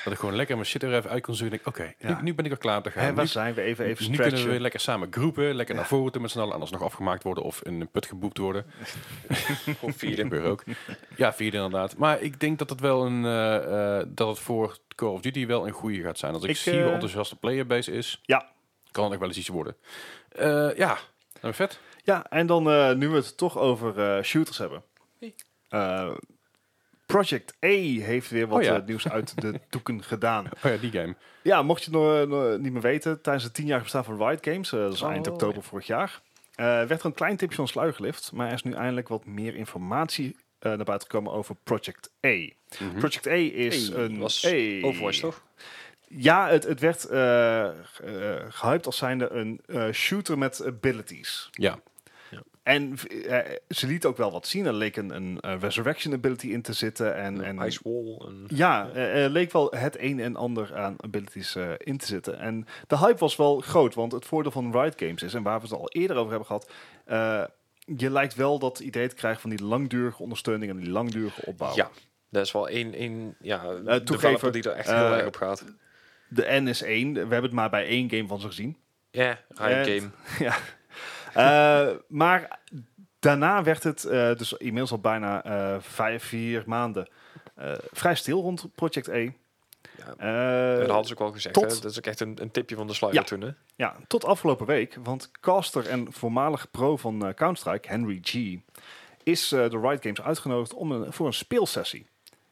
S1: Dat ik gewoon lekker mijn shit er even uit kon zoeken. En denk, oké,
S2: Ja.
S1: nu, nu ben ik al klaar om te gaan.
S2: en waar
S1: nu,
S2: zijn we? Even,
S1: nu
S2: even
S1: kunnen we weer
S2: stretchen.
S1: lekker samen groepen, lekker naar voren toe met z'n allen. Anders nog afgemaakt worden of in een put geboekt worden.
S3: Gewoon
S1: Dat
S3: vierde.
S1: gebeurt ook. Ja, vierde inderdaad. Maar ik denk dat het wel een, eh, eh, dat het voor Call of Duty wel een goede gaat zijn. Als ik,
S2: Ik,
S1: zie
S2: eh,
S1: hoe enthousiast de playerbase is,
S2: Ja.
S1: kan het ook wel eens iets worden. Eh, ja, nou vet.
S2: Ja, en dan eh, nu we het toch over eh, shooters hebben.
S3: Hey.
S2: Eh, Project A heeft weer wat
S1: Oh ja.
S2: eh, nieuws uit de doeken gedaan.
S1: Oh ja, die game.
S2: Ja, mocht je het nog, eh, nog niet meer weten, tijdens het 10 jaar bestaan van Riot Games, eh, dat is
S3: Oh,
S2: eind
S3: ja.
S2: oktober vorig jaar, eh, werd er een klein tipje van sluier gelift, maar er is nu eindelijk wat meer informatie eh, naar buiten gekomen over Project A.
S1: Mhm.
S2: Project A is
S3: Hey,
S2: een...
S3: was
S2: Hey.
S3: Overwatch, toch?
S2: Ja, het, het werd eh eh, gehyped als zijnde een eh, shooter met abilities.
S1: Ja,
S2: En v- eh, ze liet ook wel wat zien. Er leek een, een eh, resurrection ability in te zitten. En, en,
S3: Ice Wall. En...
S2: Ja, eh, eh, leek wel het een en ander aan abilities eh, in te zitten. En de hype was wel groot, want het voordeel van Riot Games is, en waar we het al eerder over hebben gehad, eh, je lijkt wel dat idee te krijgen van die langdurige ondersteuning en die langdurige opbouw.
S3: Ja. Dat is wel één, één ja,
S2: Eh, toegeven,
S3: developer die er echt heel
S2: eh,
S3: erg op gaat.
S2: De N is één. We hebben het maar bij één game van ze gezien.
S3: Ja, Riot
S2: eh,
S3: Game.
S2: Eh, maar daarna werd het, eh, dus inmiddels al bijna eh, vijf, vier maanden, eh, vrij stil rond Project E.
S3: Ja.
S2: Eh,
S3: dat hadden ze ook wel gezegd.
S2: tot-
S3: hè. Dat is ook echt een, een tipje van de sluier
S2: Ja.
S3: toen. Hè?
S2: ja, tot afgelopen week, want caster en voormalig pro van eh, Counter-Strike, Henry G, is eh, door Riot Games uitgenodigd om een, voor een speelsessie.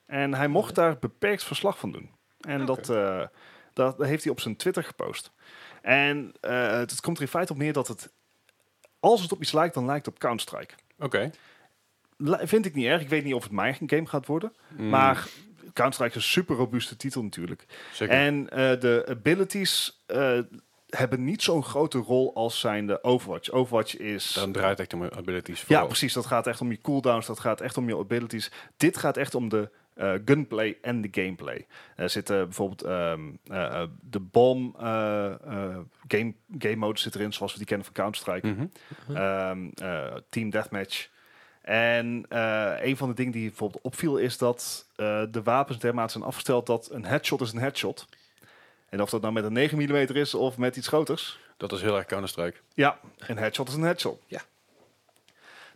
S2: En hij mocht daar beperkt verslag van doen. En dat, eh, dat heeft hij op zijn Twitter gepost. En eh, het, het komt er in feite op neer dat het, als het op iets lijkt, dan lijkt het op Counter-Strike.
S1: Oké.
S2: La- vind ik niet erg. Ik weet niet of het mijn game gaat worden.
S1: Mm,
S2: Maar Counter-Strike is een super robuuste titel natuurlijk.
S1: zeker.
S2: En eh, de abilities eh, hebben niet zo'n grote rol als zijnde Overwatch. Overwatch is...
S1: dan draait echt om abilities
S2: ja,
S1: vooral.
S2: precies. Dat gaat echt om je cooldowns. Dat gaat echt om je abilities. Dit gaat echt om de eh, gunplay en de gameplay. Er zitten bijvoorbeeld ehm, eh, eh, de bom eh, eh, game, game mode zit erin, zoals we die kennen van Counter-Strike.
S1: Mhm.
S2: Ehm, eh, team Deathmatch. En eh, een van de dingen die bijvoorbeeld opviel is dat eh, de wapens dermate zijn afgesteld dat een headshot is een headshot. En of dat nou met een 9 mm is of met iets groters.
S1: Dat is heel erg Counter-Strike.
S2: Ja, een headshot is een headshot.
S3: Ja.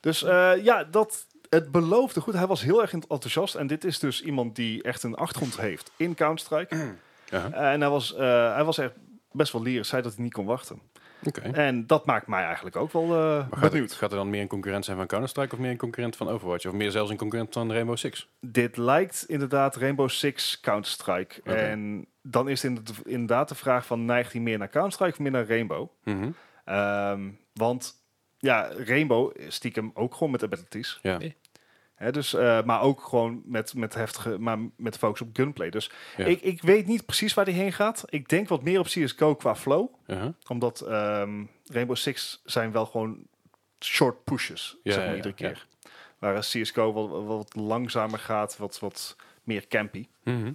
S2: Dus eh, ja, dat, het beloofde goed. Hij was heel erg enthousiast. En dit is dus iemand die echt een achtergrond heeft in Counter-Strike.
S1: Ja.
S2: En hij was, eh, hij was echt best wel lyrisch. Zei dat hij niet kon wachten.
S1: Oké.
S2: En dat maakt mij eigenlijk ook wel eh,
S1: Eh, Maar gaat,
S2: benieuwd.
S1: het, gaat er dan meer een concurrent zijn van Counter-Strike of meer een concurrent van Overwatch? Of meer zelfs een concurrent van Rainbow Six?
S2: dit lijkt inderdaad Rainbow Six Counter-Strike.
S1: Oké.
S2: En dan is het inderdaad- inderdaad de vraag van neigt hij meer naar Counter-Strike of meer naar Rainbow?
S1: Mhm.
S2: Ehm, want ja, Rainbow is stiekem ook gewoon met abilities.
S1: Ja.
S3: Nee.
S2: Hè, dus, eh, maar ook gewoon met, met heftige, maar met focus op gunplay. Dus
S1: Ja.
S2: ik, ik weet niet precies waar die heen gaat. Ik denk wat meer op CSGO qua flow.
S1: Uh-huh.
S2: Omdat ehm, Rainbow Six zijn wel gewoon short pushes,
S1: Ja,
S2: zeg maar,
S1: ja,
S2: iedere
S1: ja.
S2: keer. Waar CSGO wat, wat- wat langzamer gaat, wat, wat meer campy.
S1: Mhm.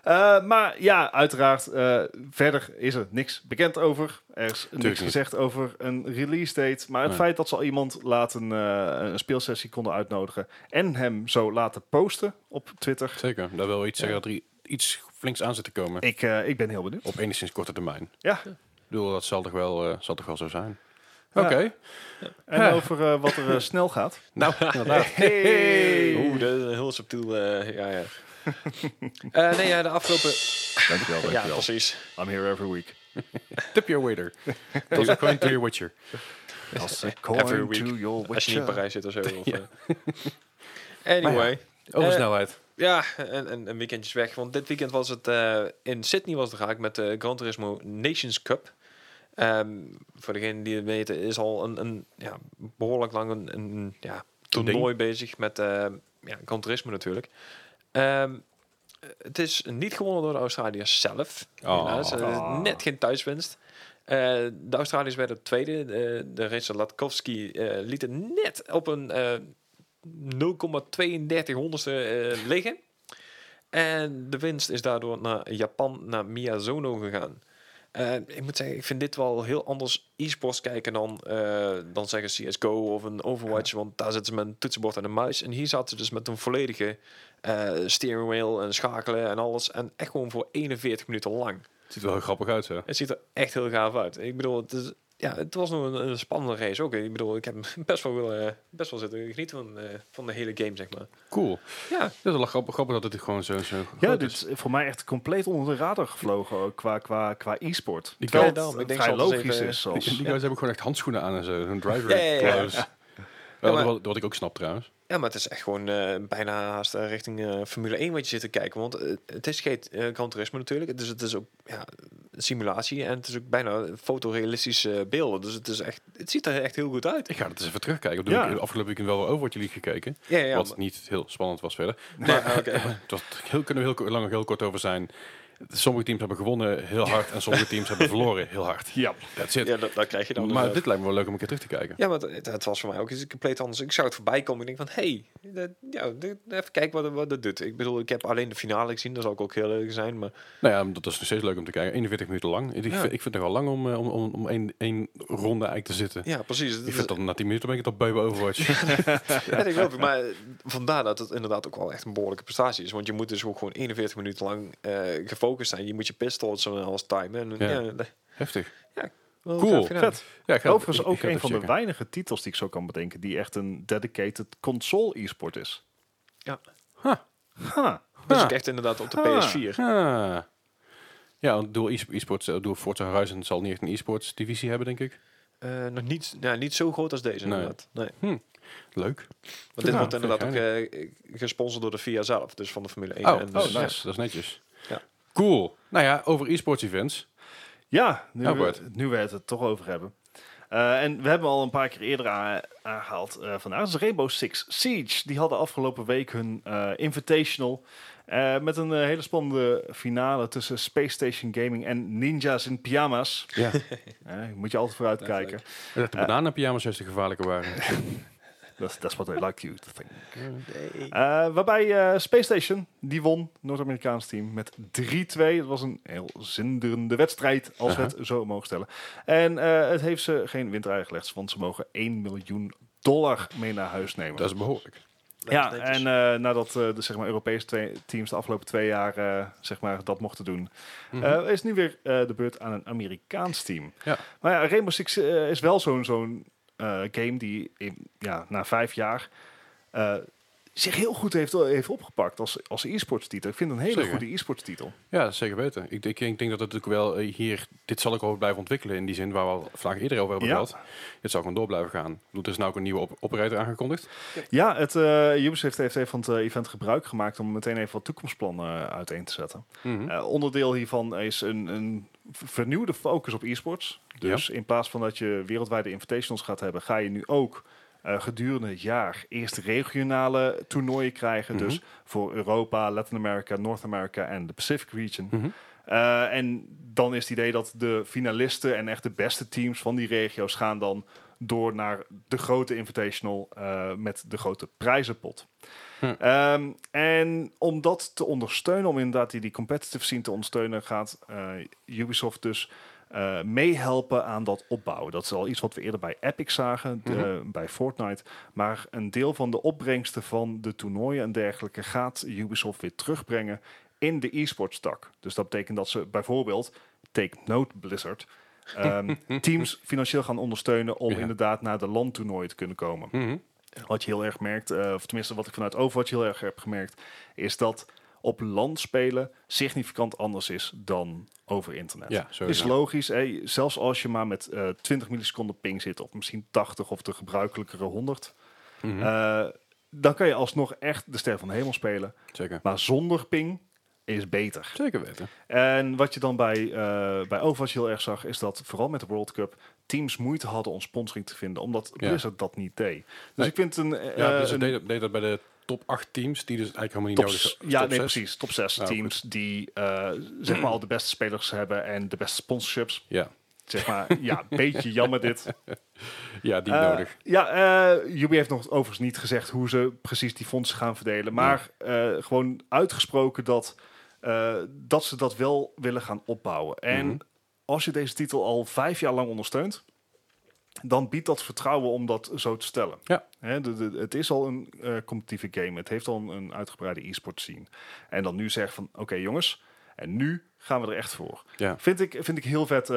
S2: Eh, maar ja, uiteraard, eh, verder is er niks bekend over. Er is niks
S1: niet.
S2: gezegd over een release date. Maar het
S1: Nee.
S2: feit dat ze al iemand laten eh, een speelsessie konden uitnodigen... en hem zo laten posten op Twitter...
S1: Zeker. Dat wil iets zeggen dat er i- iets flinks aan zit te komen.
S2: Ik, eh, ik ben heel benieuwd.
S1: Op enigszins korte termijn.
S2: Ja.
S1: Ik bedoel, dat zal toch wel, eh, zal toch wel zo zijn. Oké.
S2: En
S1: Ja.
S2: over eh, wat er eh, snel gaat.
S1: Nou, inderdaad.
S2: Hey!
S3: Oeh, dat is een heel subtiel. eh, ja, ja. Eh, nee, ja, de afgelopen.
S2: Dankjewel,
S3: Ja,
S2: dankjewel.
S3: precies.
S2: I'm here every week.
S1: Tip your waiter. Dat is ook gewoon to your witcher.
S2: Als
S3: Every week.
S2: to your
S3: Als je niet
S2: witcher.
S3: in Parijs zit of zo. Of, eh. Anyway.
S1: Over
S3: Eh,
S1: snelheid.
S3: Ja, en, en een weekendjes weg. Want dit weekend was het eh, in Sydney was het raak met de Gran Turismo Nations Cup. Ehm, voor degenen die het weten, is al een, een ja, behoorlijk lang een, een ja, toernooi bezig met eh ja, Gran Turismo natuurlijk. Ehm, het is niet gewonnen door de Australiërs zelf.
S1: Oh.
S3: Helaas, eh, net geen thuiswinst. Eh, de Australiërs werden tweede. Eh, de racer Latkowski eh, liet het net op een eh, 0,32 honderdste eh, liggen. En de winst is daardoor naar Japan, naar Miyazono gegaan. Eh, ik moet zeggen, ik vind dit wel heel anders e-sports kijken dan, eh, dan zeggen CSGO of een Overwatch. Want daar zitten ze met een toetsenbord en een muis. En hier zaten ze dus met een volledige eh, steering wheel en schakelen en alles. En echt gewoon voor 41 minuten lang.
S1: Ziet er wel heel grappig uit, hè?
S3: Het ziet er echt heel gaaf uit. Ik bedoel, het, is, ja, het was nog een, een spannende race ook. Ik bedoel, ik heb best wel, willen- eh, best wel zitten genieten van, eh, van de hele game, zeg maar.
S1: Cool.
S3: Ja,
S1: Dat is wel grappig, grappig dat het gewoon zo, zo
S2: Ja,
S3: Oh,
S1: groot
S2: dit
S1: is.
S3: dus-
S2: is voor mij echt compleet onder de radar gevlogen ook, qua, qua, qua e-sport.
S1: Ik
S2: Terwijl
S1: weet
S3: het,
S2: het
S3: maar ik denk
S2: vrij
S3: zal het
S2: logisch
S3: eens even-
S2: is.
S1: Die, die
S2: Zoals,
S1: guys hebben ook gewoon echt handschoenen aan en zo. Hun driver
S3: Ja, ja, ja.
S1: clothes.
S3: Ja,
S1: Wel,
S3: maar-
S1: wat, wat ik ook snap trouwens.
S3: Ja, maar het is echt gewoon eh, bijna haast eh, richting eh, Formule 1 wat je zit te kijken. Want eh, het is geen eh Gran Turismo natuurlijk. Dus het is ook ja, een simulatie en het is ook bijna fotorealistische eh, beelden. Dus het, is echt, het ziet er echt heel goed uit.
S1: Ik ga dat eens even terugkijken.
S2: Ja.
S1: Ja. Ik heb afgelopen weekend wel over wat jullie gekeken.
S3: Ja, ja.
S1: wat
S3: maar-
S1: niet heel spannend was verder.
S3: maar- ah, oké.
S1: Dat heel, kunnen we heel, ko- lang, heel kort over zijn. Sommige teams hebben gewonnen heel hard en sommige teams hebben verloren heel hard.
S2: Ja.
S1: That's it.
S3: Ja, dat, dat krijg je dan. dus, eh,
S1: maar
S3: inderdaad.
S1: dit lijkt me wel leuk om een keer terug te kijken.
S3: Ja, maar het, het was voor mij ook iets compleet anders. Ik zou het voorbij komen en ik denk van, hé, hey, dat- ja, dit- even kijken wat, wat dat doet. Ik bedoel, ik heb alleen de finale gezien, dat zal ook heel leuk zijn, maar
S1: Nou ja, dat is nog steeds leuk om te kijken. 41 minuten lang. Ik,
S3: Ja.
S1: vind, ik vind het nogal lang om, eh, om, om, om één, één ronde eigenlijk te zitten.
S3: ja, precies. Dat
S1: Ik
S3: is-
S1: vind dat na 10 minuten ben ik het al beu bij Overwatch.
S3: Ja, dat geloof ik. Maar vandaar dat het inderdaad ook wel echt een behoorlijke prestatie is. Want je moet dus ook gewoon 41 minuten lang eh, gefocust zijn. Je moet je pistols en alles timen. En,
S1: Ja.
S3: ja. Ja,
S1: Heftig.
S3: wel
S1: Cool.
S3: gaaf gedaan.
S2: Vet.
S1: Ja, ik ga-
S2: Overigens
S1: ik-
S2: ook
S1: ik ga
S2: een
S1: het
S2: van de
S1: even
S2: weinige titels die ik zo kan bedenken die echt een dedicated console e-sport is.
S3: Ja.
S1: Huh.
S2: Huh.
S3: Dat is
S1: Ah.
S3: ook echt inderdaad op de
S2: Ah.
S3: PS4.
S1: checken. Ah. Ja, want door e-sports, eh, door Forza Horizon zal niet echt een e-sports divisie hebben, denk ik.
S3: Eh, nog niet, nou, niet zo groot als deze
S1: Nee.
S3: inderdaad. Nee.
S1: Leuk.
S3: Want dit
S1: Ja,
S3: wordt
S1: vind
S3: inderdaad ook
S1: ik
S3: eh, gesponsord door de FIA zelf. Dus van de Formule 1.
S1: Oh,
S3: en,
S1: oh
S3: eh,
S1: nice. Dat is netjes.
S3: Ja.
S1: Cool. Nou ja, over e-sports events.
S2: Ja, nu,
S1: Ja,
S2: we,
S1: Bart.
S2: nu we het er toch over hebben. Eh, en we hebben al een paar keer eerder a- aangehaald eh vandaag. Dat is Rainbow Six Siege. Die hadden afgelopen week hun eh, invitational. eh, met een eh, hele spannende finale tussen Space Station Gaming en Ninjas in Pyjama's.
S1: Ja.
S2: Eh, moet je altijd vooruit kijken.
S1: Dat de bananenpyjama's juist de gevaarlijke waren.
S2: That's, that's what I like you to think.
S3: nee.
S2: Eh, waarbij eh, Space Station, die won, Noord-Amerikaans team, met 3-2. Dat was een heel zinderende wedstrijd, als we het zo mogen stellen. En eh, het heeft ze geen winter gelegd, want ze mogen 1 miljoen dollar mee naar huis nemen.
S1: Dat is behoorlijk.
S2: ja,
S3: Dat is netjes.
S2: en eh, nadat eh, de zeg maar, Europese twee- teams de afgelopen twee jaar eh, zeg maar, dat mochten doen, eh, is nu weer eh, de beurt aan een Amerikaans team.
S1: Mhm. Ja.
S2: Maar ja, Rainbow Six eh, is wel zo'n zo'n eh, game die in- ja, na vijf jaar eh, zich heel goed heeft, eh, heeft opgepakt als, als e-sports titel. Ik vind het een hele
S1: Zeker.
S2: goede e-sports titel.
S1: Ja, zeker weten. Ik, ik, ik denk dat het ook wel eh, hier, dit zal ik ook blijven ontwikkelen in die zin waar we al vandaag eerder over hebben
S2: Ja.
S1: gehad. Het zal gewoon door blijven gaan. Ik bedoel, Er is nou ook een nieuwe op operator aangekondigd.
S2: Ja, het, eh Ubisoft heeft even van het eh, event gebruik gemaakt om meteen even wat toekomstplannen eh, uiteen te zetten.
S1: Mhm.
S2: Eh, onderdeel hiervan is een, een v- vernieuwde focus op e-sports. Dus in plaats van dat je wereldwijde invitationals gaat hebben, ga je nu ook eh, gedurende het jaar eerst regionale toernooien krijgen.
S1: Mhm.
S2: Dus voor Europa, Latin America, North America en de Pacific Region.
S1: Mhm.
S2: Eh, en dan is het idee dat de finalisten en echt de beste teams van die regio's gaan dan door naar de grote invitational eh, met de grote prijzenpot.
S1: Hm.
S2: Ehm, en om dat te ondersteunen, om inderdaad die, die competitive scene te ondersteunen, gaat eh, Ubisoft dus eh, meehelpen aan dat opbouwen. Dat is al iets wat we eerder bij Epic zagen, de- bij Fortnite. Maar een deel van de opbrengsten van de toernooien en dergelijke gaat Ubisoft weer terugbrengen in de e-sports tak. Dus dat betekent dat ze bijvoorbeeld, take note Blizzard, ehm, teams financieel gaan ondersteunen om
S1: Ja.
S2: inderdaad naar de landtoernooien te kunnen komen.
S1: Mhm.
S2: Wat je heel erg merkt, eh, of tenminste wat ik vanuit Overwatch heel erg heb gemerkt, is dat op land spelen significant anders is dan over internet.
S1: Ja,
S2: Is
S1: sowieso.
S2: logisch, hè? zelfs als je maar met eh 20 milliseconden ping zit, of misschien 80 of de gebruikelijkere 100,
S1: Mhm.
S2: eh, dan kan je alsnog echt de ster van de hemel spelen.
S1: Zeker.
S2: Maar zonder ping is beter.
S1: Zeker weten.
S2: En wat je dan bij, eh, bij Overwatch heel erg zag, is dat vooral met de World Cup teams moeite hadden om sponsoring te vinden, omdat
S1: Ja.
S2: Blizzard dat niet deed. Dus
S1: Nee.
S2: ik vind een, eh,
S1: Ja, dus
S2: een
S1: het deed, dat- deed dat bij de top 8 teams, die dus eigenlijk helemaal niet
S2: top,
S1: nodig
S2: s-
S1: zijn.
S2: ja,
S1: Top
S2: nee,
S1: zes.
S2: precies, top 6
S1: Nou,
S2: teams die eh, zeg maar al de beste spelers hebben en de beste sponsorships.
S1: Ja,
S2: Zeg maar, ja, beetje jammer dit.
S1: ja die
S2: Eh,
S1: nodig.
S2: Ja, eh Ubi heeft nog overigens niet gezegd hoe ze precies die fondsen gaan verdelen. Maar eh, gewoon uitgesproken dat, eh, dat ze dat wel willen gaan opbouwen. En
S1: Mhm.
S2: als je deze titel al vijf jaar lang ondersteunt, dan biedt dat vertrouwen om dat zo te stellen.
S1: Ja.
S2: Hè, de, de- het is al een eh, competitieve game. Het heeft al een, een uitgebreide e-sport scene. En dan nu zeggen van, oké jongens, en nu gaan we er echt voor.
S1: Ja.
S2: Vind, ik, vind ik heel vet eh,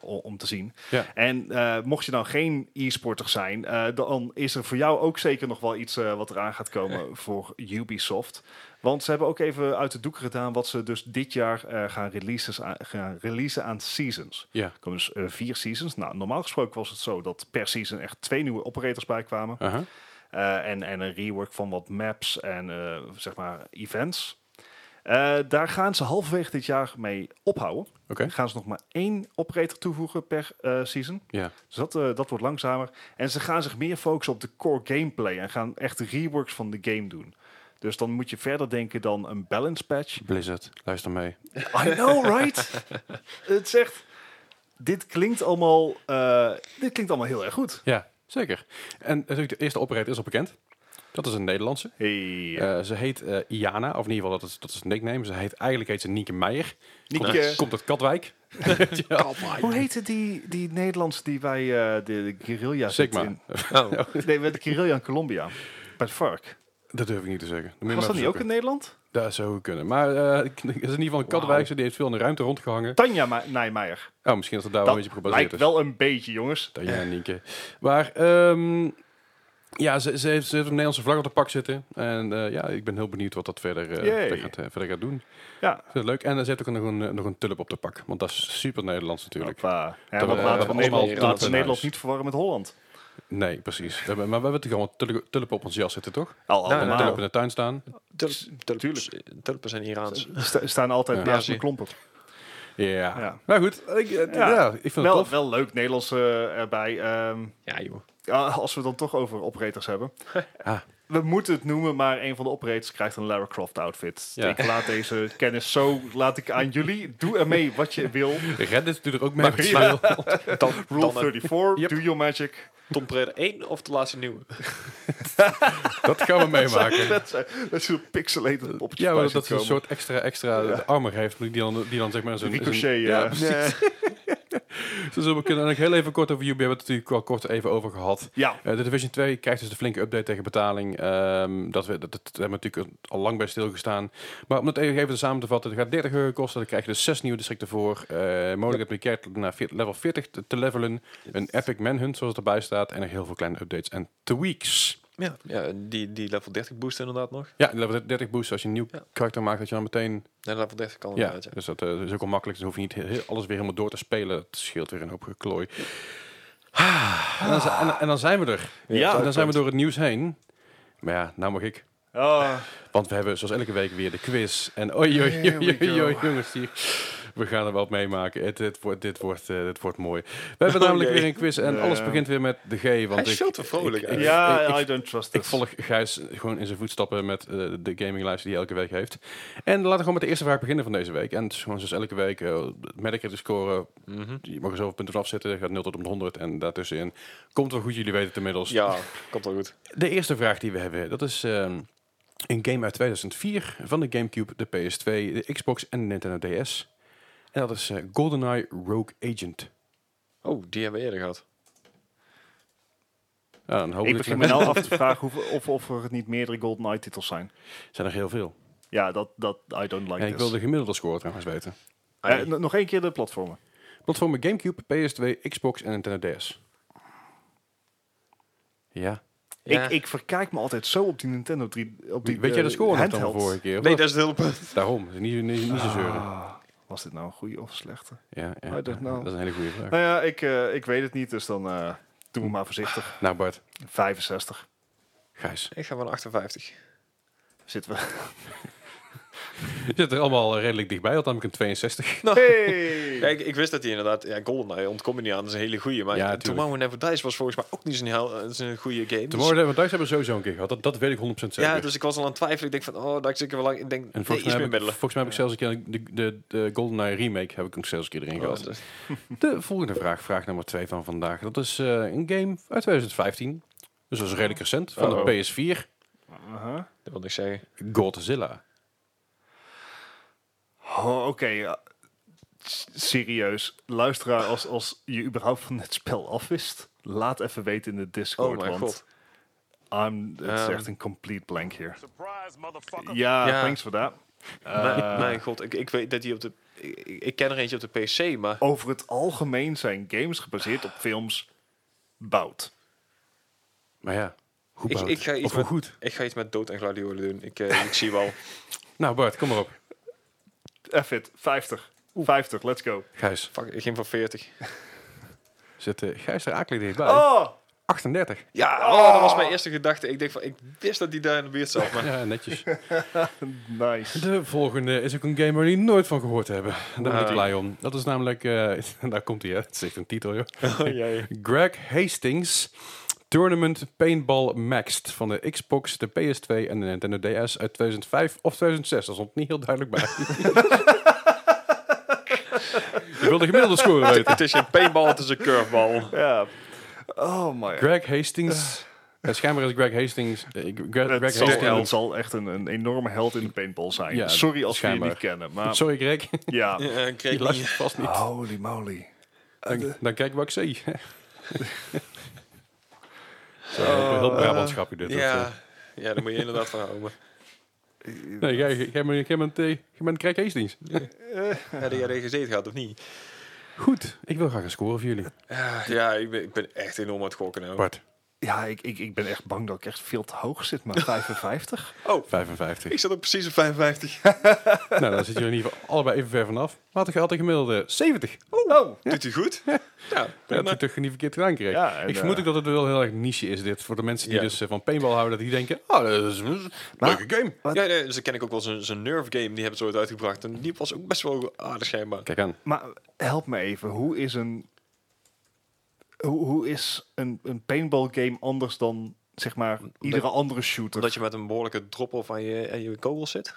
S2: o- om te zien.
S1: Ja.
S2: En eh, mocht je nou geen e-sporter zijn, eh, dan is er voor jou ook zeker nog wel iets eh, wat eraan gaat komen voor Ubisoft. Want ze hebben ook even uit de doeken gedaan wat ze dus dit jaar eh, gaan, releases aan, gaan releasen aan seasons.
S1: Ja.
S2: Er komen dus eh, vier seasons. Nou, normaal gesproken was het zo dat per season echt twee nieuwe operators bij kwamen.
S1: Aha.
S2: Eh, en, en een rework van wat maps en eh, zeg maar events. Eh, daar gaan ze halverwege dit jaar mee ophouden.
S1: Oké.
S2: Dan gaan ze nog maar één operator toevoegen per eh, season.
S1: Ja.
S2: Dus dat, eh, dat wordt langzamer. En ze gaan zich meer focussen op de core gameplay en gaan echt reworks van de game doen. Dus dan moet je verder denken dan een balance patch.
S1: Blizzard, luister mee.
S2: I know, right? het zegt, dit klinkt allemaal, eh, dit klinkt allemaal heel erg goed.
S1: Ja, zeker. En natuurlijk, de eerste operator is al bekend. Dat is een Nederlandse.
S2: Hey.
S1: Eh, ze heet eh, Iana, of in ieder geval dat is, dat is een nickname. Ze heet, eigenlijk heet ze Nienke Meijer.
S2: Nienke.
S1: Komt, komt uit Katwijk. ja.
S2: Hoe heette die, die Nederlandse die bij eh, de, de guerrilla zit
S1: Sigma.
S2: in?
S3: Oh.
S2: Nee, met de guerrilla in Colombia. Bij het FARC.
S1: Dat durf ik niet te zeggen. moet je maar
S2: Was dat niet ook
S1: opzoeken.
S2: in Nederland?
S1: Dat zou kunnen. Maar eh, ik- is in ieder geval een Katwijkse, die heeft veel in de ruimte rondgehangen.
S2: Tanja Ma- Nijmeijer.
S1: Oh, misschien dat het daar
S2: Dat
S1: wel een beetje op gebaseerd
S2: Lijkt
S1: is.
S2: wel een beetje, jongens.
S1: Dat ja, Nienke. Maar ehm, ja, ze, ze, heeft, ze heeft een Nederlandse vlag op de pak zitten. En eh, ja, ik ben heel benieuwd wat dat verder, eh,
S2: Yay.
S1: verder, gaat, eh, verder gaat doen.
S2: Ja.
S1: Ik vind het leuk. En er zit ook nog een, eh, nog een tulp op de pak. Want dat is super Nederlands natuurlijk.
S2: Hoppa. Ja,
S1: Dat
S2: want
S1: we-
S2: laten we
S1: dat we
S2: Nederland,
S3: allemaal
S2: laten we
S1: in
S2: Nederland
S1: huis.
S2: niet verwarren met Holland.
S1: Nee, precies. We hebben- maar we hebben gewoon tulpen tulp op ons jas zitten, toch?
S2: Al
S3: Nou,
S1: En een
S2: allemaal.
S1: tulp in de tuin staan.
S3: Tulpen zijn Iraans.
S2: Er sta- staan altijd
S1: Ja.
S2: naast
S3: Ja,
S2: mijn klompen.
S1: Ja.
S2: Ja.
S1: Nou goed, ik, eh,
S2: Ja.
S1: ja. ik vind het
S2: Wel,
S1: tof.
S2: wel leuk, Nederlands eh, erbij. Ehm,
S3: Ja, joh.
S2: ja, als we het dan toch over operators hebben.
S1: Ah.
S2: We moeten het noemen, maar een van de operators krijgt een Lara Croft outfit.
S1: Ja.
S2: Ik laat deze kennis zo laat ik aan jullie. Doe ermee wat je wil.
S1: Reddit doet er ook mee.
S3: Maar-
S1: Ja.
S3: Dan,
S2: Rule
S3: dan een
S2: 34,
S1: Yep.
S2: do your magic.
S3: Tomb Raider 1 of de laatste nieuwe?
S1: Dat gaan we meemaken.
S2: Dat zijn dat zijn pixelated poppetjes
S1: Ja,
S2: bij
S1: maar
S2: zit
S1: dat ze een
S2: komen.
S1: soort extra, extra armor heeft. Die dan, die dan zeg maar zo'n...
S2: Ricochet.
S1: zo'n-
S2: eh,
S1: ja, precies. Zo zullen we kunnen. En ik heel even kort over Ubi. We hebben het natuurlijk al kort even over gehad.
S2: ja.
S1: Eh, de Division 2 krijgt dus de flinke update tegen betaling. Ehm, dat, we, dat, dat daar hebben we natuurlijk al lang bij stilgestaan. Maar om het even even samen te vatten. Het gaat 30 euro kosten. Dan krijg je dus zes nieuwe districten voor. Eh mogelijkheid om je character naar veert- level 40 te, te levelen. Een epic manhunt zoals het erbij staat. En nog heel veel kleine updates en tweaks.
S3: Ja, ja die, die level 30 boost inderdaad nog.
S1: Ja, level 30 boost. Als je een nieuw
S3: Ja.
S1: karakter maakt, dat je dan meteen
S3: Nee, level 30 kan
S1: Ja,
S3: inderdaad, ja.
S1: dus dat eh, is ook al makkelijk. Dus hoef je niet heel, heel- alles weer helemaal door te spelen. Het scheelt weer een hoop geklooi. Ah, En, dan, zi- en, en dan zijn we er.
S2: Ja.
S1: En dan zijn we door het nieuws heen. Maar ja, nou mag ik.
S2: Ah.
S1: Want we hebben zoals elke week weer de quiz. En oei, oei, oei,
S2: Here we
S1: oei,
S2: go.
S1: oei, jongens, hier. We gaan er wel op meemaken. Het, het, wordt, dit, wordt, eh, dit wordt mooi. We hebben namelijk
S3: jee.
S1: weer een quiz en
S2: Oh, Ja.
S1: alles begint weer met de G. Want
S3: Hij is
S1: ik,
S3: veel te vrolijk
S1: ik-
S3: eigenlijk.
S2: Ja,
S1: ik- ik-
S2: I don't trust
S1: ik
S2: this.
S1: volg Gijs gewoon in zijn voetstappen met eh, de gaminglijst die hij elke week heeft. En laten we gewoon met de eerste vraag beginnen van deze week. En het is gewoon zoals elke week, eh Medicare scoren,
S3: Mhm.
S1: je mag er zoveel punten vanaf zitten, gaat 0 tot om 100 en daartussenin. Komt wel goed, jullie weten het inmiddels.
S3: Ja, komt wel goed.
S1: De eerste vraag die we hebben, dat is ehm, een game uit 2004 van de Gamecube, de PS2, de Xbox en de Nintendo DS. En dat is eh, GoldenEye Rogue Agent.
S3: Oh, die hebben we eerder gehad.
S1: Nou, dan hoop
S2: Ik
S1: ik
S2: begin me nou af te vragen hoeveel- of, of er niet meerdere Golden Eye titels zijn.
S1: zijn er heel veel.
S2: Ja, dat, dat I don't like
S1: En ik
S2: this.
S1: wil de gemiddelde score trouwens weten.
S3: Ah,
S2: Eh,
S1: nou,
S2: n- nog één keer de platformen.
S1: Platformen Gamecube, PS2, Xbox en Nintendo DS. Ja.
S3: Ja.
S2: Ik, ik verkijk me altijd zo op die Nintendo 3. Op die,
S1: Weet jij de
S2: eh,
S1: score nog dan van
S2: handheld.
S1: vorige keer? of
S3: nee,
S1: wat?
S3: dat is het hele punt.
S1: Daarom. Niet, niet, niet, zo zeuren.
S2: Ah, was dit nou een goede of een slechte?
S1: Ja, ja,
S2: I don't
S1: ja.
S2: know.
S1: Dat is een hele goede vraag.
S2: Nou ja, ik, eh, ik weet het niet, dus dan eh, doen we maar voorzichtig.
S1: Nou Bart,
S2: 65
S1: Gijs.
S3: Ik ga van 58.
S2: zitten we.
S1: Je zit er allemaal eh, redelijk dichtbij. Had namelijk een 62.
S2: Hey!
S3: Ja, ik, ik wist dat hij inderdaad... Ja, GoldenEye ontkom je niet aan. Dat is een hele goeie. Maar
S1: Ja,
S3: ja,
S1: tuurlijk.
S3: Tomorrow Never Dies was volgens mij ook niet zo'n heel- eh, zo'n goede game. Dus-
S1: Tomorrow Never Dies hebben we sowieso een keer gehad. Dat, dat weet ik 100% zeker.
S3: ja, dus ik was al aan het twijfelen. Ik denk van, oh, dat ik zeker wel lang... Ik denk,
S1: en
S3: nee,
S1: volgens,
S3: iets
S1: mij
S3: meer
S1: heb ik,
S3: middelen.
S1: volgens mij heb ik zelfs een keer de, de, de GoldenEye remake heb ik ook zelfs een keer erin
S3: Oh,
S1: gehad.
S3: dat is-
S1: De volgende vraag, vraag nummer 2 van vandaag. Dat is eh, een game uit 2015. Dus dat is redelijk recent. Van
S3: Uh-oh.
S1: de PS4.
S2: Uh-huh.
S3: dat wil ik zeggen.
S1: Godzilla.
S2: Oh, Oké, ja. S- serieus. Luisteraar, als, als je überhaupt van het spel af wist, laat even weten in de
S3: Oh
S2: Discord,
S3: mijn
S2: want
S3: god.
S2: I'm, het is
S3: Ehm.
S2: echt een complete blank hier.
S4: Surprise, motherfucker.
S2: Ja,
S3: Ja.
S2: thanks for that.
S3: mijn,
S2: Eh,
S3: mijn god, ik, ik weet dat die op de... Ik, ik ken er eentje op de PC, maar...
S2: Over het algemeen zijn games gebaseerd op films bout.
S1: Maar ja, hoe
S3: Ik,
S1: bouwt?
S3: ik, ga iets
S1: Of hoe
S3: met,
S1: goed?
S3: ik ga iets met dood en gladiolen doen. Ik, eh, ik zie wel.
S1: Nou Bart, kom maar op.
S2: F it, 50. 50, let's go.
S1: Gijs,
S3: Fuck, ik ging van 40.
S1: zit eh, Gijs er akelig dichtbij?
S2: Oh!
S1: 38.
S3: Ja, oh, dat was mijn eerste gedachte. Ik denk van, ik wist dat die daar in de buurt zat. Maar
S1: Ja, netjes.
S2: Nice.
S1: De volgende is ook een game waar jullie nooit van gehoord hebben. Daar ben ik
S3: Ah.
S1: blij om. Dat is
S3: Oh,
S1: namelijk... eh, daar komt hij, hè. Het is echt een titel, joh.
S3: ja,
S1: Greg Hastings... Tournament Paintball Maxed van de Xbox, de PS2 en de Nintendo DS uit 2005 of 2006. Dat stond niet heel duidelijk bij. Ik wil de gemiddelde score weten.
S3: Het is geen paintball, het is een curveball.
S2: Ja. Oh my god.
S1: Greg Hastings. Eh, schijnbaar is Greg Hastings. eh, ik- Greg, Greg
S2: Het zal, het
S1: Hastings.
S2: zal echt een, een enorme held in de paintball zijn.
S1: Ja,
S2: Sorry als we je
S1: schijnbaar.
S2: niet kennen, maar
S1: Sorry Greg,
S2: ja.
S3: Ja, ik
S1: ik
S3: kreeg
S1: luister
S3: niet.
S1: vast niet.
S2: Holy moly.
S1: Dan, dan kijk wat ik zie. Zo, eh, heel Brabant grapje dit.
S3: Ja, ja, daar moet je inderdaad van houden.
S1: Dat, eh. Nee, jij- jij bent- jij bent, eh, jij bent Greg Hastings.
S3: Heb je erin gezeten gehad of niet?
S1: Goed, ik wil graag een score voor jullie.
S2: Oh.
S3: Ah, ja, ik ben, ik ben echt enorm aan het gokken nou.
S1: Bart,
S2: Ja, ik, ik, ik ben echt bang dat ik echt veel te hoog zit, maar 55?
S3: Oh,
S1: 55.
S3: ik zat ook precies op 55.
S1: nou, dan zitten jullie in ieder geval allebei even ver vanaf. Laat ik altijd gemiddelde 70.
S2: Oh, nou.
S3: Doet hij goed? Ja,
S1: Dat je
S3: prima.
S1: toch niet verkeerd gedaan kreeg.
S2: Ja, en,
S1: ik vermoed
S2: eh,
S1: ook dat het wel heel erg niche is dit. Voor de mensen die
S3: Ja.
S1: dus eh, van paintball houden. Dat die denken, oh, dat is een leuke game.
S3: Ja, nee, dus dan ken ik ook wel zo'n zo'n Nerve game, die hebben ze ooit uitgebracht. En die was ook best wel aardig schijnbaar.
S1: Kijk aan.
S2: maar help me even. Hoe is een, hoe, hoe is een, een paintball game anders dan, zeg maar, iedere andere shooter?
S3: Omdat je met een behoorlijke drop-off aan je, aan je kogel zit.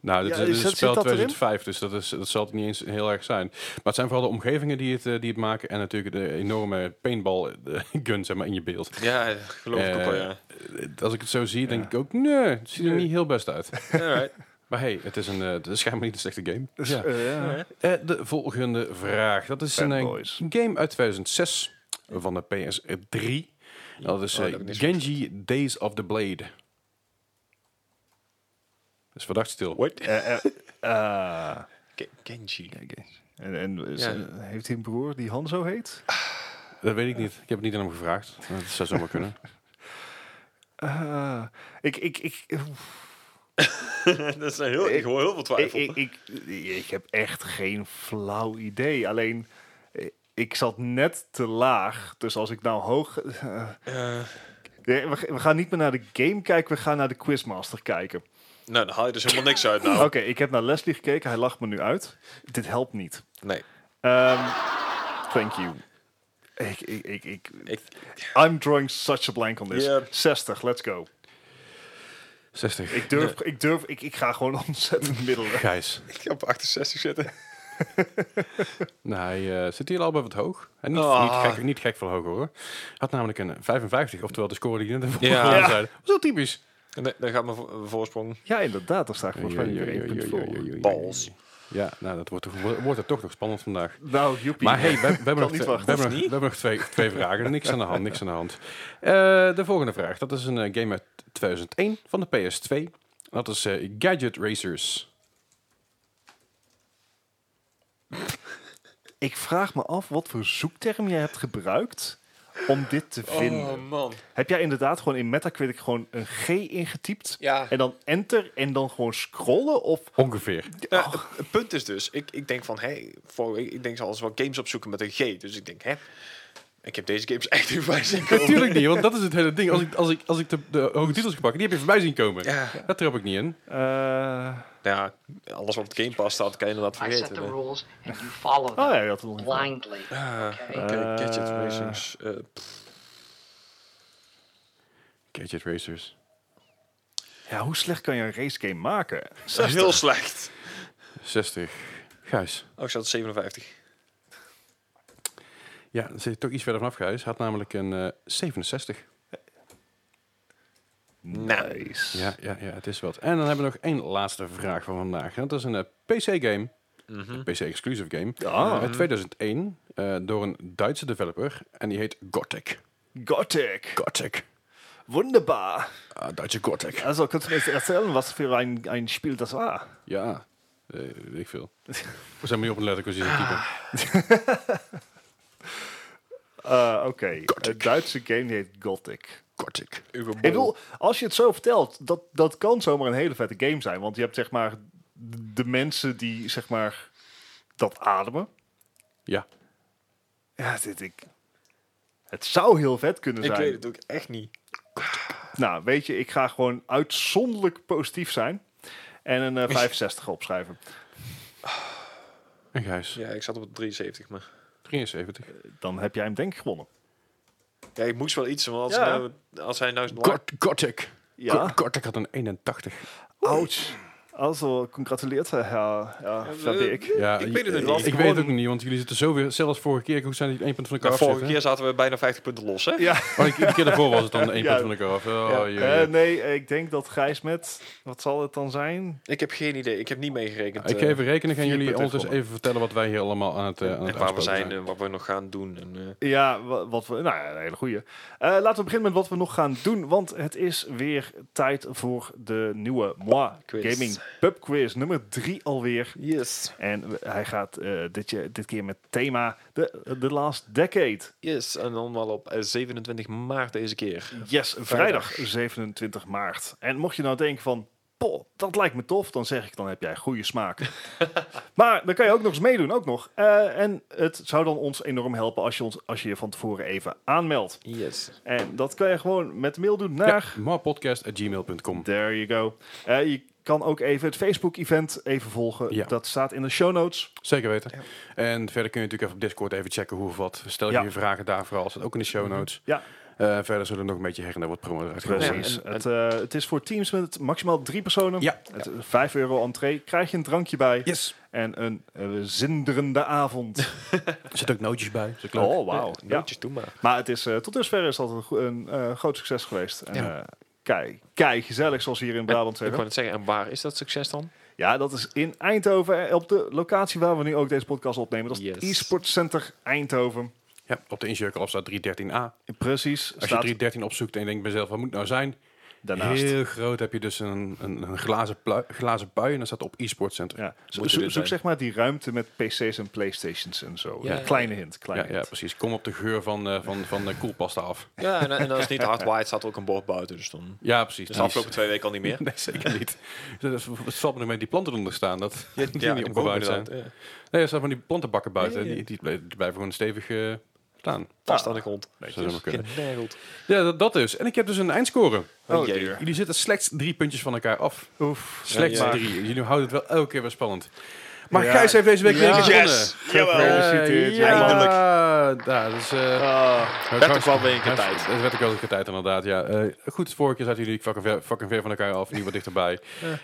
S1: Nou, dit
S2: Ja,
S1: is, dit
S2: is
S1: is
S2: dat-
S1: het spel
S2: zit dat erin?
S1: 2005, dus dat, is, dat zal het niet eens heel erg zijn. Maar het zijn vooral de omgevingen die het, eh, die het maken. En natuurlijk de enorme paintball eh, gun zeg maar, in je beeld.
S3: Ja, geloof ik ook wel, ja.
S1: Eh, Als ik het zo zie, denk ik ook, nee, het ziet er niet heel best uit.
S3: Alright.
S1: maar hey, het is, een, eh, het is schijnbaar niet een slechte game.
S2: Dus,
S1: ja.
S2: eh, ja.
S1: Eh, de volgende vraag. Dat is een eh,
S2: Fanboys.
S1: game uit 2006 van de PS3. Dat is
S3: Oh,
S1: eh,
S3: dat heb ik niet
S1: Genji Days of the Blade. Dus verdacht stil.
S3: What?
S2: Eh, eh, eh,
S3: Ge- Genji.
S2: kijk eens. en en is-
S3: Ja.
S2: eh, heeft hij een broer die Hanzo heet?
S1: Dat weet ik niet. Ik heb het niet aan hem gevraagd. Maar Dat zou zomaar kunnen.
S2: Eh, ik, ik, ik,
S3: dat is een heel, ik hoor heel veel
S2: ik,
S3: twijfel.
S2: ik, ik, ik heb echt geen flauw idee. Alleen, eh, ik zat net te laag. Dus als ik nou hoog... eh,
S3: Eh,
S2: Nee, we, g- we gaan niet meer naar de game kijken, we gaan naar de Quizmaster kijken.
S3: nou, dan haal je dus helemaal niks uit
S2: Oké,
S3: nou.
S2: ik heb naar Leslie gekeken, hij lacht me nu uit. Dit helpt niet.
S3: Nee.
S2: Ehm, thank you. Ik, ik, ik, ik,
S3: Ik,
S2: I'm drawing such a blank on this.
S3: Ja.
S2: 60, let's go.
S1: 60.
S2: Ik durf, ik durf, ik, ik ga gewoon ontzettend middelen.
S1: Gijs.
S3: ik ga op 68 zitten.
S1: Nou, hij eh, zit hier al bij wat hoog. En niet,
S3: Ah.
S1: niet, gek, niet gek veel hoger hoor. Had namelijk een 55, oftewel de score die je net
S3: Ja.
S1: ja.
S2: Ja.
S1: zei. Dat is wel typisch.
S3: Nee, dan gaat mijn vo- eh, voorsprong.
S2: Ja, inderdaad, daar sta ik volgens mij
S1: Ja,
S2: weer
S1: ja,
S2: één
S1: ja,
S2: punt
S1: ja, ja,
S2: voor.
S1: ja, ja.
S3: Balls.
S1: Ja, nou, dat wordt, toch- wordt het toch nog spannend vandaag.
S2: Nou, joepie.
S1: Maar hey, we, we, hebben, nog
S2: niet
S1: twee,
S2: wachten.
S1: we, hebben, nog, we hebben nog twee, twee vragen. Niks aan de hand, niks aan de hand. Eh, de volgende vraag. Dat is een eh, game uit 2001 van de PS2. Dat is eh, Gadget Racers.
S2: Ik vraag me af wat voor zoekterm jij hebt gebruikt om dit te
S3: Ehm,
S2: vinden.
S3: Oh, man.
S2: Heb jij inderdaad gewoon in Metacritic gewoon een G ingetypt?
S3: Ja.
S2: En dan enter en dan gewoon scrollen? Of
S1: Ongeveer.
S3: Ja, Nou, het punt is dus, ik, ik denk van, hé, voor- ik, ik denk ze alles wel games opzoeken met een G. Dus ik denk, hè, ik heb deze games echt niet voorbij zien komen.
S1: Natuurlijk niet, want dat is het hele ding. Als ik, als ik, als ik de, de hoge titels pak, die heb je voorbij zien komen.
S3: Ja,
S1: Dat trap ik niet in.
S2: eh
S3: nou ja, alles wat op het Game Pass staat, kan je inderdaad
S4: I set
S3: vergeten.
S4: the
S3: hè.
S4: rules and you follow
S2: Oh
S4: them
S2: ja, dat nog niet.
S4: blindly.
S3: Ah,
S4: Okay.
S3: Oké,
S2: Eh.
S3: Gadget Racings. eh, pff,
S1: Gadget Racers.
S2: Ja, hoe slecht kan je een racegame maken?
S3: heel slecht.
S1: 60. Gijs.
S3: Oh, ik zat op 57.
S1: Ja, dan zit je toch iets verder vanaf, Gijs. Had namelijk een eh, 67.
S2: Nice.
S1: Ja, ja, ja, het is wat. En dan hebben we nog één laatste vraag van vandaag. En dat is een eh, PC-game. Een PC-exclusive game.
S2: Ah.
S1: Uit 2001 eh, door een Duitse developer. En die heet Gothic.
S2: Gothic.
S1: Gothic.
S2: Wunderbar.
S1: Ah, Duitse Gothic.
S2: Also, kannst du mir jetzt erzählen, was für ein, ein Spiel das war?
S1: Ja, eh, weet ik veel. We zijn maar niet op een letterkurs hier typen.
S2: Eh, Oké, een Duitse game die heet Gothic.
S1: Gothic.
S3: Uwe
S2: Ik
S3: bol.
S2: bedoel, als je het zo vertelt, dat, dat kan zomaar een hele vette game zijn. Want je hebt zeg maar de mensen die zeg maar dat ademen.
S1: Ja.
S2: Ja, dit ik. Het zou heel vet kunnen
S3: Ik
S2: zijn.
S3: weet het ook echt niet.
S2: Nou, weet je, ik ga gewoon uitzonderlijk positief zijn. En een eh, 65 opschrijven.
S1: En Gijs.
S3: Ja, ik zat op 73, maar...
S1: 73.
S2: Dan heb jij hem denk ik gewonnen.
S3: Ja, ik moest wel iets, want als,
S2: Ja.
S3: hij nou, als hij nou... is-
S1: Gort- Gothic.
S2: Ja.
S1: Go- Gothic had een 81.
S2: Ouch. Also, congratuleert, Herr, ja, Verbeek.
S1: Ja,
S3: Ik weet het
S1: eh,
S3: nog wel.
S1: Ik
S3: Gewoon-
S1: weet het ook nog niet, want jullie zitten zo weer... Zelfs vorige keer, hoe zijn die één punt van elkaar
S3: Nou,
S1: af
S3: vorige
S1: zitten?
S3: keer zaten we bijna 50 punten los, hè?
S2: Ja,
S1: Oh, ik- de keer daarvoor was het dan één
S2: Ja.
S1: punt van elkaar af. Oh,
S3: Ja.
S1: jee.
S2: eh, nee, eh, ik denk dat Gijs met, wat zal het dan zijn?
S3: Ik heb geen idee. Ik heb niet meegerekend.
S1: ik
S3: eh,
S1: geef even rekening. Gaan
S3: vier
S1: jullie
S3: punten
S1: ondertussen even vertellen wat wij hier allemaal aan het, eh, aan het
S3: en waar we
S1: afspelen
S3: zijn en wat we nog gaan doen. En, eh,
S2: Ja, wa- wat we, nou ja, een hele goeie. Eh, laten we beginnen met wat we nog gaan doen, want het is weer tijd voor de nieuwe Moi
S3: Quiz.
S2: Gaming Pub Quiz, nummer 3 alweer.
S3: yes,
S2: En we- hij gaat eh, dit, je- dit keer met thema de The Last Decade.
S3: yes. En dan wel op eh, 27 maart deze keer.
S2: Yes, vrijdag 27 maart. En mocht je nou denken van, poh, dat lijkt me tof, dan zeg ik, dan heb jij goede smaak. maar dan kan je ook nog eens meedoen, ook nog. Eh, en het zou dan ons enorm helpen als je, ons, als je je van tevoren even aanmeldt.
S3: Yes.
S2: En dat kan je gewoon met mail doen
S3: eh.
S2: naar...
S1: Ja, moapodcast@gmail.com.
S2: There you go. Eh, je kan ook even het Facebook-event even volgen.
S1: Ja.
S2: Dat staat in de show notes.
S1: Zeker weten. En verder kun je natuurlijk even op Discord even checken hoe of wat. Stel
S2: Ja.
S1: je vragen daar vooral. Staat ook in de
S3: Mhm.
S1: show notes.
S2: Ja.
S1: Eh, verder zullen er nog een beetje her en daar wat promo eruit gaan.
S3: Precies.
S2: Precies.
S3: Ja, en-
S2: het, eh, het is voor teams met maximaal drie personen.
S1: Ja.
S2: Het, is 5 euro entree. Krijg je een drankje bij.
S1: Yes.
S2: En een eh, zinderende avond.
S1: Er zitten ook nootjes bij. Dus ik leuk.
S2: oh, wauw.
S3: Ja,
S2: Ja.
S3: nootjes doen maar.
S2: Maar het is, eh, tot dusver is dat een, go- een eh, groot succes geweest. En,
S3: Ja.
S2: eh, Kei, kei gezellig, zoals ze hier in Brabant
S3: Ik wou
S2: zeggen.
S3: het zeggen, en waar is dat succes dan?
S2: Ja, dat is in Eindhoven, eh, op de locatie waar we nu ook deze podcast opnemen. Dat is het
S3: Yes.
S2: e-sport center Eindhoven.
S1: Ja, op de Incircle af staat 313a.
S2: Prezel's
S1: Als je
S2: staat
S1: 313 opzoekt en je denkt bij jezelf, wat moet het nou zijn?
S2: daarnaast.
S1: Heel groot heb je dus een, een, een glazen, plui- glazen bui en dan staat op e-sport center.
S2: Ja. Zo-
S3: Moet
S2: zo-
S3: er dus
S2: zoek
S3: zijn.
S2: zeg maar die ruimte met PC's en PlayStations en zo.
S3: Ja.
S2: Een Kleine hint, kleine
S1: Ja, ja,
S2: hint.
S1: precies. Kom op de geur van, eh, van, van de koelpasta af.
S3: Ja, en, en als het niet hard waait, staat er ook een bord buiten. Dus dan...
S1: Ja, precies.
S3: Dus
S1: Die
S3: de
S1: is-
S3: afgelopen twee weken al niet meer.
S1: Nee, zeker niet. Dus dat- Het valt me nog mee die planten eronder staan. Dat die niet
S3: de
S1: omgebouwd
S3: bomen
S1: zijn.
S3: inderdaad, ja.
S1: Nee, er staan van die plantenbakken buiten.
S3: Ja, ja, ja.
S1: Die, die, ble- die blijven gewoon stevig eh, staan.
S3: Vast aan de grond.
S1: Dat zou zomaar kunnen.
S3: Genageld.
S1: Ja, dat, dat dus. En ik heb dus een eindscore.
S2: Oh,
S3: Oh, jee.
S2: dear.
S1: Jullie zitten slechts drie puntjes van elkaar af.
S2: Oef.
S1: Slechts
S3: Ja, ja.
S1: drie. Jullie houden het wel elke keer weer spannend. Maar
S2: Ja.
S1: Gijs heeft deze week weer
S2: Ja.
S1: gewonnen.
S3: Yes!
S2: Jawel.
S3: Jawel.
S2: Gefeliciteerd,
S1: Eh,
S3: eindelijk.
S1: Ja, ja, dus, eh,
S2: Ah,
S1: het
S3: werd
S1: was-
S3: ook wel weer een keer
S1: het-
S3: tijd.
S1: Het werd ook wel een keer tijd, inderdaad. Ja. Eh, goed, vorige keer zaten jullie fucking ver, fucking ver van elkaar af. Nu wat dichterbij.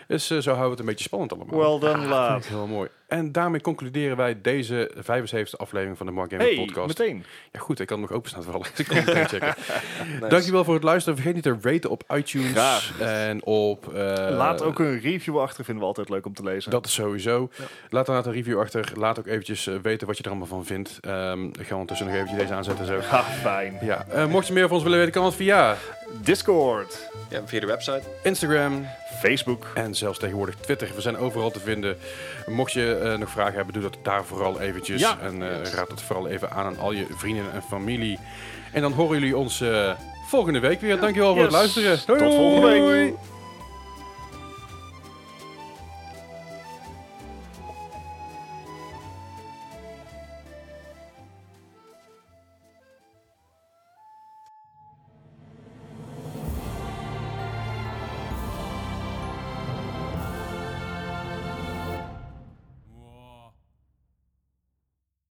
S1: Dus eh, zo houden we het een beetje spannend allemaal.
S2: well done,
S1: Dat
S2: laat.
S1: is heel mooi. En daarmee concluderen wij deze 75e aflevering van de Mark Gaming
S2: Hey,
S1: Podcast.
S2: meteen.
S1: Ja, goed, ik kan hem nog openstaan voor alles. Ik kan het meteen checken. Dankjewel voor het luisteren. Vergeet niet te raten op iTunes
S2: Graag.
S1: en op... eh,
S2: Laat ook een review achter, vinden we altijd leuk om te lezen.
S1: Dat is sowieso. Laat daarna een review achter. Laat ook eventjes eh, weten wat je er allemaal van vindt. Ehm, ik ga ondertussen nog eventjes deze aanzetten en zo.
S2: Ha, fijn.
S1: Ja. eh, mocht je meer van ons willen weten, kan dat via
S2: Discord,
S3: Ja, via de website.
S1: Instagram
S2: Facebook.
S1: en zelfs tegenwoordig Twitter. We zijn overal te vinden. Mocht je eh, nog vragen hebben, doe dat daar vooral eventjes.
S2: Ja.
S1: En eh, raad het vooral even aan aan al je vrienden en familie. En dan horen jullie ons eh, volgende week weer. Dankjewel voor het
S2: Yes.
S1: luisteren.
S2: Tot volgende week.
S1: Hoi.